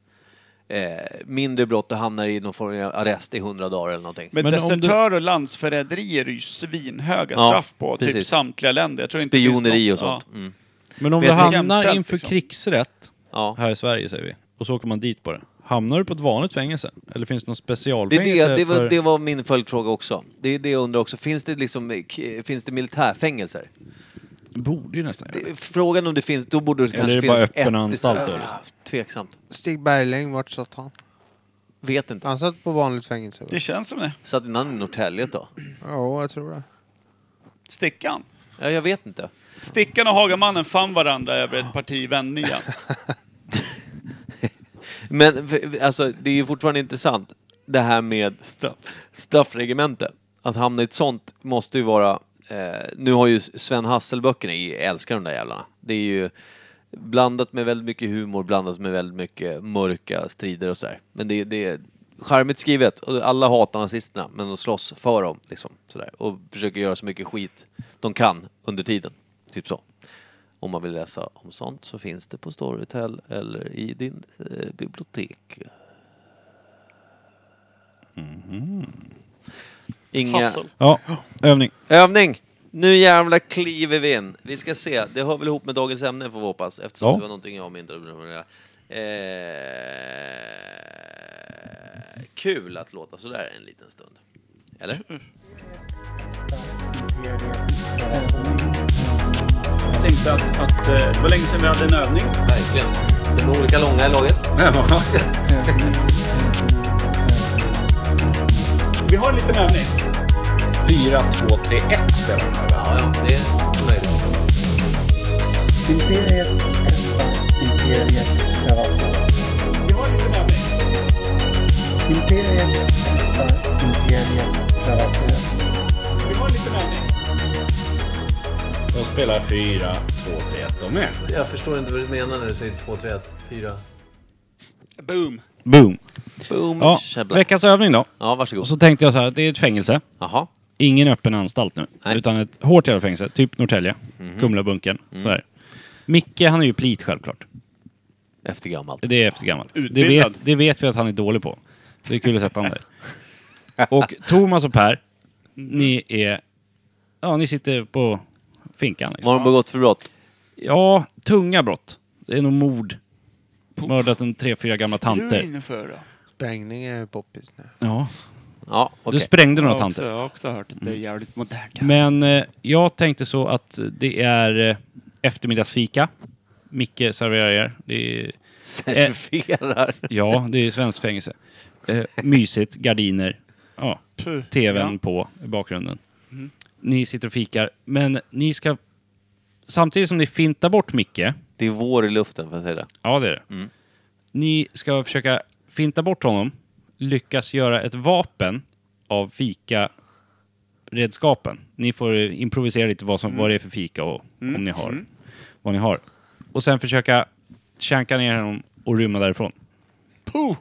[SPEAKER 1] eh, mindre brott och hamnar i någon form av arrest i hundra dagar eller någonting.
[SPEAKER 2] Men,
[SPEAKER 3] Men om
[SPEAKER 2] desertör och landsförräderi är det ju svinhöga
[SPEAKER 1] Ja,
[SPEAKER 2] straff på, typ
[SPEAKER 1] precis.
[SPEAKER 2] samtliga länder. Jag tror inte det finns
[SPEAKER 1] Spioneri
[SPEAKER 2] någon-
[SPEAKER 1] och sånt.
[SPEAKER 2] Ja.
[SPEAKER 1] Mm.
[SPEAKER 3] Men om
[SPEAKER 1] Vet
[SPEAKER 3] du
[SPEAKER 1] ni-
[SPEAKER 3] hamnar
[SPEAKER 2] Jämställt,
[SPEAKER 3] inför
[SPEAKER 2] liksom.
[SPEAKER 3] krigsrätt
[SPEAKER 1] Ja.
[SPEAKER 3] här i Sverige säger vi, och så åker man dit på det. Hamnar du på ett vanligt fängelse? Eller finns det någon
[SPEAKER 1] Det, är
[SPEAKER 3] specialfängelse?
[SPEAKER 1] det, det, var,
[SPEAKER 3] för...
[SPEAKER 1] det var min följdfråga också. Det är det jag undrar också. Finns det, liksom, eh, k- finns det militärfängelser?
[SPEAKER 3] borde ju nästan göra det.
[SPEAKER 1] Det- Frågan om det finns, då borde det
[SPEAKER 3] Eller
[SPEAKER 1] kanske
[SPEAKER 3] är det bara
[SPEAKER 1] finnas
[SPEAKER 3] öppen
[SPEAKER 1] ett- Ah,
[SPEAKER 3] anstalt då?
[SPEAKER 1] Tveksamt.
[SPEAKER 4] Stig Bergling, vart satt han?
[SPEAKER 1] Vet inte.
[SPEAKER 4] Han satt på vanligt fängelse va?
[SPEAKER 2] Det känns som det.
[SPEAKER 1] Satt innan i Norrtälje då?
[SPEAKER 4] Ja, jag tror det.
[SPEAKER 2] Stickan.
[SPEAKER 1] Ja, jag vet inte.
[SPEAKER 2] Stickan och Hagamannen fann varandra över ett parti Vennia.
[SPEAKER 1] Men för- alltså, det är ju fortfarande intressant. det här med straff, straffregemente. Att hamna i ett sånt måste ju vara... Eh, nu har ju Sven Hasselböckerna, jag älskar de där jävlarna. Det är ju blandat med väldigt mycket humor, blandat med väldigt mycket mörka strider och sådär. Men det, det är charmigt skrivet. Och alla hatar nazisterna, men de slåss för dem. Liksom, sådär. Och försöker göra så mycket skit de kan under tiden. Typ så. Om man vill läsa om sånt så finns det på Storytel eller i din eh, bibliotek. Inga...
[SPEAKER 3] Hassel. Ja, övning.
[SPEAKER 1] Övning! Nu jävla kliver vi in. Vi ska se, det hör väl ihop med dagens ämne får vi hoppas, eftersom
[SPEAKER 3] Ja.
[SPEAKER 1] det var någonting jag myntade. Eh, kul att låta sådär en liten stund. Eller?
[SPEAKER 2] Jag tänkte att, att eh, det var länge sedan vi hade en övning.
[SPEAKER 1] Verkligen. Det var olika långa i laget.
[SPEAKER 2] Vi har en liten övning.
[SPEAKER 12] 4, 2, 3, 1 spelar den här.
[SPEAKER 1] Ja, ja, det är möjligt.
[SPEAKER 12] Imperiet testar, Imperiet prövar på. Vi har lite nämning. Imperiet testar, Imperiet prövar på.
[SPEAKER 2] Vi har en liten övning.
[SPEAKER 12] De spelar 4, 2, 3, 1 de med.
[SPEAKER 1] Jag förstår inte vad du menar när du säger 2, 3, 1, 4.
[SPEAKER 2] Boom.
[SPEAKER 3] Boom.
[SPEAKER 1] Boom,
[SPEAKER 3] ja,
[SPEAKER 1] tjabla.
[SPEAKER 3] veckans övning då.
[SPEAKER 1] Ja, varsågod.
[SPEAKER 3] Och så tänkte jag så här, det är ett fängelse. Ingen öppen anstalt nu. Utan ett hårt jävla fängelse. Typ Norrtälje.
[SPEAKER 1] Mhm.
[SPEAKER 3] Kumlabunken.
[SPEAKER 1] Mm.
[SPEAKER 3] Sådär. Micke, han är ju plit självklart.
[SPEAKER 1] Efter gammalt.
[SPEAKER 3] Det är efter gammalt. Det
[SPEAKER 1] Utbildad.
[SPEAKER 3] vet, det vet vi att han är dålig på. Det är kul att sätta han där. Och Thomas och Per, ni är... Ja, ni sitter på finkan. Liksom.
[SPEAKER 1] Vad har de begått för brott?
[SPEAKER 3] Ja, tunga brott. Det är nog mord. Mördat en tre, fyra gamla tanter.
[SPEAKER 2] för då?
[SPEAKER 4] Sprängning är ju poppis nu.
[SPEAKER 3] Ja.
[SPEAKER 1] ja
[SPEAKER 3] Du sprängde några
[SPEAKER 2] Jag har också-
[SPEAKER 3] tanter.
[SPEAKER 2] Jag har också hört att
[SPEAKER 1] Mm.
[SPEAKER 2] det är jävligt modernt.
[SPEAKER 3] Men eh, jag tänkte så att det är eh, eftermiddagsfika. Micke serverar er. Det är,
[SPEAKER 1] Serverar?
[SPEAKER 3] ja, det är svenskt fängelse. Eh, mysigt, gardiner. Ja,
[SPEAKER 2] Puh.
[SPEAKER 3] tvn
[SPEAKER 2] Ja.
[SPEAKER 3] på i bakgrunden.
[SPEAKER 2] Mm.
[SPEAKER 3] Ni sitter och fikar, men ni ska... Samtidigt som ni fintar bort Micke.
[SPEAKER 1] Det är vår i luften, får jag säga det?
[SPEAKER 3] Ja, det är det.
[SPEAKER 1] Mm.
[SPEAKER 3] Ni ska försöka finta bort honom, lyckas göra ett vapen av fika-redskapen. Ni får improvisera lite vad, som, vad det är för fika och
[SPEAKER 2] Mm.
[SPEAKER 3] om ni har,
[SPEAKER 2] Mm.
[SPEAKER 3] vad ni har. Och sen försöka känka ner honom och rymma därifrån.
[SPEAKER 2] Puh!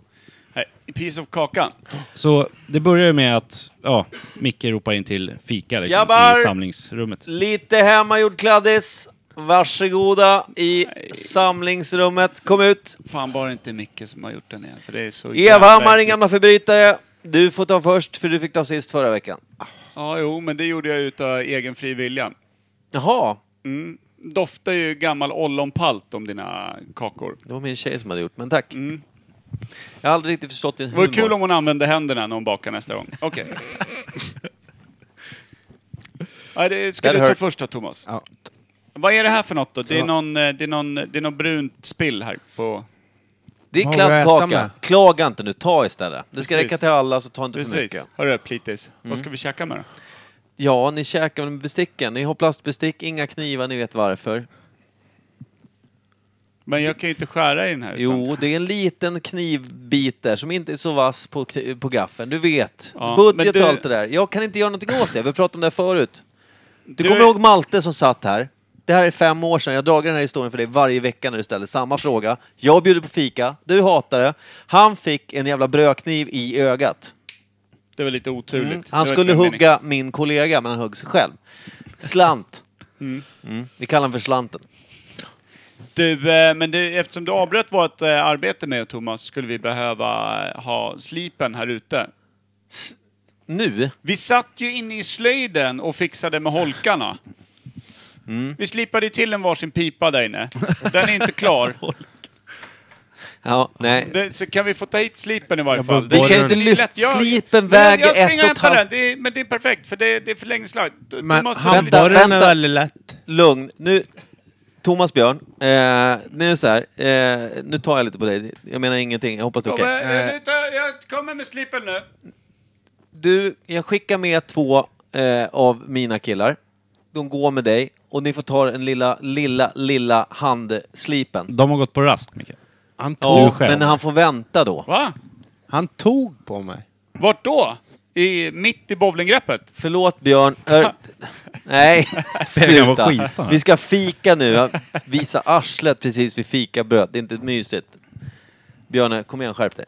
[SPEAKER 2] Här, piece of kakan.
[SPEAKER 3] Så det börjar ju med att ja, Micke ropar in till fika liksom,
[SPEAKER 1] Grabbar!
[SPEAKER 3] i samlingsrummet.
[SPEAKER 1] Lite hemmagjord kladdis. Varsågoda i samlingsrummet. Kom ut.
[SPEAKER 2] Fan, bara inte Micke som har gjort den igen. För det är så jävla
[SPEAKER 1] Evhammar, din
[SPEAKER 2] äckligt.
[SPEAKER 1] gamla förbrytare. Du får ta först, för du fick ta sist förra veckan.
[SPEAKER 2] Ja, jo, men det gjorde jag utav egen fri vilja.
[SPEAKER 1] Jaha.
[SPEAKER 2] Mm. Doftar ju gammal ollonpalt om dina kakor.
[SPEAKER 1] Det var min tjej som hade gjort, men tack. Jag har aldrig riktigt förstått din
[SPEAKER 2] Mm. Det vore
[SPEAKER 1] humor.
[SPEAKER 2] kul om hon använde händerna när hon bakar nästa gång. Okej. Ja, det ska
[SPEAKER 1] That
[SPEAKER 2] du
[SPEAKER 1] hurt.
[SPEAKER 2] ta första, Thomas? Vad är det här för något då? Det är, någon, eh, det är, någon, det är någon brunt spill här på...
[SPEAKER 1] Det är kladdkaka. Klaga inte nu, ta istället. Det ska
[SPEAKER 2] Precis.
[SPEAKER 1] räcka till alla, så ta inte för
[SPEAKER 2] Precis.
[SPEAKER 1] mycket.
[SPEAKER 2] Hörru, plitis.
[SPEAKER 1] Mm.
[SPEAKER 2] Vad ska vi käka med då?
[SPEAKER 1] Ja, ni käkar med besticken. Ni har plastbestick, inga knivar, ni vet varför.
[SPEAKER 2] Men jag kan ju inte skära i den här. utan-
[SPEAKER 1] Jo, det är en liten knivbit där som inte är så vass på, kni- på gaffeln. Du vet.
[SPEAKER 2] Ja, men
[SPEAKER 1] Budget
[SPEAKER 2] du-
[SPEAKER 1] och allt det där. Jag kan inte göra någonting åt det. Vi pratade om det här förut. Du,
[SPEAKER 2] Du-
[SPEAKER 1] kommer ihåg Malte som satt här. Det här är fem år sedan. Jag drar den här historien för dig varje vecka när du ställer samma fråga. Jag bjuder på fika. Du hatar det. Han fick en jävla brödkniv i ögat.
[SPEAKER 2] Det var lite oturligt.
[SPEAKER 1] Mm.
[SPEAKER 2] Det var
[SPEAKER 1] Han
[SPEAKER 2] inte
[SPEAKER 1] skulle
[SPEAKER 2] min mening.
[SPEAKER 1] hugga min kollega, men han högg sig själv. Slant.
[SPEAKER 2] Mm.
[SPEAKER 1] Mm. Vi kallar honom för Slanten.
[SPEAKER 2] Du, eh, men det, eftersom du avbröt vårt eh, arbete med Thomas skulle vi behöva eh, ha slipen här ute.
[SPEAKER 1] nu?
[SPEAKER 2] Vi satt ju inne i slöjden och fixade med holkarna.
[SPEAKER 1] Mm.
[SPEAKER 2] Vi slipade ju till en varsin pipa där inne. Den är inte klar.
[SPEAKER 1] Ja, nej.
[SPEAKER 2] Det, så kan vi få ta hit slipen i varje
[SPEAKER 1] Jag
[SPEAKER 2] fall?
[SPEAKER 1] bara- Vi kan ju inte
[SPEAKER 2] Det är
[SPEAKER 1] lyfta-
[SPEAKER 2] lätt. Jag-
[SPEAKER 1] slipen
[SPEAKER 2] Men
[SPEAKER 1] väger
[SPEAKER 2] jag
[SPEAKER 1] ett
[SPEAKER 2] springer
[SPEAKER 1] och
[SPEAKER 2] och
[SPEAKER 1] ett
[SPEAKER 2] hämtar
[SPEAKER 1] halvt-
[SPEAKER 2] den. Det är, men det är perfekt, för det, det är förlängningslag. Du- du måste-
[SPEAKER 1] väldigt lätt. Lugn. Nu, Thomas Björn. Eh, nu är det så här. Eh, nu tar jag lite på dig. Jag menar ingenting. Jag hoppas det är
[SPEAKER 2] Ja,
[SPEAKER 1] okej.
[SPEAKER 2] men, eh, nu tar- Jag kommer med slipen nu.
[SPEAKER 1] Du, jag skickar med två eh, av mina killar. De går med dig. Och ni får ta den lilla, lilla, lilla handslipen.
[SPEAKER 3] De har gått på rast, Micke.
[SPEAKER 1] Han
[SPEAKER 3] tog-
[SPEAKER 1] ja, men han får vänta då.
[SPEAKER 2] Va?
[SPEAKER 1] Han tog på mig.
[SPEAKER 2] Vart då? I, mitt i bowlinggreppet?
[SPEAKER 1] Förlåt Björn. Ör... Nej,
[SPEAKER 2] Pengarna var
[SPEAKER 1] sluta.
[SPEAKER 2] skitna.
[SPEAKER 1] Vi ska fika nu. Jag Visa arslet precis vid fikabröd. Det är inte mysigt. Björne, kom igen, skärp dig.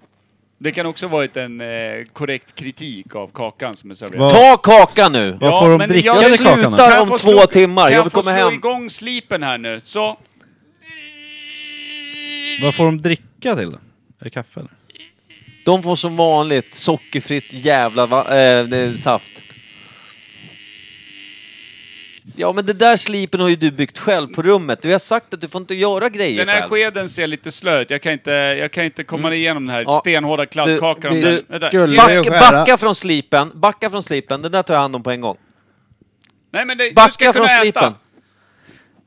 [SPEAKER 2] Det kan också varit en eh, korrekt kritik av kakan som är serverad.
[SPEAKER 1] Ta kakan nu!
[SPEAKER 2] Ja, men jag-
[SPEAKER 1] Jag
[SPEAKER 2] Kan
[SPEAKER 1] slutar
[SPEAKER 2] jag
[SPEAKER 1] om två
[SPEAKER 2] få slå-
[SPEAKER 1] timmar.
[SPEAKER 2] Kan
[SPEAKER 1] Jag
[SPEAKER 2] jag
[SPEAKER 1] vill
[SPEAKER 2] få
[SPEAKER 1] komma
[SPEAKER 2] slå
[SPEAKER 1] hem.
[SPEAKER 2] igång slipen här nu? Så.
[SPEAKER 3] Vad får de dricka till då? Är det kaffe eller?
[SPEAKER 1] De får som vanligt sockerfritt jävla va- eh, det är saft. Ja men det där slipen har ju du byggt själv på rummet. Vi har sagt att du får inte göra grejer
[SPEAKER 2] Den här
[SPEAKER 1] själv.
[SPEAKER 2] skeden ser lite slö ut. Jag kan inte, jag kan inte komma igenom den här stenhårda kladdkakan.
[SPEAKER 1] Mm. Du-
[SPEAKER 2] Den- den där.
[SPEAKER 1] backa, backa från slipen, backa från slipen. Den där tar jag hand om på en gång.
[SPEAKER 2] Nej men det, du
[SPEAKER 1] Backa
[SPEAKER 2] ska
[SPEAKER 1] från
[SPEAKER 2] kunna
[SPEAKER 1] slipen.
[SPEAKER 2] äta.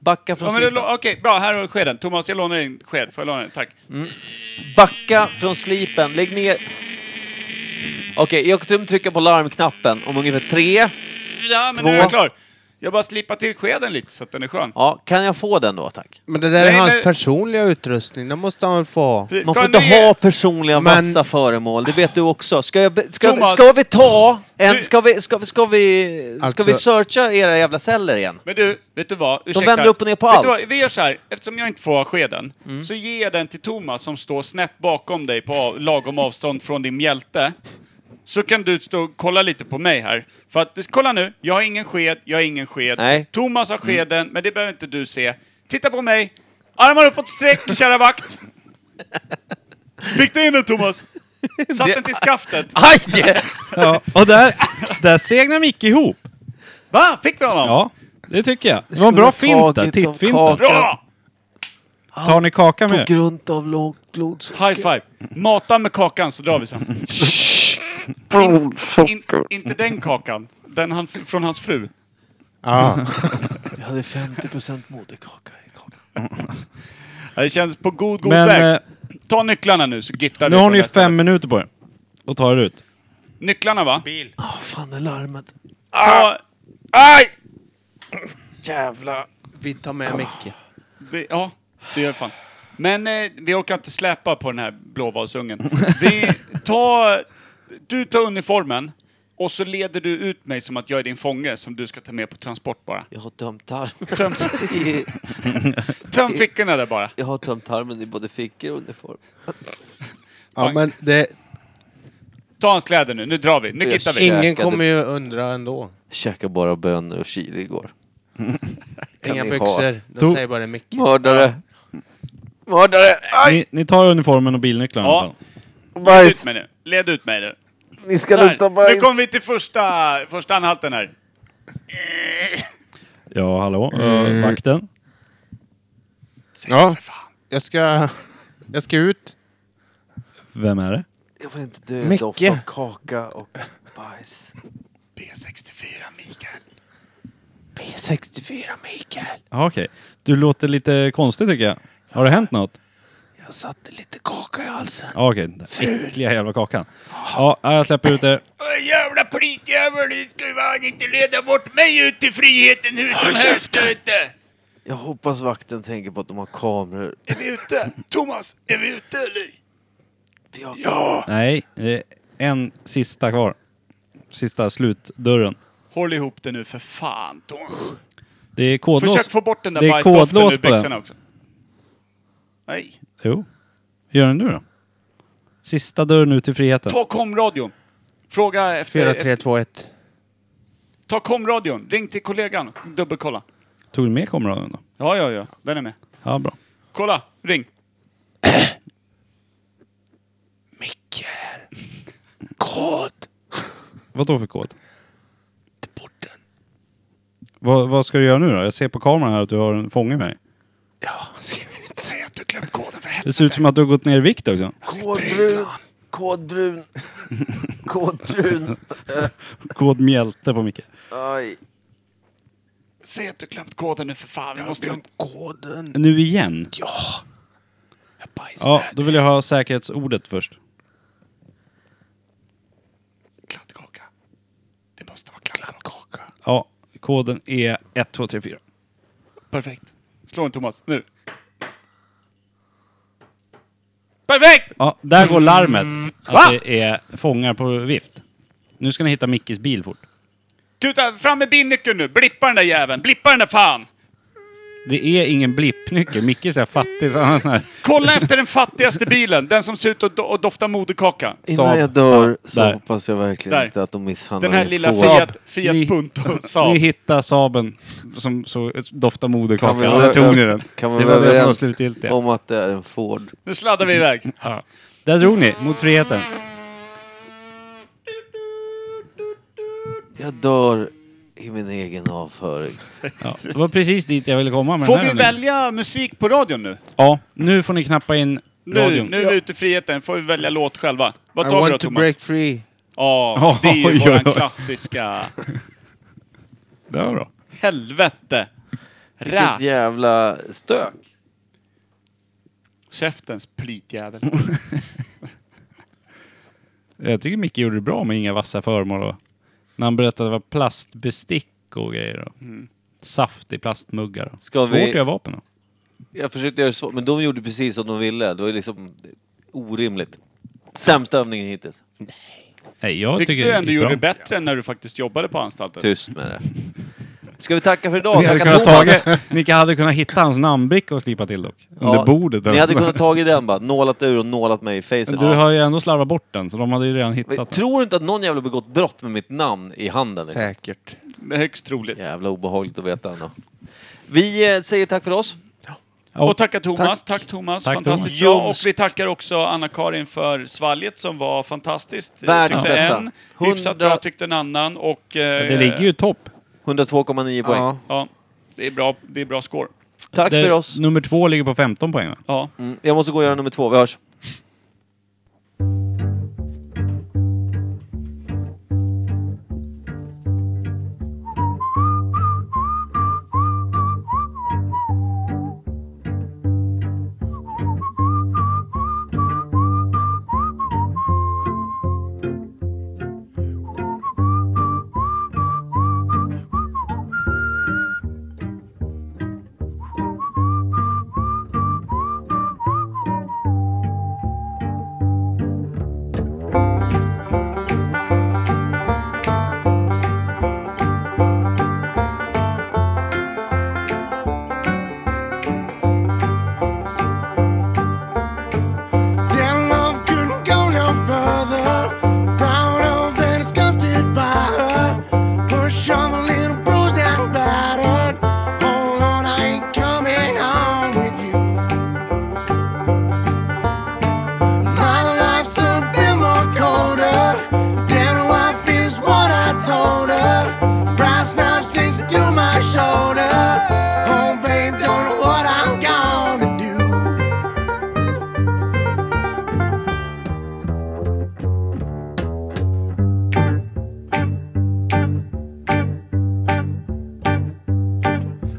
[SPEAKER 1] Backa
[SPEAKER 2] Ja,
[SPEAKER 1] från
[SPEAKER 2] men du,
[SPEAKER 1] slipen.
[SPEAKER 2] lo- Okej, bra. Här har du skeden. Thomas, jag lånar din sked. Får jag låna den? Tack.
[SPEAKER 1] Mm. Backa från slipen, lägg ner... Okej, jag kommer trycka på larmknappen om ungefär tre.
[SPEAKER 2] Ja, men
[SPEAKER 1] Två.
[SPEAKER 2] nu är jag klar. Jag bara slipar till skeden lite så att den är skön.
[SPEAKER 1] Ja, kan jag få den då tack?
[SPEAKER 4] Men det där
[SPEAKER 2] Nej,
[SPEAKER 4] är hans
[SPEAKER 2] men-
[SPEAKER 4] personliga utrustning, den måste han väl få ha?
[SPEAKER 1] Man får inte ha personliga vassa föremål, det vet du också. Ska, jag, be- ska,
[SPEAKER 4] Thomas!
[SPEAKER 1] ska vi ta en... Ska vi, ska, vi- ska vi, ska
[SPEAKER 2] Alltså-
[SPEAKER 1] vi searcha era jävla celler igen?
[SPEAKER 2] Men du, vet du vad? Ursäkta.
[SPEAKER 1] vänder upp och ner på
[SPEAKER 2] vet
[SPEAKER 1] allt. Mm.
[SPEAKER 2] Du vad? Vi gör så här, eftersom jag inte får ha skeden, så ger jag den till Thomas som står snett bakom dig på av- lagom avstånd från din mjälte. Så kan du stå och kolla lite på mig här. För att, kolla nu, jag har ingen sked, jag har ingen sked.
[SPEAKER 1] Nej. Mm.
[SPEAKER 2] Thomas har skeden, men det behöver inte du se. Titta på mig! Armar uppåt sträck, kära vakt! Fick du in den Thomas? Satt den till skaftet?
[SPEAKER 1] Aj!
[SPEAKER 3] Ja, och där, där segnar Micke ihop.
[SPEAKER 2] Va? Fick vi honom?
[SPEAKER 3] Ja, det tycker jag. Det var en bra
[SPEAKER 1] Skulle ha
[SPEAKER 3] fint där.
[SPEAKER 1] tagit om
[SPEAKER 3] Tittfint.
[SPEAKER 1] kakan.
[SPEAKER 2] Bra!
[SPEAKER 3] Tar ni kaka med
[SPEAKER 1] På
[SPEAKER 3] er?
[SPEAKER 1] grund av lågt blodsocker.
[SPEAKER 2] High five! Mata med kakan så drar vi sen. In, inte den kakan. Den han, från hans fru.
[SPEAKER 1] Jag hade 50% moderkaka i kakan.
[SPEAKER 2] Det känns på god, god
[SPEAKER 3] Men,
[SPEAKER 2] väg.
[SPEAKER 3] eh,
[SPEAKER 2] Ta nycklarna nu så gittar
[SPEAKER 3] Nu
[SPEAKER 2] vi
[SPEAKER 3] har
[SPEAKER 2] från
[SPEAKER 3] ni ju
[SPEAKER 2] det här stället.
[SPEAKER 3] fem minuter på er. Och tar er ut.
[SPEAKER 2] Nycklarna va?
[SPEAKER 1] Åh fan, det är larmet.
[SPEAKER 2] Ta... Aj! Jävla...
[SPEAKER 4] Vi tar med Micke.
[SPEAKER 2] Vi, ja, det gör fan. Men eh, vi orkar inte släpa på den här blåvalsungen. Vi tar... Du tar uniformen och så leder du ut mig som att jag är din fånge som du ska ta med på transport bara.
[SPEAKER 1] Jag har tömt tarmen.
[SPEAKER 2] Töm, töm fickorna där bara.
[SPEAKER 1] Jag har tömt tarmen i både fickor och uniform.
[SPEAKER 4] Ja, men det,
[SPEAKER 2] Ta hans kläder nu, nu drar vi. Nu gittar vi.
[SPEAKER 4] ingen kommer ju undra ändå.
[SPEAKER 1] Käkar bara bönor och chili igår. Kan
[SPEAKER 4] Inga
[SPEAKER 1] ni
[SPEAKER 4] byxor.
[SPEAKER 1] ha?
[SPEAKER 4] De säger bara Micke.
[SPEAKER 1] Mördare. Mördare!
[SPEAKER 3] Ni, ni tar uniformen och bilnycklarna i alla fall.
[SPEAKER 2] Ja. Led ut mig nu. Led ut mig nu.
[SPEAKER 1] Ni ska
[SPEAKER 2] Så här,
[SPEAKER 1] lukta bajs.
[SPEAKER 2] Nu kommer vi till första, första anhalten här.
[SPEAKER 3] Ja, hallå? Eh, Vakten?
[SPEAKER 4] Ja, jag ska, jag ska ut.
[SPEAKER 3] Vem är det?
[SPEAKER 1] Jag får inte dö
[SPEAKER 4] Micke.
[SPEAKER 1] doft av kaka och bajs.
[SPEAKER 2] B64 Mikael.
[SPEAKER 4] B64 Mikael.
[SPEAKER 3] Ja, okej. Du låter lite konstig tycker jag. Har det hänt något?
[SPEAKER 4] Jag satte lite kaka i halsen.
[SPEAKER 3] Ja, okej. Den där äckliga jävla kakan. Ja, jag släpper ut er.
[SPEAKER 2] Åh, Jävla plitjävel, ni ska ju fan inte leda bort mig ut till friheten hur som helst där ute.
[SPEAKER 1] Jag hoppas vakten tänker på att de har kameror.
[SPEAKER 2] Är vi ute? Thomas, är vi ute eller?
[SPEAKER 3] Nej, det är en sista kvar. Sista slutdörren.
[SPEAKER 2] Håll ihop det nu för fan Thomas.
[SPEAKER 3] Det är kodlås.
[SPEAKER 2] Försök få bort den där
[SPEAKER 3] det är
[SPEAKER 2] bajsdoften
[SPEAKER 3] kodlås
[SPEAKER 2] ur
[SPEAKER 3] på den.
[SPEAKER 2] byxorna också. Nej.
[SPEAKER 3] Jo. Gör den nu då. Sista dörren ut till friheten.
[SPEAKER 2] Ta komradion. Fråga efter... efter
[SPEAKER 4] 4321.
[SPEAKER 2] ta komradion. Ring till kollegan. Dubbelkolla.
[SPEAKER 3] Tog du med kameran då?
[SPEAKER 2] Ja, ja, ja. Den är med.
[SPEAKER 3] Ja, bra.
[SPEAKER 2] Kolla, ring.
[SPEAKER 4] Kod!
[SPEAKER 3] Vad då för kod? Till porten. Vad, vad ska du göra nu då? Jag ser på kameran här att du har en fånge med dig.
[SPEAKER 4] Ja, ska vi inte säga att du glömt koden för
[SPEAKER 3] Det ser ut som att du har gått ner i vikt också.
[SPEAKER 1] Kodbrun. Kodbrun. Kodbrun.
[SPEAKER 3] Kod mjälte på Micke.
[SPEAKER 1] Aj.
[SPEAKER 2] Säg att du glömt koden nu för fan. Vi måste...
[SPEAKER 4] koden.
[SPEAKER 3] Nu igen? Ja. Ja, då vill jag ha säkerhetsordet först.
[SPEAKER 2] Kladdkaka. Det måste vara kladdkaka.
[SPEAKER 3] Ja, koden är 1234.
[SPEAKER 2] Perfekt. Slå en Thomas, nu. Perfekt!
[SPEAKER 3] Ja, där går larmet. att det är fångar på vift. Nu ska ni hitta Mickes bil fort.
[SPEAKER 2] Kuta, fram med binnyckeln nu! Blippa den där jäveln! Blippa den där fan!
[SPEAKER 3] Det är ingen blippnyckel. Micke är så här fattig så han har sån här...
[SPEAKER 2] Kolla efter den fattigaste bilen, den som ser ut att do- att dofta moderkaka.
[SPEAKER 13] Innan jag dör så
[SPEAKER 3] där.
[SPEAKER 13] hoppas jag verkligen
[SPEAKER 2] Där.
[SPEAKER 13] inte att de misshandlar
[SPEAKER 2] Den här
[SPEAKER 13] min
[SPEAKER 2] lilla
[SPEAKER 13] Ford.
[SPEAKER 2] Fiat, Fiat Punto Saab.
[SPEAKER 3] Ni hittar Saaben som så, doftar
[SPEAKER 13] Kan vi
[SPEAKER 3] moderkaka.
[SPEAKER 13] vara
[SPEAKER 3] Alla tog ni den.
[SPEAKER 13] Kan vi
[SPEAKER 3] det
[SPEAKER 13] vara
[SPEAKER 3] var det som var
[SPEAKER 13] överens
[SPEAKER 3] slutgiltiga.
[SPEAKER 13] om att det är en Ford?
[SPEAKER 2] Nu sladdar vi iväg.
[SPEAKER 3] Ja. Där drog ni, mot friheten.
[SPEAKER 13] Jag dör i min egen avföring.
[SPEAKER 3] Ja, det var precis dit jag ville komma med
[SPEAKER 2] Får
[SPEAKER 3] den här
[SPEAKER 2] vi
[SPEAKER 3] nu.
[SPEAKER 2] välja musik på radion nu?
[SPEAKER 3] Ja, nu får ni knappa in
[SPEAKER 2] Nu,
[SPEAKER 3] radion.
[SPEAKER 2] nu är vi ute i friheten, får vi välja låt själva. Vad
[SPEAKER 3] I
[SPEAKER 2] tar vi
[SPEAKER 3] want
[SPEAKER 2] då
[SPEAKER 3] to
[SPEAKER 2] Thomas?
[SPEAKER 3] break
[SPEAKER 14] free.
[SPEAKER 2] Ja,
[SPEAKER 3] Ja,
[SPEAKER 2] det är ju
[SPEAKER 3] oj, oj,
[SPEAKER 2] våran
[SPEAKER 3] oj.
[SPEAKER 2] klassiska...
[SPEAKER 3] Det var bra.
[SPEAKER 2] Helvete! Rä!
[SPEAKER 13] Vilket jävla stök.
[SPEAKER 2] Käftens plitjävel.
[SPEAKER 3] Mm, Jag tycker Micke gjorde det bra med inga vassa föremål. och- När han berättade att det var plastbestick och grejer. Och Saft i plastmuggar. och-
[SPEAKER 1] Mm. Ska
[SPEAKER 3] Svårt
[SPEAKER 1] vi-
[SPEAKER 3] att göra vapen då.
[SPEAKER 1] Jag försökte göra så, men de gjorde precis som de ville. Det var ju liksom orimligt. Sämsta övningen hittills.
[SPEAKER 3] Nej, jag
[SPEAKER 2] Tycker
[SPEAKER 3] tycker
[SPEAKER 2] du
[SPEAKER 3] det
[SPEAKER 2] ändå
[SPEAKER 3] gick
[SPEAKER 2] gjorde
[SPEAKER 3] bra.
[SPEAKER 2] det bättre än när du faktiskt jobbade på anstalten?
[SPEAKER 1] Tyst med det. Ska vi tacka för idag?
[SPEAKER 3] Ni hade
[SPEAKER 1] Tacka
[SPEAKER 3] kunnat
[SPEAKER 1] Thomas.
[SPEAKER 3] tagit- Micke hade kunnat hitta hans namnbricka och slipa till dock. Under bordet. alltså.
[SPEAKER 1] Ni hade kunnat tagit den bara, nålat ur och nålat mig i
[SPEAKER 3] Men
[SPEAKER 1] facet.
[SPEAKER 3] Du har ju ändå slarvat bort den, så de hade ju redan hittat
[SPEAKER 1] Men
[SPEAKER 3] den.
[SPEAKER 1] Tror du inte att någon jävla begått brott med mitt namn i handen? liksom?
[SPEAKER 14] Säkert.
[SPEAKER 2] Högst troligt.
[SPEAKER 1] Jävla obehagligt att veta ändå. Vi eh, säger tack för oss.
[SPEAKER 2] Och tacka Thomas. Tack, Thomas.
[SPEAKER 1] Tack,
[SPEAKER 2] fantastiskt
[SPEAKER 1] Thomas.
[SPEAKER 2] bra. Och vi tackar också Anna-Karin för svalget som var fantastiskt.
[SPEAKER 1] Världens
[SPEAKER 2] tyckte
[SPEAKER 1] bästa.
[SPEAKER 2] en, hyfsat bra tyckte en annan och... eh,
[SPEAKER 3] Det ligger ju topp.
[SPEAKER 1] 102,9 poäng.
[SPEAKER 2] Ja. det är bra, det är bra score.
[SPEAKER 1] Tack
[SPEAKER 3] Där
[SPEAKER 1] för oss.
[SPEAKER 3] Nummer två ligger på 15 poäng va?
[SPEAKER 2] Ja.
[SPEAKER 1] Mm, jag måste gå och göra nummer två, vi hörs.
[SPEAKER 11] Their love couldn't go no further. Proud of and disgusted by her. Push of a little bruised and battered. Oh Lord, I ain't coming home with you. My life's a bit more colder. Damn, do I feels what I told her. Brass knife sticks to my shoulder. Oh, babe, don't know what I'm gonna do.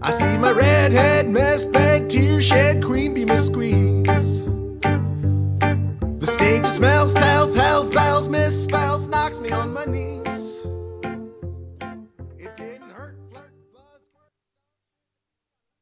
[SPEAKER 4] I see my redhead Miss Peg, tear shed queen bee Miss Squeeze. The stage smells, tells, hells, bells, misspells, knocks me on my knees.